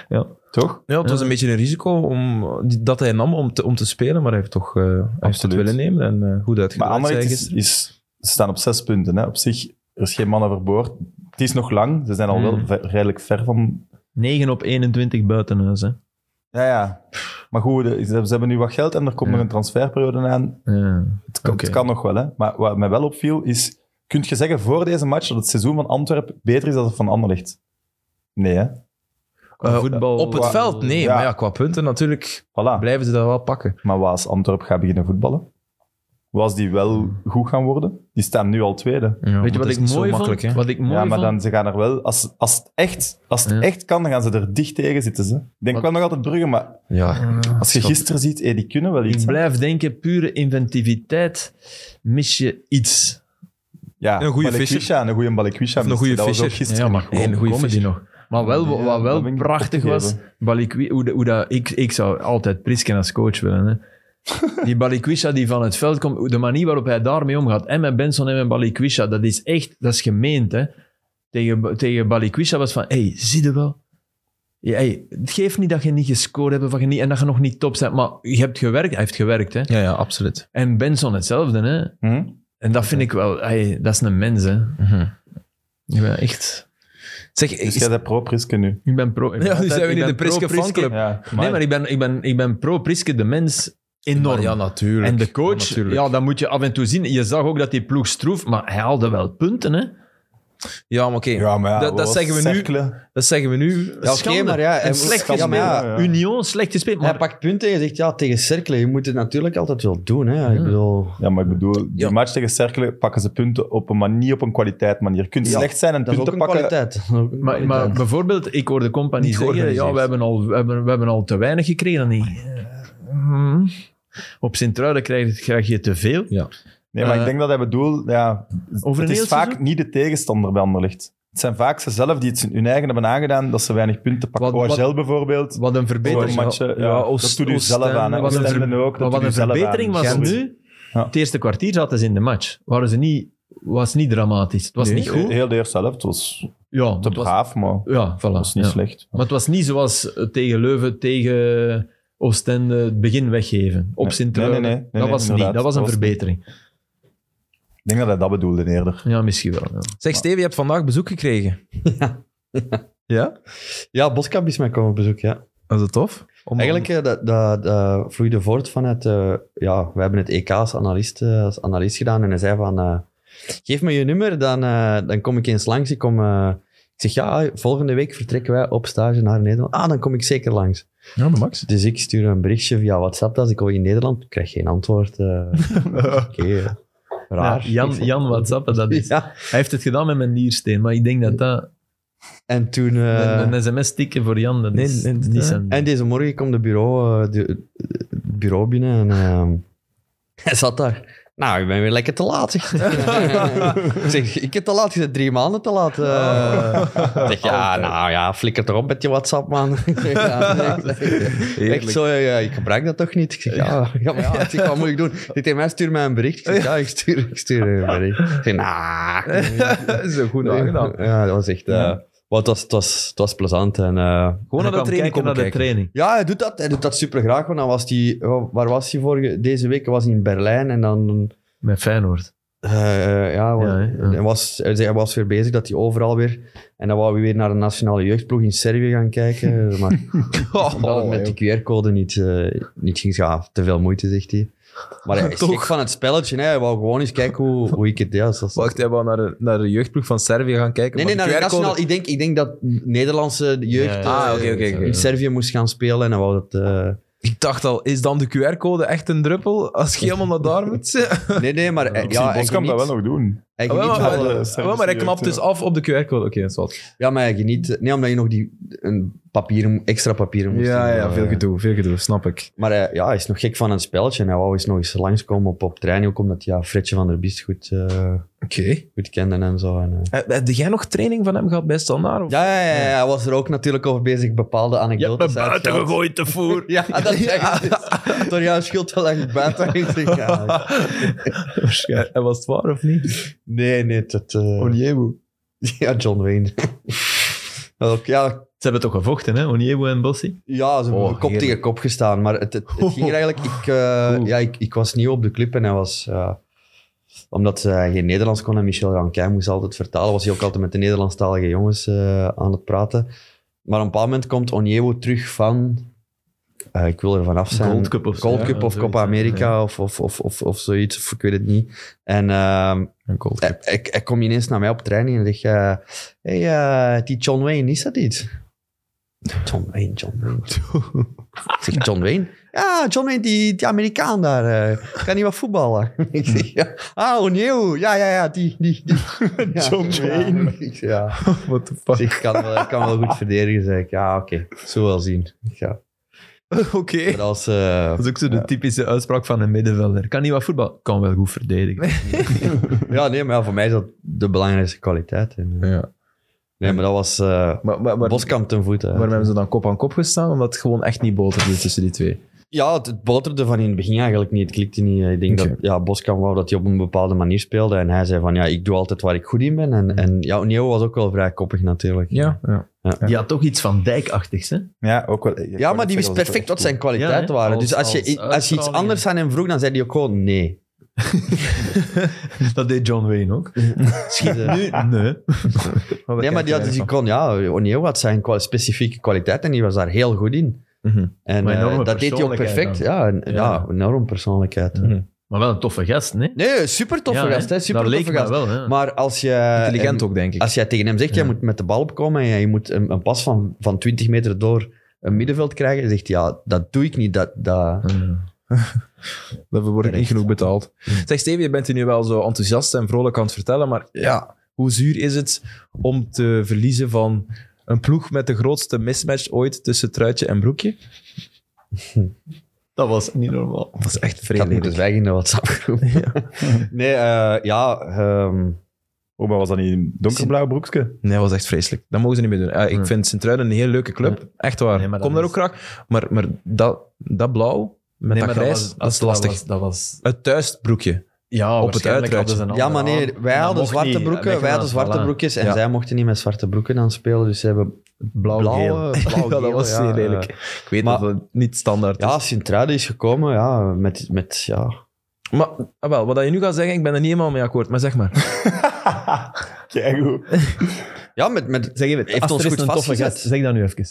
wel.
Toch?
Ja, het was een beetje een risico om, dat hij nam om te, om te spelen, maar hij heeft toch eh, hij heeft het
Absoluut.
willen nemen en eh, goed
Maar
uitgedraaid. zei
Anderlecht
hij
is,
gisteren.
is, ze staan op zes punten. Hè? Op zich, er is geen man overboord. Het is nog lang. Ze zijn al wel
Mm.
ver- redelijk ver van...
9 op 21 buitenhuis. Hè?
Ja, ja. Maar goed, de- ze hebben nu wat geld en er komt
Ja.
nog een transferperiode aan.
Ja.
Het kan,
Oké.
het kan nog wel, hè. Maar wat mij wel opviel is... Kun je zeggen voor deze match dat het seizoen van Antwerpen beter is dan het van Anderlecht? Nee, hè?
Qua
Eh,
voetbal-
op het
qua-
veld, nee.
ja.
Maar ja, Ah. qua punten natuurlijk
Voilà.
blijven ze dat wel pakken.
Maar waar als Antwerp gaat beginnen voetballen? Was die wel
Hmm.
goed gaan worden? Die staan nu al tweede.
Weet je
dat
wat
is
ik
niet zo
mooi
makkelijk, hè?
vond? Wat ik mooi
ja, maar
vond?
dan, ze gaan er wel... Als, als het, echt, als het
Ja.
echt kan, dan gaan ze er dicht tegen zitten. Ze. Ik denk
Wat-
wel nog altijd Brugge, maar
Ja,
als je
Schat.
gisteren ziet, hé, die kunnen wel iets.
Ik
hè.
blijf denken, pure inventiviteit mis je iets.
Ja,
Een goede
Balikwisha, Een goede Balikwisha.
Of een goede
dat was ook
Fischer.
gisteren.
Ja, maar
Nee,
gewoon,
een goeie
komen die
fiche.
nog. Maar wel,
Ja,
wat
dat ben
wel
ik
prachtig
opgegeven.
was, Balikwi, hoe, de- hoe dat, ik, ik zou altijd Prisken als coach willen. Hè. Die Balikwisha die van het veld komt, hoe- de manier waarop hij daarmee omgaat, en met Benson en met Balikwisha, dat is echt, dat is gemeend. Hè. Tegen, tegen Balikwisha was van, hey, zie je wel? Ja, hey, het geeft niet dat je niet gescoord hebt of dat je niet, en dat je nog niet top bent, maar je hebt gewerkt, hij heeft gewerkt. Hè.
ja, ja absoluut.
En Benson hetzelfde. Hè.
Hm?
En dat vind ik wel, hey, dat is een mens. Hè. Ik ben echt...
Zeg,
Dus
is-
jij bent pro-Priske nu.
Ik ben pro. ik ben
Ja, nu
altijd-
zijn we
ik
in
ben
de Priske
pro-Priske.
fanclub.
Ja,
Nee, maar ik ben, ik ben, ik ben pro Priske, de mens, enorm.
Ja, natuurlijk.
en de
Ja,
coach, ja,
natuurlijk.
dat moet je af en toe zien. Je zag ook dat die ploeg stroef, maar hij haalde wel punten. Hè?
Ja, maar oké.
Ja, maar ja,
Dat- dat
wat
zeggen we nu.
cirkelen.
Dat zeggen we nu.
Ja, oké,
Schande.
maar ja, hij
Een
moet-
slecht
ja, maar ja,
gespeeld.
ja.
Union, slecht gespeeld. Maar
Hij pakt punten en je zegt, ja, tegen cirkelen, je moet het natuurlijk altijd wel doen. Hè. Ik bedoel...
Ja, maar ik bedoel, die
Ja.
match tegen Cercle pakken ze punten op een manier, op een kwaliteit manier. Je kunt
Ja,
slecht zijn en
Dat is ook
punten
een
pakken.
kwaliteit. Dat is ook een
Maar, maar
kwaliteit.
bijvoorbeeld, ik hoorde Company
Niet
zeggen,
georganiseerd.
ja, we hebben, al, we, hebben, we hebben al te weinig gekregen. aan die.
eh,
Hmm.
mm,
Op Sint-Truiden krijg, je- krijg je te veel.
Nee, maar
Eh,
ik denk dat hij bedoelt, ja,
Over
het
een
is
heel
vaak
seizoen?
niet de tegenstander bij Anderlicht. Het zijn vaak ze zelf die het hun eigen hebben aangedaan dat ze weinig punten pakken.
Wat- wat-
OHL bijvoorbeeld.
Wat een verbetering.
Voor matchen, ja,
Oost-
dat doet u zelf
Oostende
aan, hè.
was een
Oostende
ver-
ook, dat
maar
doet
wat
u
een
zelf aan.
verbetering was
Gent.
nu.
Ja.
Het eerste kwartier zaten ze in de match. Waren ze niet, was niet dramatisch. Het was
Nee, eh,
niet goed.
Heel de eerste helft was
Ja,
te
het was,
braaf, maar het
ja, voilà.
was niet
ja.
slecht.
Maar het was niet zoals eh, tegen Leuven, tegen Oostende, het begin weggeven. Op
Nee,
Sint-Truiden.
nee, nee, nee,
dat
nee,
was niet.
inderdaad.
Dat was een
Dat was-
verbetering.
Ik denk dat hij dat bedoelde eerder.
Ja, misschien wel. ja.
Zeg, Steve, je hebt vandaag bezoek gekregen.
Ja, Boskamp is mij komen op bezoek, ja.
Was dat tof? Om-
Eigenlijk eh, dat, dat, dat vloeide voort vanuit... eh ja, we hebben het EK als analist, eh, als analist gedaan. En hij zei van... eh, geef me je nummer, dan, eh, dan kom ik eens langs. Ik, kom, eh, ik zeg, ja, volgende week vertrekken wij op stage naar Nederland. Ah, dan kom ik zeker langs.
Ja, maar Max.
Dus ik stuur een berichtje via WhatsApp dat ik al in Nederland... Ik krijg geen antwoord. eh. Oké, eh, raar.
Ja, Jan, Jan WhatsApp, dat is.
Ja.
Hij heeft het gedaan met mijn niersteen, maar ik denk dat dat
En toen... eh,
een, een sms tikken voor Jan, dat
Nee,
is
nee, nee.
niet zijn
En deze morgen komt de bureau, eh, de, het bureau binnen en ehm, hij zat daar. Nou, ik ben weer lekker te laat. zegt hij. ik zeg, ik heb te laat gezet, drie maanden te laat. eh. Ik zeg, ja, nou ja, flikker toch op met je WhatsApp, man. Ik zeg, ja, nee, ik zeg,
Eh,
Echt zo, ja, ik gebruik dat toch niet? Ik zeg, ja, ja, maar ja, ik zeg, wat moet ik doen? Dit tegen mij stuur mij een bericht. Ik zeg, ja, ik stuur, ik stuur een bericht. Ik zeg, nou...
Zo goed
nee.
aangedaan.
Ja, dat was echt... eh, wat was, het, was, het was plezant en... eh,
Gewoon naar de training komen
naar de
kijken.
training.
ja, hij doet dat. Hij doet dat super graag. Want dan was die, oh, waar was hij vorige deze week? Hij was in Berlijn en dan
Met Feyenoord.
eh, ja, wa-
Ja, hè, ja.
Hij, was, hij zei- hij was weer bezig dat hij overal weer en dan wou hij weer naar de nationale jeugdploeg in Servië gaan kijken. maar omdat het met die QR-code niet, eh, niet ging, ja, te veel moeite zegt hij. Maar hij is
Toch.
gek van het spelletje. Hè. Hij wou gewoon eens kijken hoe, hoe ik het deed. Zoals-
Oh, Wacht, hij wou naar de, naar de jeugdploeg van Servië gaan kijken.
Nee, nee,
maar
naar de
QR-code-
nationaal. Ik denk, ik denk dat Nederlandse jeugd
Ja,
ja,
eh,
Ah, oké, oké, oké.
in Servië moest gaan spelen en hij wou dat. eh,
Ik dacht al, is dan de QR-code echt een druppel als je helemaal naar daar moet? Ah,
Nee, nee, maar eh,
Ik
ja,
zie
hij
Boskamp dat
geniet-
wel nog doen.
hij
wel,
geniet
maar-
wel, eh,
de
ah, wel, maar hij
Servië
knapt
jeugd,
dus
ja.
af op de QR-code. Oké, dat is wat.
Ja, maar je niet. Nee, omdat je nog die, een papieren, extra papieren moest
Ja,
doen,
ja,
eh.
veel gedoe, veel gedoe, snap ik.
Maar eh, ja, hij is nog gek van een spelletje. En hij wou eens nog eens langskomen op, op training. Ook omdat ja, Fredje van der Biest goed, eh,
Oké.
goed kende en zo. En, eh.
Eh, Heb jij nog training van hem gehad bij Standaard? of-
ja, ja, ja, ja, hij was er ook natuurlijk over bezig bepaalde anekdotes uit te gooien.
gegooid, te voer.
Ja, dat zeg ik dus. Door jouw schuld wel echt buiten gezegd. Ja.
Eh, En was het waar of niet?
Nee, nee, dat... eh, Ja, John Wayne. Ook, ja,
Ze hebben toch gevochten, hè? Onyebo en Bossi.
Ja, ze hebben
Oh,
kop tegen
heerlijk.
kop gestaan. Maar het, het, het ging er eigenlijk... Ik, eh, ja, ik, ik was nieuw op de club en hij was... ja, omdat hij geen Nederlands kon en Michel Ranquin moest altijd vertalen, was hij ook altijd met de Nederlandstalige jongens eh, aan het praten. Maar op een bepaald moment komt Onyewo terug van... eh, ik wil er vanaf zijn.
Gold Cup of zo,
Gold
ja,
Cup of
zoiets,
Copa
ja.
America of, of, of, of, of zoiets. Of ik weet het niet. En... ehm, hij, hij, hij kwam ineens naar mij op training en zegt... eh, hey, eh, die John Wayne, is dat iets? John Wayne, John Wayne. Ik zeg, John Wayne? Ja, John Wayne, die, die Amerikaan daar. eh, kan niet wat voetballen. ik zeg, ja. Ah, O'Neill. Ja, ja, ja, die. die, die. John Wayne. Ik zeg, ja.
What the
Ik
fuck?
zeg, kan, wel- kan wel goed verdedigen, zeg ik. Ja, oké. Zo wel zien. Ik zeg, Ja.
Oké.
Maar dat was... eh,
Dat is ook zo de typische uitspraak van een middenvelder. Kan niet wat voetbal, kan wel goed verdedigen.
ja, nee, maar ja, voor mij is dat de belangrijkste kwaliteit. En, eh,
Ja.
Nee, maar dat was... eh
Maar, maar, maar,
Boskamp ten voeten. hè.
waarom hebben ze dan kop aan kop gestaan? Omdat het gewoon echt niet boterde tussen die twee.
Ja, het, het boterde van in het begin eigenlijk niet. Het klikte niet. Ik denk
Oké.
dat ja, Boskamp wou dat hij op een bepaalde manier speelde. En hij zei van, ja, ik doe altijd waar ik goed in ben. En, en ja, Neo was ook wel vrij koppig natuurlijk.
Ja, ja.
Die had toch iets van dijkachtigs, hè?
Ja, ook wel. ik
Ja,
wou
maar
net
die wist
zeggen, dat
perfect
echt
wat zijn
goed.
kwaliteiten
Ja, hè?
waren. Dus
Als-
als je,
als
als je iets
uitstraling.
anders aan hem vroeg, dan zei hij ook gewoon nee.
Dat deed John Wayne ook.
Schiet, eh,
Nee.
Oh,
nee, maar die had dus die kon, ja, Neo had zijn kwa- specifieke kwaliteiten en die was daar heel goed in.
Mhm.
En
Maar
eh,
enorme
dat deed hij ook
persoonlijkheid
perfect. Ja, en- ja. enorm persoonlijkheid.
Mhm.
Maar wel een toffe gast, hè?
Nee, super toffe
Ja, hè? Nou,
gast. Hè? Super
dat leek
toffe
mij
gast.
wel, hè?
Maar als je... eh,
Intelligent ook, denk ik. eh,
Als jij tegen hem zegt, jij moet met de bal opkomen en jij- je moet een, een pas van, van 20 meter door een middenveld krijgen, dan zegt hij, ja, dat doe ik niet. Dat, dat...
Daarvoor word ik niet genoeg betaald. Zeg Steven, je bent hier nu wel zo enthousiast en vrolijk aan het vertellen, maar ja, hoe zuur is het om te verliezen van een ploeg met de grootste mismatch ooit tussen truitje en broekje?
Dat was niet normaal.
Dat is echt
Ik had moeten
vreselijk.
zwijgen dus in de WhatsApp-groep. nee, eh, ja... ehm,
Oh, maar was dat niet een donkerblauw broekje?
Nee, dat was echt vreselijk. Dat mogen ze niet meer doen. Eh, ik
Nee.
vind Sint-Truiden een heel leuke club. Echt waar.
Nee, maar dat
Kom daar
is-
ook graag. Maar, maar dat, dat blauw met dat grijs, dat, is lastig.
Dat was, dat was-
Het thuisbroekje.
ja,
Op het
waarschijnlijk hadden ze een
Ja,
andere
maar nee,
aan.
wij
En dat
hadden
mocht
zwarte
niet.
broeken,
Wij
wij hadden
kunnen
zwarte
dat-
broekjes en
Ja.
zij mochten niet met zwarte broeken aan spelen, dus ze hebben blauwe... blauw
ja, dat was heel lelijk. ik weet
maar-
dat het niet standaard
Ja,
is.
Sint-Truiden is gekomen, ja, met... met ja.
Maar ah, wel, wat je nu gaat zeggen, ik ben er niet helemaal mee akkoord. Maar zeg maar.
Kijk goed.
Ja, met, met, zeg even, heeft
Aster
ons
is
goed
een toffe gast.
vastgezet.
Zeg dat nu even.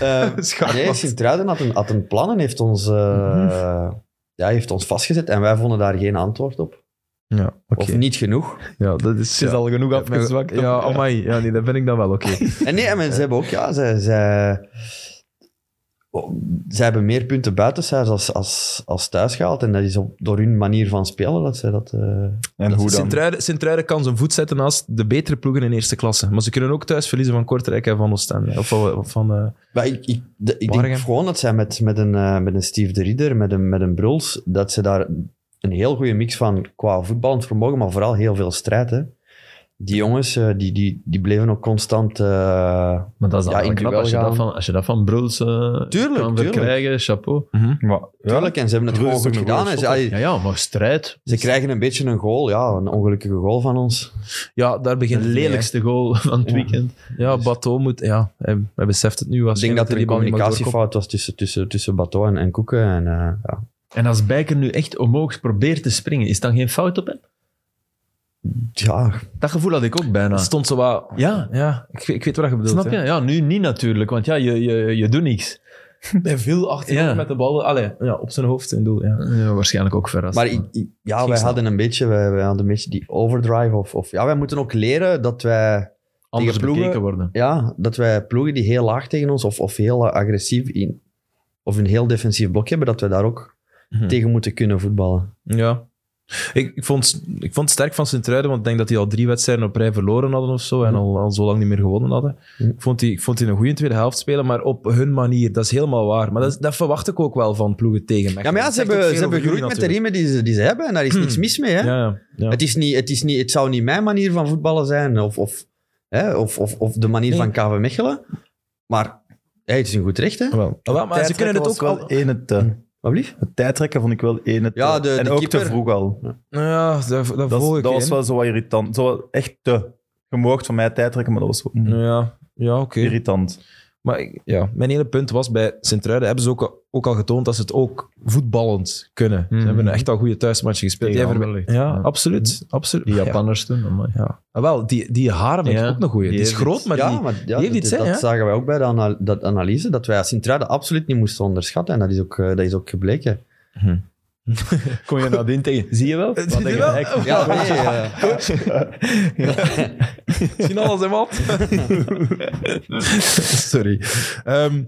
Eh, nee, Sint-Truiden had een, had een plan en heeft ons, eh, ja, heeft ons vastgezet. En wij vonden daar geen antwoord op.
Ja, oké.
Of niet genoeg.
Ja, dat is... ja.
al genoeg afgezwakt.
Ja, amai. Ja, nee, dat vind ik dan wel oké.
En nee, en ze hebben ook, ja, zij, zij, oh, zij hebben meer punten buitenshuis als, als, als thuis gehaald. En dat is op, door hun manier van spelen dat zij dat... eh,
En hoe dan?
Sint-Truiden Sint-Truiden kan zijn voet zetten naast de betere ploegen in eerste klasse. Maar ze kunnen ook thuis verliezen van Kortrijk en van Oostende. Of van... of van, eh,
Maar ik, ik, de- ik denk
Waregem.
gewoon dat zij met, met, een, eh, met een Steve de Ridder, met een, met een Bruls, dat ze daar een heel goede mix van qua voetballend vermogen, maar vooral heel veel strijd. Hè. Die jongens, eh, die, die, die bleven ook constant... eh,
Maar dat is
Ja,
ja,
in
knap
duel
als je, dat
gaan.
van, als je dat van Bruls eh,
Tuurlijk,
kan
tuurlijk.
verkrijgen. Chapeau.
Maar, ja,
tuurlijk, en ze hebben het
Bruls
gewoon
is
goed
ook een goeie
gedaan. hè. Ze, allee,
Ja, ja, maar strijd.
ze krijgen een beetje een goal, ja, een ongelukkige goal van ons.
Ja, daar
De
begint het mee, hè.
lelijkste goal van het
Ja.
weekend.
Ja, Bateau moet... Ja, hij, hij beseft het nu.
Ik denk
waarschijnlijk
dat er een
die bal niet mag
communicatiefout was tussen, tussen, tussen Bateau en, en Koeken. En, eh, ja.
En als Bijker nu echt omhoog probeert te springen, is dan geen fout op hem?
ja,
Dat gevoel had ik ook
doorkomen.
bijna.
Het stond zo wat...
Ja,
Ja, ik, ik weet wat je bedoelt.
snap je? Ja, nu niet natuurlijk, want ja, je, je, je doet niks.
Hij viel achterom
Ja.
met de bal. Allee, ja, op zijn hoofd in doel, ja.
Ja, waarschijnlijk ook verrast.
Maar ik- ik- ja,
Ging
wij
snel.
hadden, een beetje, wij, wij hadden een beetje die overdrive. Of, of, ja, wij moeten ook leren dat wij,
anders
tegen ploegen-
bekeken worden.
ja, dat wij ploegen die heel laag tegen ons of, of heel eh, agressief in, of een heel defensief blok hebben, dat wij daar ook
Mhm.
tegen moeten kunnen voetballen.
Ja. Ik, ik, vond, ik vond het sterk van Sint-Truiden, want ik denk dat die al drie wedstrijden op rij verloren hadden of zo, en al, al zo lang niet meer gewonnen hadden.
Mhm.
Ik, vond die, ik vond die een goede tweede helft spelen, maar op hun manier. Dat is helemaal waar. Maar dat, is- dat verwacht ik ook wel van ploegen tegen Mechelen.
Ja, maar ja,
Dat
ze
zegt ook
hebben,
veel
ze hebben
over
gegroeid
jullie
met de riemen die ze, die ze hebben en daar is niks mis mee. Hè?
natuurlijk. Ja, ja, ja.
Het, is niet, het, is niet, het zou niet mijn manier van voetballen zijn of, of, hè, of, of, of de manier
Nee.
van KV Mechelen, maar hè, het is een goed recht. Hè?
Wel, wel, maar ze kunnen het ook
wel
al...
één het, eh,
Hm. Wat blieft?
het tijdrekken vond ik wel één het,
Ja,
eh,
de-
en
de
ook te
keeper.
vroeg al.
Ja, dat, dat,
Dat,
volg ik
dat was
in.
wel zo wat irritant. Zo wat echt te. Je moogt van mij tijdrekken, maar dat was zo
Hm.
mm,
Ja, ja oké.
irritant.
Maar ik- ja, mijn hele punt was, bij Sint-Truiden hebben ze ook, ook al getoond dat ze het ook voetballend kunnen.
Mhm.
Ze hebben echt al goede thuismatchen gespeeld.
Tegen
Jij ver-
Anderlecht.
ja,
Ja.
absoluut. absoluut.
Die
Ja.
Japanners toen, amai.
Ja. Ah, wel, die, die haren vind ik
Ja,
ook nog goed. Die
die
is
heeft
groot,
iets.
maar
ja,
die...
maar ja,
heeft
dat,
iets, hè,
dat
ja.
zagen wij ook bij de ana- dat analyse, dat wij Sint-Truiden absoluut niet moesten onderschatten. En dat is ook, eh, dat is ook gebleken.
Kon je nadien tegen... Zie je wel?
Zie je wel?
Ja, nee, eh,
Zien alles en wat. Sorry. Ehm,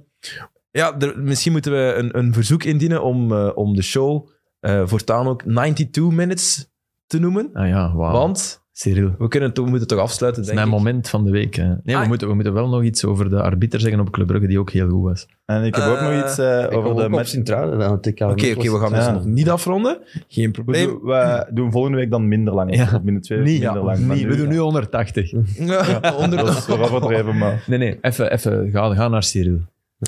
ja, er- misschien moeten we een, een verzoek indienen om, eh, om de show eh, voortaan ook 92 minutes te noemen.
Ah ja, wauw.
Want
Cyril.
we, kunnen, het- we moeten het toch afsluiten,
Dat
denk
is mijn
ik.
moment van de week. hè. Nee, we,
Ah.
moeten, we moeten wel nog iets over de arbiter zeggen op Club Brugge, die ook heel goed was.
En ik heb ook
Eh,
nog iets eh,
ik
over
kwam
de
ook op
match.
Sint-Truiden aan het TK.
Oké, oké, we gaan
Ja.
dus nog niet afronden. Geen
We,
probleem.
doen, we
hm.
doen volgende week dan minder lang.
Ja.
Of binnen twee weken Eh, minder lang. Maar
we doen nu 180.
Onder-
Dat is wel overdreven, maar...
Nee, nee, even, even ga, ga naar Cyril.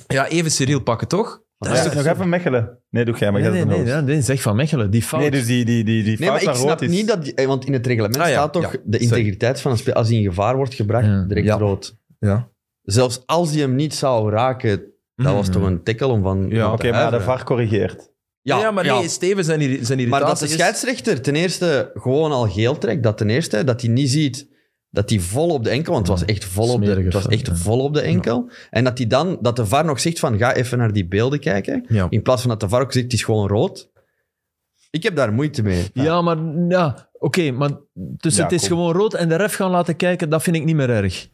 Ja, even Cyril pakken, toch?
Ja,
is toch
nog even mechelen. Nee, doe jij, maar
Nee,
jij
nee,
bent
nee,
een host.
ja, nee, zeg van Mechelen, die fout.
Nee, dus die, die, die, die
Nee,
fout
maar ik
naar rood
snap
is.
niet dat... die- eh, Want in het reglement
Ah, ja,
staat toch
ja.
de integriteit van een speler... Als hij in gevaar wordt gebracht,
Ja.
direct
Ja.
rood.
Ja.
Zelfs als hij hem niet zou raken, dat was toch een tikkel om van...
Mhm. Ja,
om
Oké,
te
maar de
huiveren.
VAR corrigeert.
Ja, maar nee, Steven zijn, irri- zijn
Maar dat
irritatie
de
is-
scheidsrechter ten eerste gewoon al geel trekt, dat ten eerste, dat hij niet ziet Dat die vol op de enkel, want het was echt vol, op de,
Smerige
het was
film,
echt
ja.
vol op de enkel. En dat, die dan, dat de VAR nog zegt van ga even naar die beelden kijken.
Ja.
In plaats van dat de VAR ook zegt het is gewoon rood. Ik heb daar moeite mee.
Ja, maar ja, oké, maar dus
Ja,
het is
kom.
gewoon rood en de ref gaan laten kijken, dat vind ik niet meer erg.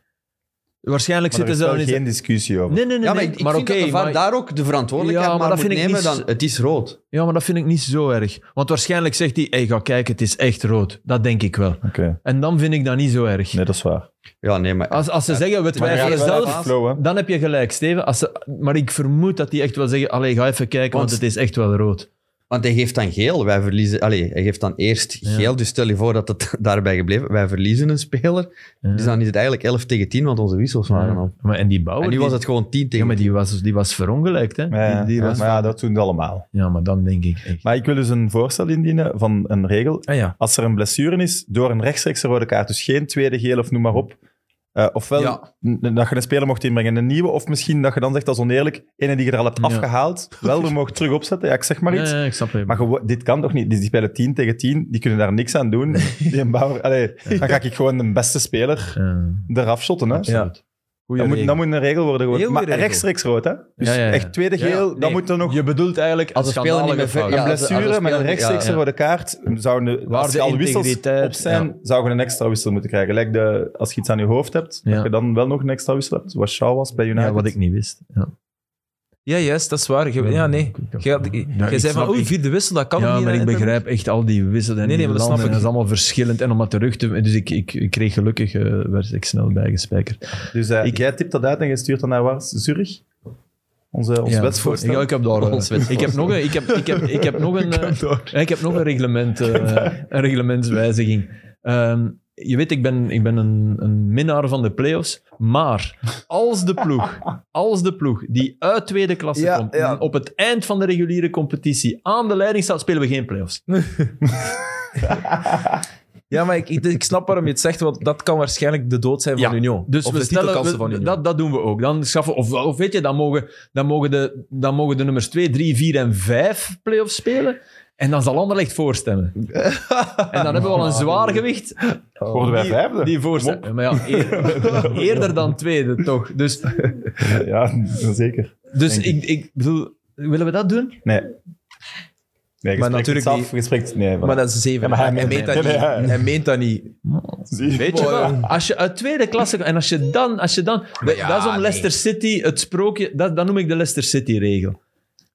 Waarschijnlijk
Maar er
zitten
is
ze
wel
dan
geen discussie over.
Nee, nee, nee.
Ja, maar
nee,
ik, ik
maar
vind
oké,
dat de VAR
maar-
daar ook de verantwoordelijkheid
Ja,
maar
maar dat
moet
vind ik
nemen
niet-
dan het is rood.
Ja, maar dat vind ik niet zo erg. Want waarschijnlijk zegt hij, hey, ga kijken, het is echt rood. Dat denk ik wel.
Oké,
En dan vind ik dat niet zo erg.
nee, dat is waar.
Ja, nee, maar...
Als, als ze zeggen, we
Maar
twijfelen
ja,
zelf,
ja,
Flow, hè?
dan heb je gelijk, Steven. Als ze, maar ik vermoed dat die echt wel zeggen, allee, ga even kijken, want,
Want-
het is echt wel rood.
Want hij geeft dan geel. Wij verliezen... Allee, hij geeft dan eerst
Ja.
geel. Dus stel je voor dat het daarbij gebleven... Wij verliezen een speler.
Ja.
Dus dan is het eigenlijk 11 tegen 10, want onze wissels waren al.
Maar, en die bouwer,
Oh,
En nu
die-
was het gewoon 10
ja,
tegen
maar die was, die was verongelijkt, hè.
Ja,
die, die
ja,
was,
maar ja, dat doen ze allemaal.
ja, maar dan denk ik echt.
Maar ik wil dus een voorstel indienen van een regel.
Ah ja.
Als er een blessure is door een rechtstreekse rode kaart, dus geen tweede geel of noem maar op. eh, ofwel
Ja.
n- dat je een speler mocht inbrengen, een nieuwe. Of misschien dat je dan zegt, dat is oneerlijk, ene die je er al hebt
Ja.
afgehaald, wel er mocht terug opzetten. Ja, ik zeg maar iets.
Ja, ja, ik snap het.
Maar gewo- dit kan toch niet? Dus Die spelen 10 tegen 10, die kunnen daar niks aan doen. Die een bouwer, allee, dan ga ik gewoon de beste speler
Ja.
eraf shotten. Hè?
Absoluut. Goeie
Dat, moet,
regel.
dat moet een regel worden.
Heel
Gewoon. Maar
goede regel.
rechtstreeks rood, hè? Dus
Ja, ja, ja.
echt tweede
Ja, ja.
geel, dan
Nee.
moet er nog...
Je bedoelt eigenlijk
Als de speler
schandalige
niet meer ver-
fouten.
ja,
een
als- als
blessure
er
met een
speelt-
rechtstreekse
ja,
ja.
rode kaart zou een,
Waar
als je
de
al wissels
integriteit-
op zijn,
ja.
zou je een extra wissel moeten krijgen. Lijkt de, als je iets aan je hoofd hebt,
Ja.
dat je dan wel nog een extra wissel hebt. Zoals Shaw was bij United.
Ja, wat ik niet wist. Ja.
Ja, juist, dat is waar. Je- ja, nee. Jij had-
Ja,
jij
ik
zei van,
snap-
oei,
ik-
vierde wissel, dat kan
ja,
nog niet.
maar
hè,
ik
net hebben.
begrijp echt al die wisselen en
Nee, nee,
die
maar dat
landen.
snap ik.
Dat is allemaal verschillend. En om dat terug te... Dus ik, ik, ik kreeg gelukkig, eh, werd ik snel bijgespijkerd.
Dus eh,
Ik-
jij tipt dat uit en je stuurt dat naar waar? Zurich? Onze, ons
Ja.
wetsvoorstel.
Ja, ik heb daar... eh,
Ons wetsvoorstel.
ik, heb nog een, ik, heb, ik, heb, ik heb nog een... eh, Ja, ik heb nog een, reglement, eh, een reglementswijziging. Ehm, je weet, ik ben, ik ben een, een minnaar van de play-offs. Maar als de ploeg, als de ploeg die uit tweede klasse
Ja,
komt,
ja.
en op het eind van de reguliere competitie aan de leiding staat, spelen we geen play-offs.
Ja, maar ik, ik, ik snap waarom je het zegt, want dat kan waarschijnlijk de dood zijn van
Ja,
Union.
Dus
of
we
de
stellen,
titelkansen
we-
van Union.
dat, dat doen we ook. Dan schaffen, of, of weet je, dan mogen, dan, mogen de, dan mogen de nummers 2, 3, 4 en 5 play-offs spelen. En dan zal Anderlecht voorstemmen. En dan hebben we al een zwaar gewicht
Oh. Worden wij vijfde?
Die voorstel. Ja, maar ja, eer- eerder dan tweede, toch? Dus,
Ja, zeker.
dus
Denk
ik, ik bedoel, willen we dat doen?
Nee. Nee, maar
natuurlijk
natuurlijk af,
niet-
gesprek- nee,
maar dat is zeven.
Ja, maar hij
hij, meent
meent
dat niet.
het. Ja, ja.
hij meent dat niet.
Zie je?
Weet
Oh,
je wel, als je uit tweede klasse en als je dan, als je dan
ja,
dat is om
nee.
Leicester City, het sprookje, dat, dat noem ik de Leicester City-regel.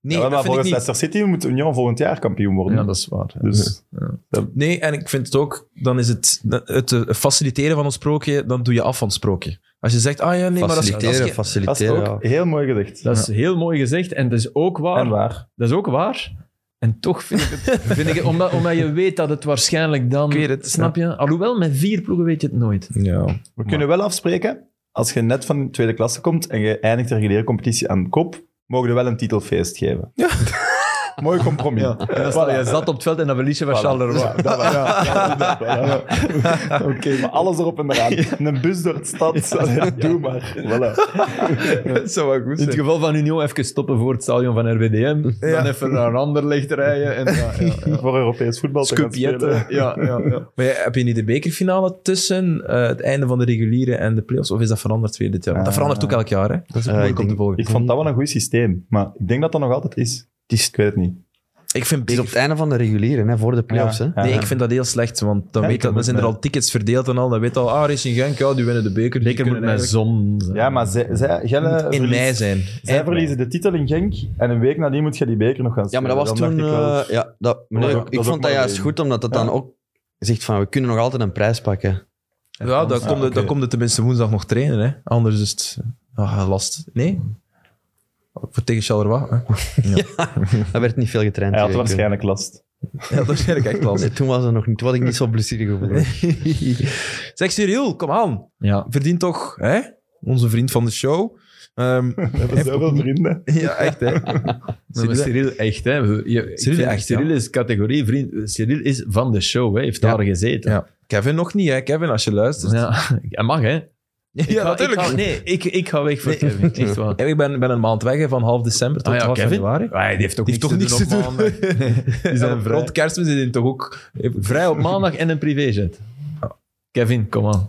Nee,
Ja, maar
dat vind ik
volgens
niet.
Leicester City moet Union volgend jaar kampioen worden.
Ja, dat is waar.
Dus
Nee, en ik vind het ook, dan is het, het eh, faciliteren van een sprookje, dan doe je af van het sprookje. Als je zegt, ah ja, nee, maar dat is... dat is
faciliteren,
geen-
dat is
faciliteren.
ook heel mooi gezegd.
Dat is heel mooi gezegd en dat is ook waar.
En waar.
Dat is ook waar. En toch vind ik het, vind ik het omdat, omdat je weet dat het waarschijnlijk dan...
Ik weet het,
snap je? Alhoewel, met vier ploegen weet je het nooit.
ja.
We kunnen wel afspreken, als je net van de tweede klasse komt en je eindigt de reguliere competitie aan de kop, mogen we wel een titelfeest geven. mooi compromis.
Ja. En dan sta je zat op het veld en dan verlies je van
Voilà.
Charleroi.
Ja, dat wel. Ja, voilà. Oké, maar alles erop en eraan. Een bus door de stad. Allee, Doe maar. Voilà.
Dat zou wel goed
In het geval van Union even stoppen voor het stadion van RWDM. Dan even naar een ander licht rijden. En, ja, ja, ja.
Voor Europees voetbal te gaan spelen.
Scoopietten, ja, ja, ja.
Maar ja, heb je niet de bekerfinale tussen eh, het einde van de reguliere en de playoffs? Of is dat veranderd weer dit jaar? Want dat
Eh,
Ah.
verandert ook elk jaar, hè? Dat is ook moeilijk om te volgen.
Ik vond dat wel een goed systeem, maar ik denk dat dat nog altijd is. Ik weet het niet.
Ik vind
Het is op het
beker...
einde van de reguliere, hè, voor de play-offs.
Ja.
hè.
Ja.
Nee, ik vind dat heel slecht, want dan,
Ja,
weet
ik
dat, dan
moet
zijn er
mij-
al tickets verdeeld en al. Dan weet al, ah, Racing Genk, ja, die winnen de beker. die
Beker moet
kunnen
met
eigenlijk-
zon zijn.
Ja, maar zij, zij, Gelle
in
verliest-
mei zijn.
zij
Eind
verliezen de titel in Genk en een week nadien moet je die beker nog gaan
Ja, maar dat was
Dan
toen...
dacht ik wel-
eh, ja, dat, maar nee,
dat is ook- dat
ik
is ook
vond dat
maar
juist
één.
goed, omdat dat
Ja.
dan ook zegt van, we kunnen nog altijd een prijs pakken.
mei. Ja, dan
Ja,
komt het- dan
oké.
komt het tenminste woensdag nog trainen, hè? Anders is het ah, last. Nee? Voor tegen Charleroi, hè?
Daar werd niet veel getraind.
Hij had
die week, hè.
waarschijnlijk last.
Ja, dat is eigenlijk echt last.
Nee, toen was het nog niet. Toen had ik niet zo'n blessuregevoel.
Zeg, Cyril, kom aan.
Ja.
Verdient toch, hè? Onze vriend van de show. Ehm,
We hebben zoveel vrienden.
ja, echt, hè?
Maar met Cyril echt, hè. Je- ik
Cyril
vind-
echt,
Cyril is categorie vriend. Cyril is van de show, hè. heeft
Ja.
daar gezeten.
Ja. Kevin nog niet, hè? Kevin, als je luistert.
Ja. Hij mag, hè. Ik
Ja,
ga- Ik ga, nee, ik, ik ga weg voor Kevin. Echt waar.
En ik ben, ben een maand weg, hè, van half december tot
Ah ja,
half
Kevin?
januari.
Ah, die heeft ook
Die heeft toch niks te
op
doen.
maandag. Die zijn
Ja,
vrij.
Rond kerstmis is hij toch ook...
Vrij op maandag en een privéjet. Kevin, kom aan.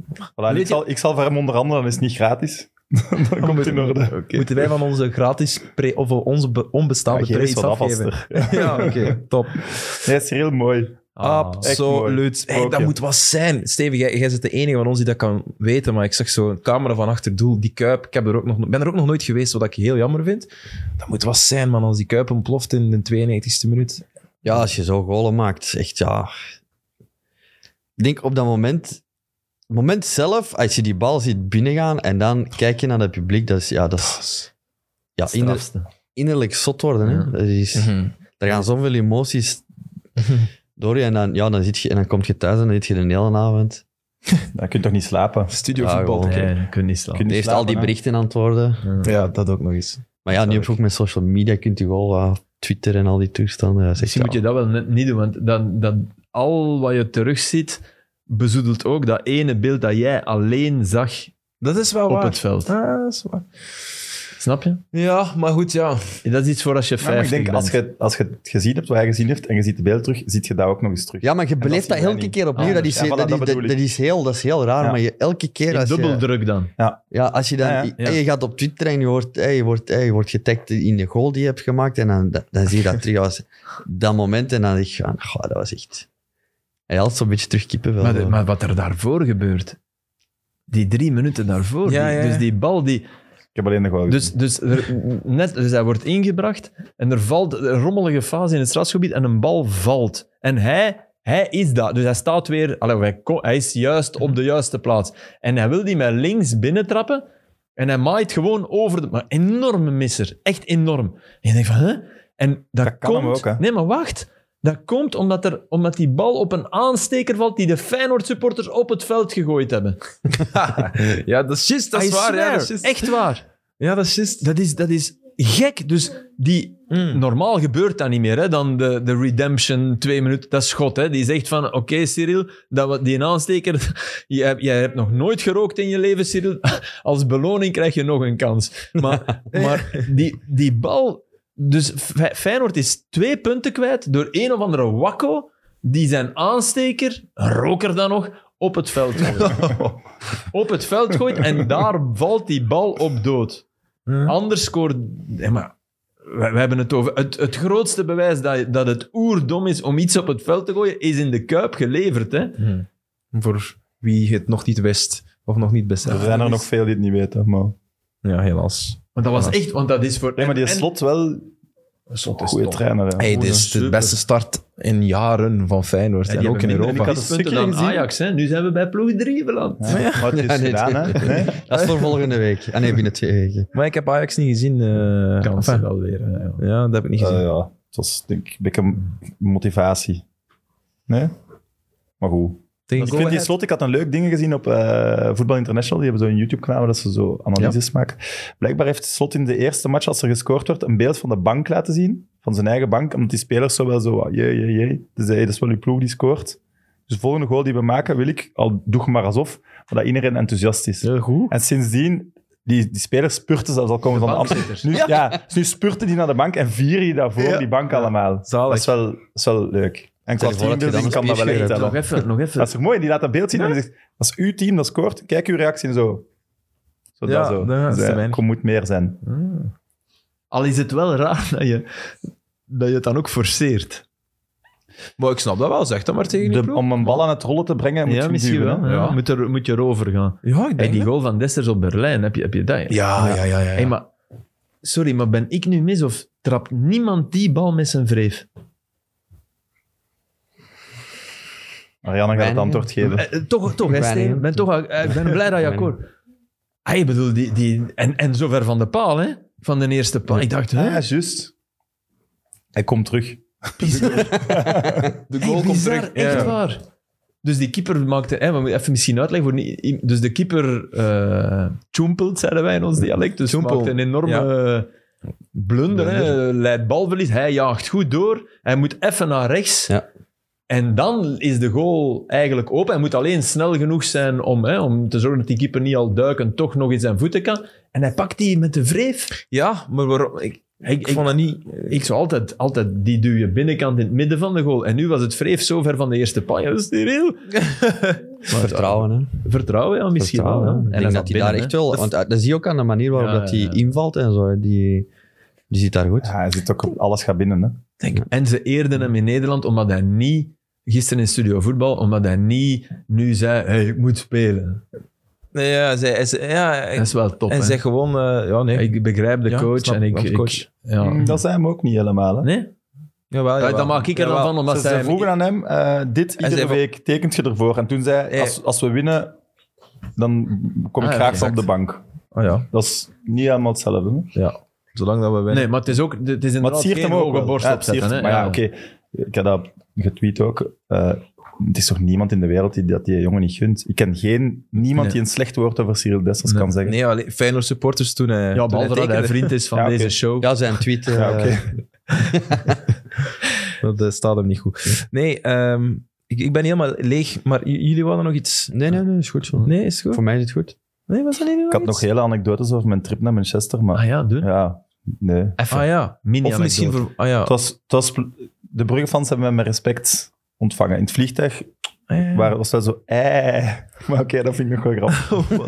Voilà,
Weet
ik,
je-
zal, ik zal voor hem onderhandelen, dat is niet gratis. dan komt het in orde.
Oh, Moeten wij van onze gratis pre- of onze be- onbestaande
Ja,
pre
geef
iets
eens wat af,
afgeven? Ja, oké, top.
Nee, het is heel mooi.
Ah,
echt mooi.
Absoluut. Hey, dat
Sprookje.
moet wat zijn. Steven, jij, jij bent de enige van ons die dat kan weten, maar ik zag zo'n camera van achter doel, die Kuip. Ik heb er ook nog, ben er ook nog nooit geweest, wat ik heel jammer vind. Dat moet wat zijn, man, als die Kuip ontploft in de 92e minuut.
Ja, als je zo golen maakt, is echt ja. Ik denk op dat moment, het moment zelf, als je die bal ziet binnengaan en dan kijk je naar het publiek, dat is, ja, dat is ja, inner- innerlijk zot worden. Hè? Dat is, Er gaan zoveel emoties door je en dan, ja, dan, zit je, en dan kom je thuis en dan zit je de hele avond.
Dan kun je toch niet slapen?
Studio
Ja,
voetbal.
gewoon.
Nee, kun niet slaan.
Kun je niet
Eerst al die
slapen, hè?
berichten antwoorden.
Ja, dat ook nog eens.
Maar ja, nu heb je ook met social media, kunt je wel eh, Twitter en al die toestanden. Dat is echt,
Misschien moet
ja.
je dat wel net niet doen, want dan, dan, al wat je terugziet, bezoedelt ook dat ene beeld dat jij alleen zag
Dat is wel
op
waar.
het veld.
Ah, dat is waar.
Snap je?
Ja, maar goed, ja.
Dat is iets voor als je
Ja, maar
50
ik denk,
bent.
als je, als je het gezien hebt, wat jij gezien hebt, en je ziet de beeld terug, ziet je dat ook nog eens terug.
Ja, maar je
dat
beleeft
zien
dat
wij
elke
niet.
keer opnieuw.
Ah,
dat, is,
ja, voilà,
dat, is,
dat
dat,
bedoel ik.
dat is heel, dat is heel raar,
Ja.
maar je, elke keer
In
als je...
dubbeldruk dan.
Ja, als je dan...
Ja, ja,
je-
ja.
hey, je gaat op Twitter en je wordt, hey, je wordt, hey, je wordt getagd in de goal die je hebt gemaakt en dan, dan, dan zie je dat terug als dat moment en dan denk je van, goh, dat was echt... Hij had zo'n beetje terugkippen wel.
Maar, de- maar wat er daarvoor gebeurt, die drie minuten daarvoor,
Ja,
die-
ja, ja.
dus die bal die...
Ik heb alleen nog wel
Dus, dus, er, net, dus hij wordt ingebracht en er valt een rommelige fase in het strafgebied en een bal valt. En hij, hij is dat. Dus hij staat weer... allee, hij, ko- hij is juist op de juiste plaats. En hij wil die met links binnentrappen en hij maait gewoon over de... Maar enorme misser. Echt enorm. En je denkt van, hè? En dat,
Dat kan hem
komt...
ook, hè?
Nee, maar wacht. Dat komt omdat, er, omdat die bal op een aansteker valt die de Feyenoord-supporters op het veld gegooid hebben.
ja, dat is juist, dat
I
is waar. Ja,
swear,
dat is juist.
Echt waar.
Ja, dat is juist.
Dat is, dat is gek. Dus die, normaal gebeurt dat niet meer. Hè? Dan de, de redemption, twee minuten, dat is God. Hè? Die zegt van, oké Cyril, dat, wat- die aansteker, jij, hebt- jij hebt nog nooit gerookt in je leven, Cyril. Als beloning krijg je nog een kans. Maar, maar die, die bal... Dus Fe- Feyenoord is twee punten kwijt door een of andere wakko die zijn aansteker, een roker dan nog, op het veld gooit. op het veld gooit en daar valt die bal op dood.
Hm?
Anders scoort... Nee, maar we, we hebben het over... Het, het grootste bewijs dat, dat het oerdom is om iets op het veld te gooien, is in de Kuip geleverd. Hè?
Hmm. Voor wie het nog niet wist of nog niet beseft.
Er zijn er nog veel die het niet weten, maar...
Ja, helaas.
Want dat was echt... Want dat is voor...
Nee, maar die
en- en-
slot wel
Slot
een
is
goede
top.
trainer. hè.
Hey, dit
Oeh,
is de
super.
beste start in jaren van Feyenoord
Ja, die
en ook in
hebben
Europa.
minder
Ik had een
punten
stukje
dan
gezien.
Ajax. Hè? Nu zijn we bij ploeg 3 beland.
Ja, Maar het is
Ja, nee,
gedaan, hè? Nee?
Dat is voor volgende week. Ah nee, binnen twee weken.
Maar ik heb Ajax niet gezien. eh enfin,
wel weer. hè, ja.
ja, dat heb ik niet gezien.
Eh, ja, het was denk ik een beetje motivatie. Nee? Maar goed.
Tegen
Ik vind die
Go
slot, ik had een leuk ding gezien op eh Voetbal International. Die hebben zo'n YouTube-kanaal dat ze zo analyses maken. Blijkbaar heeft slot in de eerste match, als er gescoord wordt, een beeld van de bank laten zien. Van zijn eigen bank. Omdat die spelers zo wel zo, wat, jee, jee, jee. Dus hey, dat is wel uw ploeg die scoort. Dus de volgende goal die we maken, wil ik, al doe je maar alsof, maar dat iedereen enthousiast is.
Heel goed.
En sindsdien, die, die spelers spurten, zelfs al komen van de
bankzitters.
andere. Nu, ja. dus nu spurten die naar de bank en vieren die daarvoor die bank allemaal.
Zalig.
Dat is wel, dat is wel leuk. En
Stel
qua
je voor dat je dan
teambuilding
een
kan dat wel echt
spierscheur hebt.
hebben.
Nog even, nog
Dat
even.
is toch mooi? Die laat dat beeld zien en die zegt, als uw team dat scoort, kijk uw reactie en zo. Zo
Ja,
dat zo.
ja, dat is
Dus,
te
eh,
weinig.
kom, moet meer zijn.
Al is het wel raar dat je, dat je het dan ook forceert.
Maar ik snap dat wel, zeg dat maar tegen die
De-
ploeg.
om een bal aan het rollen te brengen, moet je
ja,
hem
misschien
duwen,
wel.
hè.
hè.
Ja.
Moet, er, moet je erover gaan.
Ja, ik
Hey,
denk
die
dat.
goal van Desters op Berlijn, heb je, heb je dat?
Ja, ja, ja. ja, ja.
Hey, maar, sorry, maar ben ik nu mis of trapt niemand die bal met zijn wreef?
Marianne gaat het antwoord geven.
Eh, eh, toch, toch, hè,
Weinig,
Steven?
hè?
Ik ben, toch, eh, ik ben blij dat je
Weinig.
akkoord... Ah, ik bedoel, die, die, en, en zover van de paal, hè? Van de eerste paal. Ik dacht, hè?
Ja, juist. Hij komt terug.
de
Hey, bizar, echt waar. Dus die keeper maakte... Hè, we moeten even misschien uitleggen. Voor niet, i- dus de keeper eh tjoempelt, zeiden wij in ons dialect. Dus
Tjoempel.
maakte een enorme eh, blunder. Hè, leidt balverlies. Hij jaagt goed door. Hij moet even naar rechts.
Ja.
En dan is de goal eigenlijk open. Hij moet alleen snel genoeg zijn om, hè, om te zorgen dat die keeper niet al duiken, toch nog in zijn voeten kan. En hij pakt die met de wreef.
Ja, maar waarom? Ik,
Ik, ik,
vond het niet...
ik zou altijd, altijd die duw je binnenkant in het midden van de goal. En nu was het vreef zo ver van de eerste paal. Ja, dat is niet reëel.
Vertrouwen, hè.
Vertrouwen, ja, misschien
Vertrouwen,
wel.
hè.
ja.
Ik
En
denk dat hij daar
binnen,
echt
hè.
wel... Want ah, dat zie je ook aan de manier waarop
Ja,
dat hij
ja, ja.
invalt en zo. hè. Die, die zit daar goed.
Ja, hij zit ook op alles gaat binnen. Hè.
Denk, en ze eerden hem in Nederland omdat hij niet, gisteren in Studio Voetbal, omdat hij niet nu zei, hey, ik moet spelen.
Nee, ja, zij, hij zei- ja,
Dat
hij,
is wel top.
hij
hè.
zegt gewoon... eh, ja, nee.
Ik begrijp de
Ja,
coach
snap
en ik...
wel,
ik-
coach.
ja.
Mm, Dat zijn hem ook niet helemaal. Hè.
Nee?
Jawel,
Ja,
jawel.
dat maak ik er dan
Jawel.
van, omdat
ze, ze
zij...
vroegen aan hem, eh, dit
Hij
iedere
zei van-
week tekent je ervoor. En toen zei hij,
Hij-
als, als we winnen, dan kom ik
Ah, ja,
graag
exact.
op de bank.
Ah, ja.
Dat is niet helemaal hetzelfde. Hè.
Zolang dat we winnen.
Nee, maar het is ook... Het is
Maar
inderdaad
het siert
geen
hem ook
hoge
wel.
borst
Ja, het
opzetten.
siert-
hè.
Maar ja, oké. Ik had dat getweet ook. Eh, het is toch niemand in de wereld die dat die jongen niet gunt. Ik ken geen, niemand
Nee.
die een slecht woord over Cyril Dessers kan zeggen.
Nee, allee, Feyenoord supporters toen hij...
Ja,
toen hij
behalve dat hij
tekende.
vriend is van
Ja, oké.
deze show.
Ja, zijn tweet... eh,
Ja, oké.
Dat eh, staat hem niet goed. Nee, ehm, ik, ik ben helemaal leeg, maar j- jullie hadden nog iets...
Nee, nee, nee, is goed zo.
Nee, is het goed?
Voor mij is het goed.
Nee, was dat niet
Ik had nog hele anekdotes over mijn trip naar Manchester, maar
Ah ja, doen.
ja, nee.
Even.
Ah ja.
Mini
Of misschien
anekdote.
voor... Ah ja.
Het was, het was, de Bruggefans hebben mij met respect ontvangen. In het vliegtuig
Ah,
Eh,
waren, was dat zo... Eh. Maar oké, dat vind ik nog wel grappig.
Oh,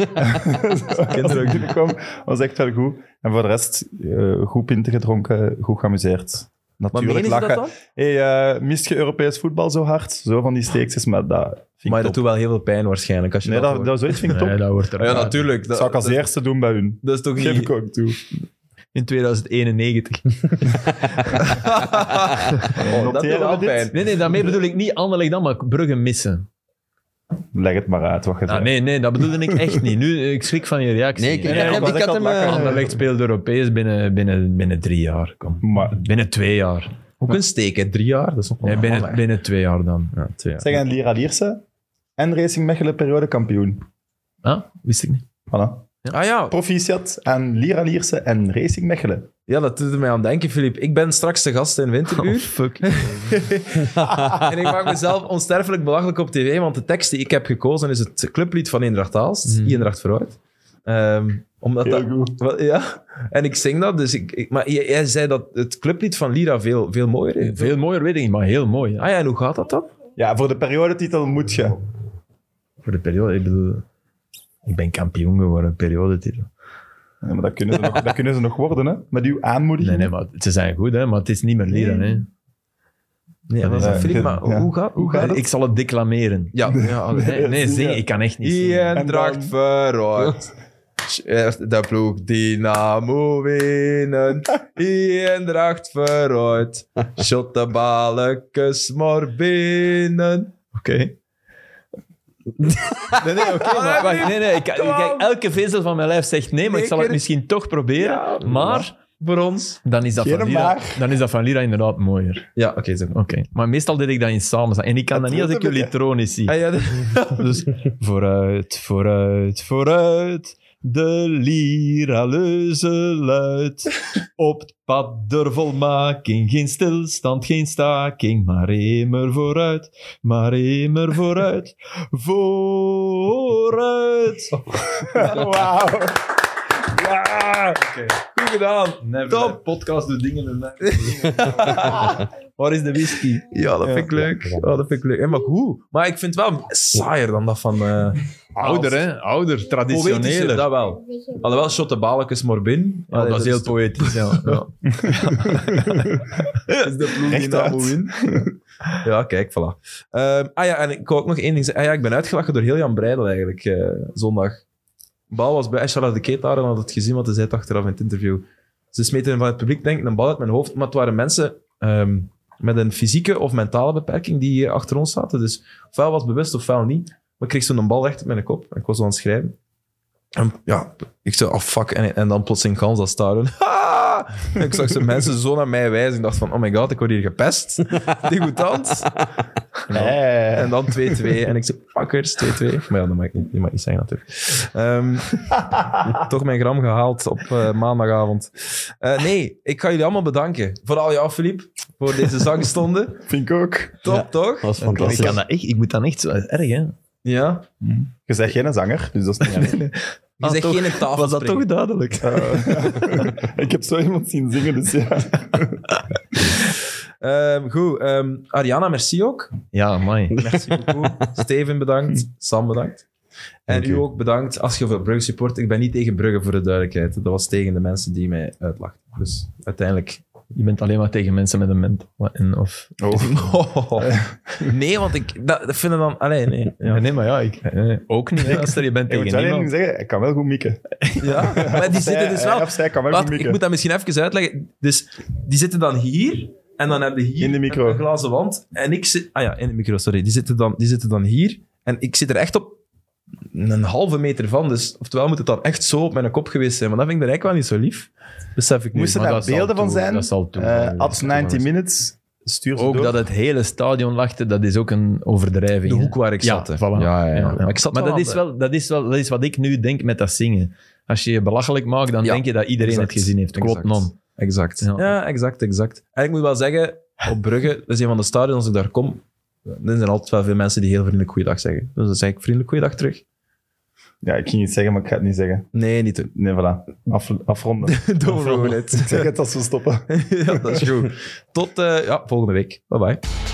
Als ik binnenkwam, was echt wel goed. En voor de rest, eh, goed pinten gedronken, goed geamuseerd.
Maar
Natuurlijk
menen ze dat
lachen.
dan?
hey, eh, mist je Europees voetbal zo hard? Zo van die steekjes, maar dat vind
Maar
ik
dat
top.
doet wel heel veel pijn waarschijnlijk. Als je
Nee,
dat
dat,
hoort.
dat, zoiets vind ik top.
Nee, dat wordt er
Ah, ja, natuurlijk.
dat zou ik als
dat, Oh,
eerste doen bij hun.
dat is toch
Geef ik
niet...
ook toe.
in 2091.
Oh, dat doet
Noteren we
wel
dit?
pijn.
Nee, nee, daarmee bedoel ik niet Anderlecht dan, maar Brugge missen.
Leg het maar uit, wat je
Ah,
zegt.
nee, nee, dat bedoelde ik echt niet. Nu, ik schrik van je reactie.
Nee, ik,
nee,
ik-
ik was
ik
echt
had
aan
hem...
het lachen.
eh,
Anderlecht speelt Europees binnen, binnen, binnen drie jaar. Kom.
Maar
Binnen twee jaar.
Ook een steek, hè. Drie jaar, dat is nog wel
Nee, binnen,
lang.
binnen twee jaar dan.
Ja, twee jaar.
zeg aan Lira Lierse en Racing Mechelen periode kampioen.
Ah, wist ik niet.
Voilà.
Ah ja,
Proficiat aan Lira Lierse en Racing Mechelen.
ja, dat doet er mij aan denken, Filip. Ik ben straks de gast in Winteruur.
Oh, fuck.
en ik maak mezelf onsterfelijk belachelijk op tv, want de tekst die ik heb gekozen is het clublied van Eendracht Aalst,
Hmm.
Eendracht vooruit. Ehm, omdat dat,
goed.
wel, ja, en ik zing dat, dus ik, ik- maar jij, jij zei dat het clublied van Lira veel, veel mooier is.
Veel mooier weet ik niet, maar heel mooi.
Ah ja, en hoe gaat dat dan?
Ja, voor de periodetitel moet je.
Voor de periode, ik bedoel... Ik ben kampioen geworden, periodetitel.
Ja, maar dat kunnen, ze nog, dat kunnen ze nog worden, hè? Met uw aanmoediging.
Nee, nee, maar ze zijn goed, hè, maar het is niet meer leren. Hè.
Nee, dat
is
is
een-
Filip, maar
ja.
hoe, gaat, hoe gaat het?
Ik zal het declameren.
Ja, ja
Nee, nee,
zie je.
zingen, ik kan echt niet zingen.
Eendracht verrooid. De ploeg Dynamo winnen. Eendracht verrooid. Shot de balletjes maar binnen.
Oké. nee, nee, oké,
Ah,
maar wacht, nee, nee, ik, ik- kijk, elke vezel van mijn lijf zegt nee, maar ik zal het
Zeker.
misschien toch proberen. maar
Voor ons.
dan is, dat
Geen
van Lira,
maar.
dan is dat van Lira inderdaad mooier.
Ja, oké. zeg
Oké.
maar.
Maar meestal deed ik dat in samen. En ik kan dat,
Dat
niet als ik
wilde
jullie
ik,
tronisch zie.
Ah, ja,
Dus vooruit, vooruit, vooruit. De lira leuze luid. Op het pad der volmaking. Geen stilstand, geen staking. Maar immer vooruit, maar immer vooruit. Vooruit.
Wauw. Ja.
goed gedaan.
Top. Podcast doet dingen met Oh, mij. Waar is de whisky?
Ja, dat vind ik leuk. Ja, dat vind ik leuk. Hé, maar hoe? Maar ik vind het wel saaier dan dat van... eh
Ouder, hè? Ouder,
Poëtischer,
traditioneler.
dat wel. Alhoewel, shot de balletjes maar binnen.
Ja, Ah, dat is heel poëtisch, ja. ja.
is de ploeg
Recht uit.
ja, kijk, voilà. Ehm, ah ja, en ik wou ook nog één ding zeggen. Ah ja, ik ben uitgelachen door heel Jan Breidel eigenlijk, eh, zondag. De bal was bij Eshala de Keetaar en had het gezien, want hij zei het achteraf in het interview. Ze smeten hem van het publiek, denk ik, een bal uit mijn hoofd. Maar het waren mensen ehm, met een fysieke of mentale beperking die hier achter ons zaten. Dus ofwel was het bewust, ofwel niet. Maar ik kreeg zo'n bal echt op mijn kop. En ik was aan het schrijven. En ja, ik zei, oh fuck. En, en dan plotseling gans dat staren. Ah! En ik zag ze mensen zo naar mij wijzen. Ik dacht van, oh my god, ik word hier gepest. Degoutant.
Eh.
En dan 2-2. En ik zei, fuckers, 2-2. Maar ja, dat mag ik niet, dat mag ik niet zeggen natuurlijk. Ehm, toch mijn gram gehaald op eh, maandagavond. Eh, nee, ik ga jullie allemaal bedanken. Vooral jou, Filip, voor deze zangstonden.
Vind ik ook.
Top, toch?
Dat was
Ik,
fantastisch.
kan dat echt, ik moet dan echt zo... Erg, hè?
Ja. Ah,
Je bent geen zanger, dus dat is niet erg.
Je zegt
Ah, toch?
geen tafel.
Was dat toch duidelijk?
Eh, ik heb zo iemand zien zingen, dus ja.
Ehm, goed, ehm, Ariana, merci ook.
Ja, mooi.
Merci beaucoup. Steven, bedankt. Sam, bedankt. En
Dank
u
u.
ook bedankt als je voor Brugge support. Ik ben niet tegen Brugge voor de duidelijkheid. Dat was tegen de mensen die mij uitlachten. Dus uiteindelijk.
Je bent alleen maar tegen mensen met een ment. En Of...
Oh,
Nee, want ik dat, dat vinden dan. Allee, nee. Ja.
Nee, maar ja, ik, eh, ook niet. hè, Als er, je bent
Ik
tegen
moet alleen
niemand.
zeggen, ik kan wel goed mikken.
Ja, maar die zitten dus
Hij
wel.
of zij kan wel goed
Wacht, ik
mikken.
moet dat misschien even uitleggen. Dus die zitten dan hier. En dan hebben hier
In de micro.
Een, een glazen wand. En ik zit. Ah ja, in de micro, sorry. Die zitten, dan, die zitten dan hier. En ik zit er echt op een halve meter van. Dus oftewel moet het dan echt zo op mijn kop geweest zijn. Maar dat vind ik er eigenlijk wel niet zo lief. Besef ik nu.
Moesten
maar
daar
dat zal
beelden van
toe-
zijn?
dat zal toe-
Eh,
dat
At
zal
90
toe-
minutes, stuur ze
Ook
door.
dat het hele stadion lachte, dat is ook een overdrijving.
de
hè.
hoek waar ik
Ja,
zat. hè.
voilà.
Ja, ja, ja. Maar, ik zat
maar dat,
aan
is
de-
wel, dat, is wel, dat is wat ik nu denk met dat zingen. Als je je belachelijk maakt, dan
Ja,
denk je dat iedereen
exact.
het gezien heeft. Klopt,
Exact.
non.
Exact. Ja.
Ja.
exact, exact. En ik moet wel zeggen, op Brugge, dat is een van de stadions, als ik daar kom, er zijn altijd wel veel mensen die heel vriendelijk goeiedag zeggen. Dus dan zeg ik vriendelijk goeiedag terug.
Ja, ik ging iets zeggen, maar ik ga het niet zeggen.
Nee, niet doen.
Nee, voilà. Af, afronden.
Don't ruin it.
ik zeg het als we stoppen.
ja, dat is goed. Tot eh, ja, volgende week. Bye bye.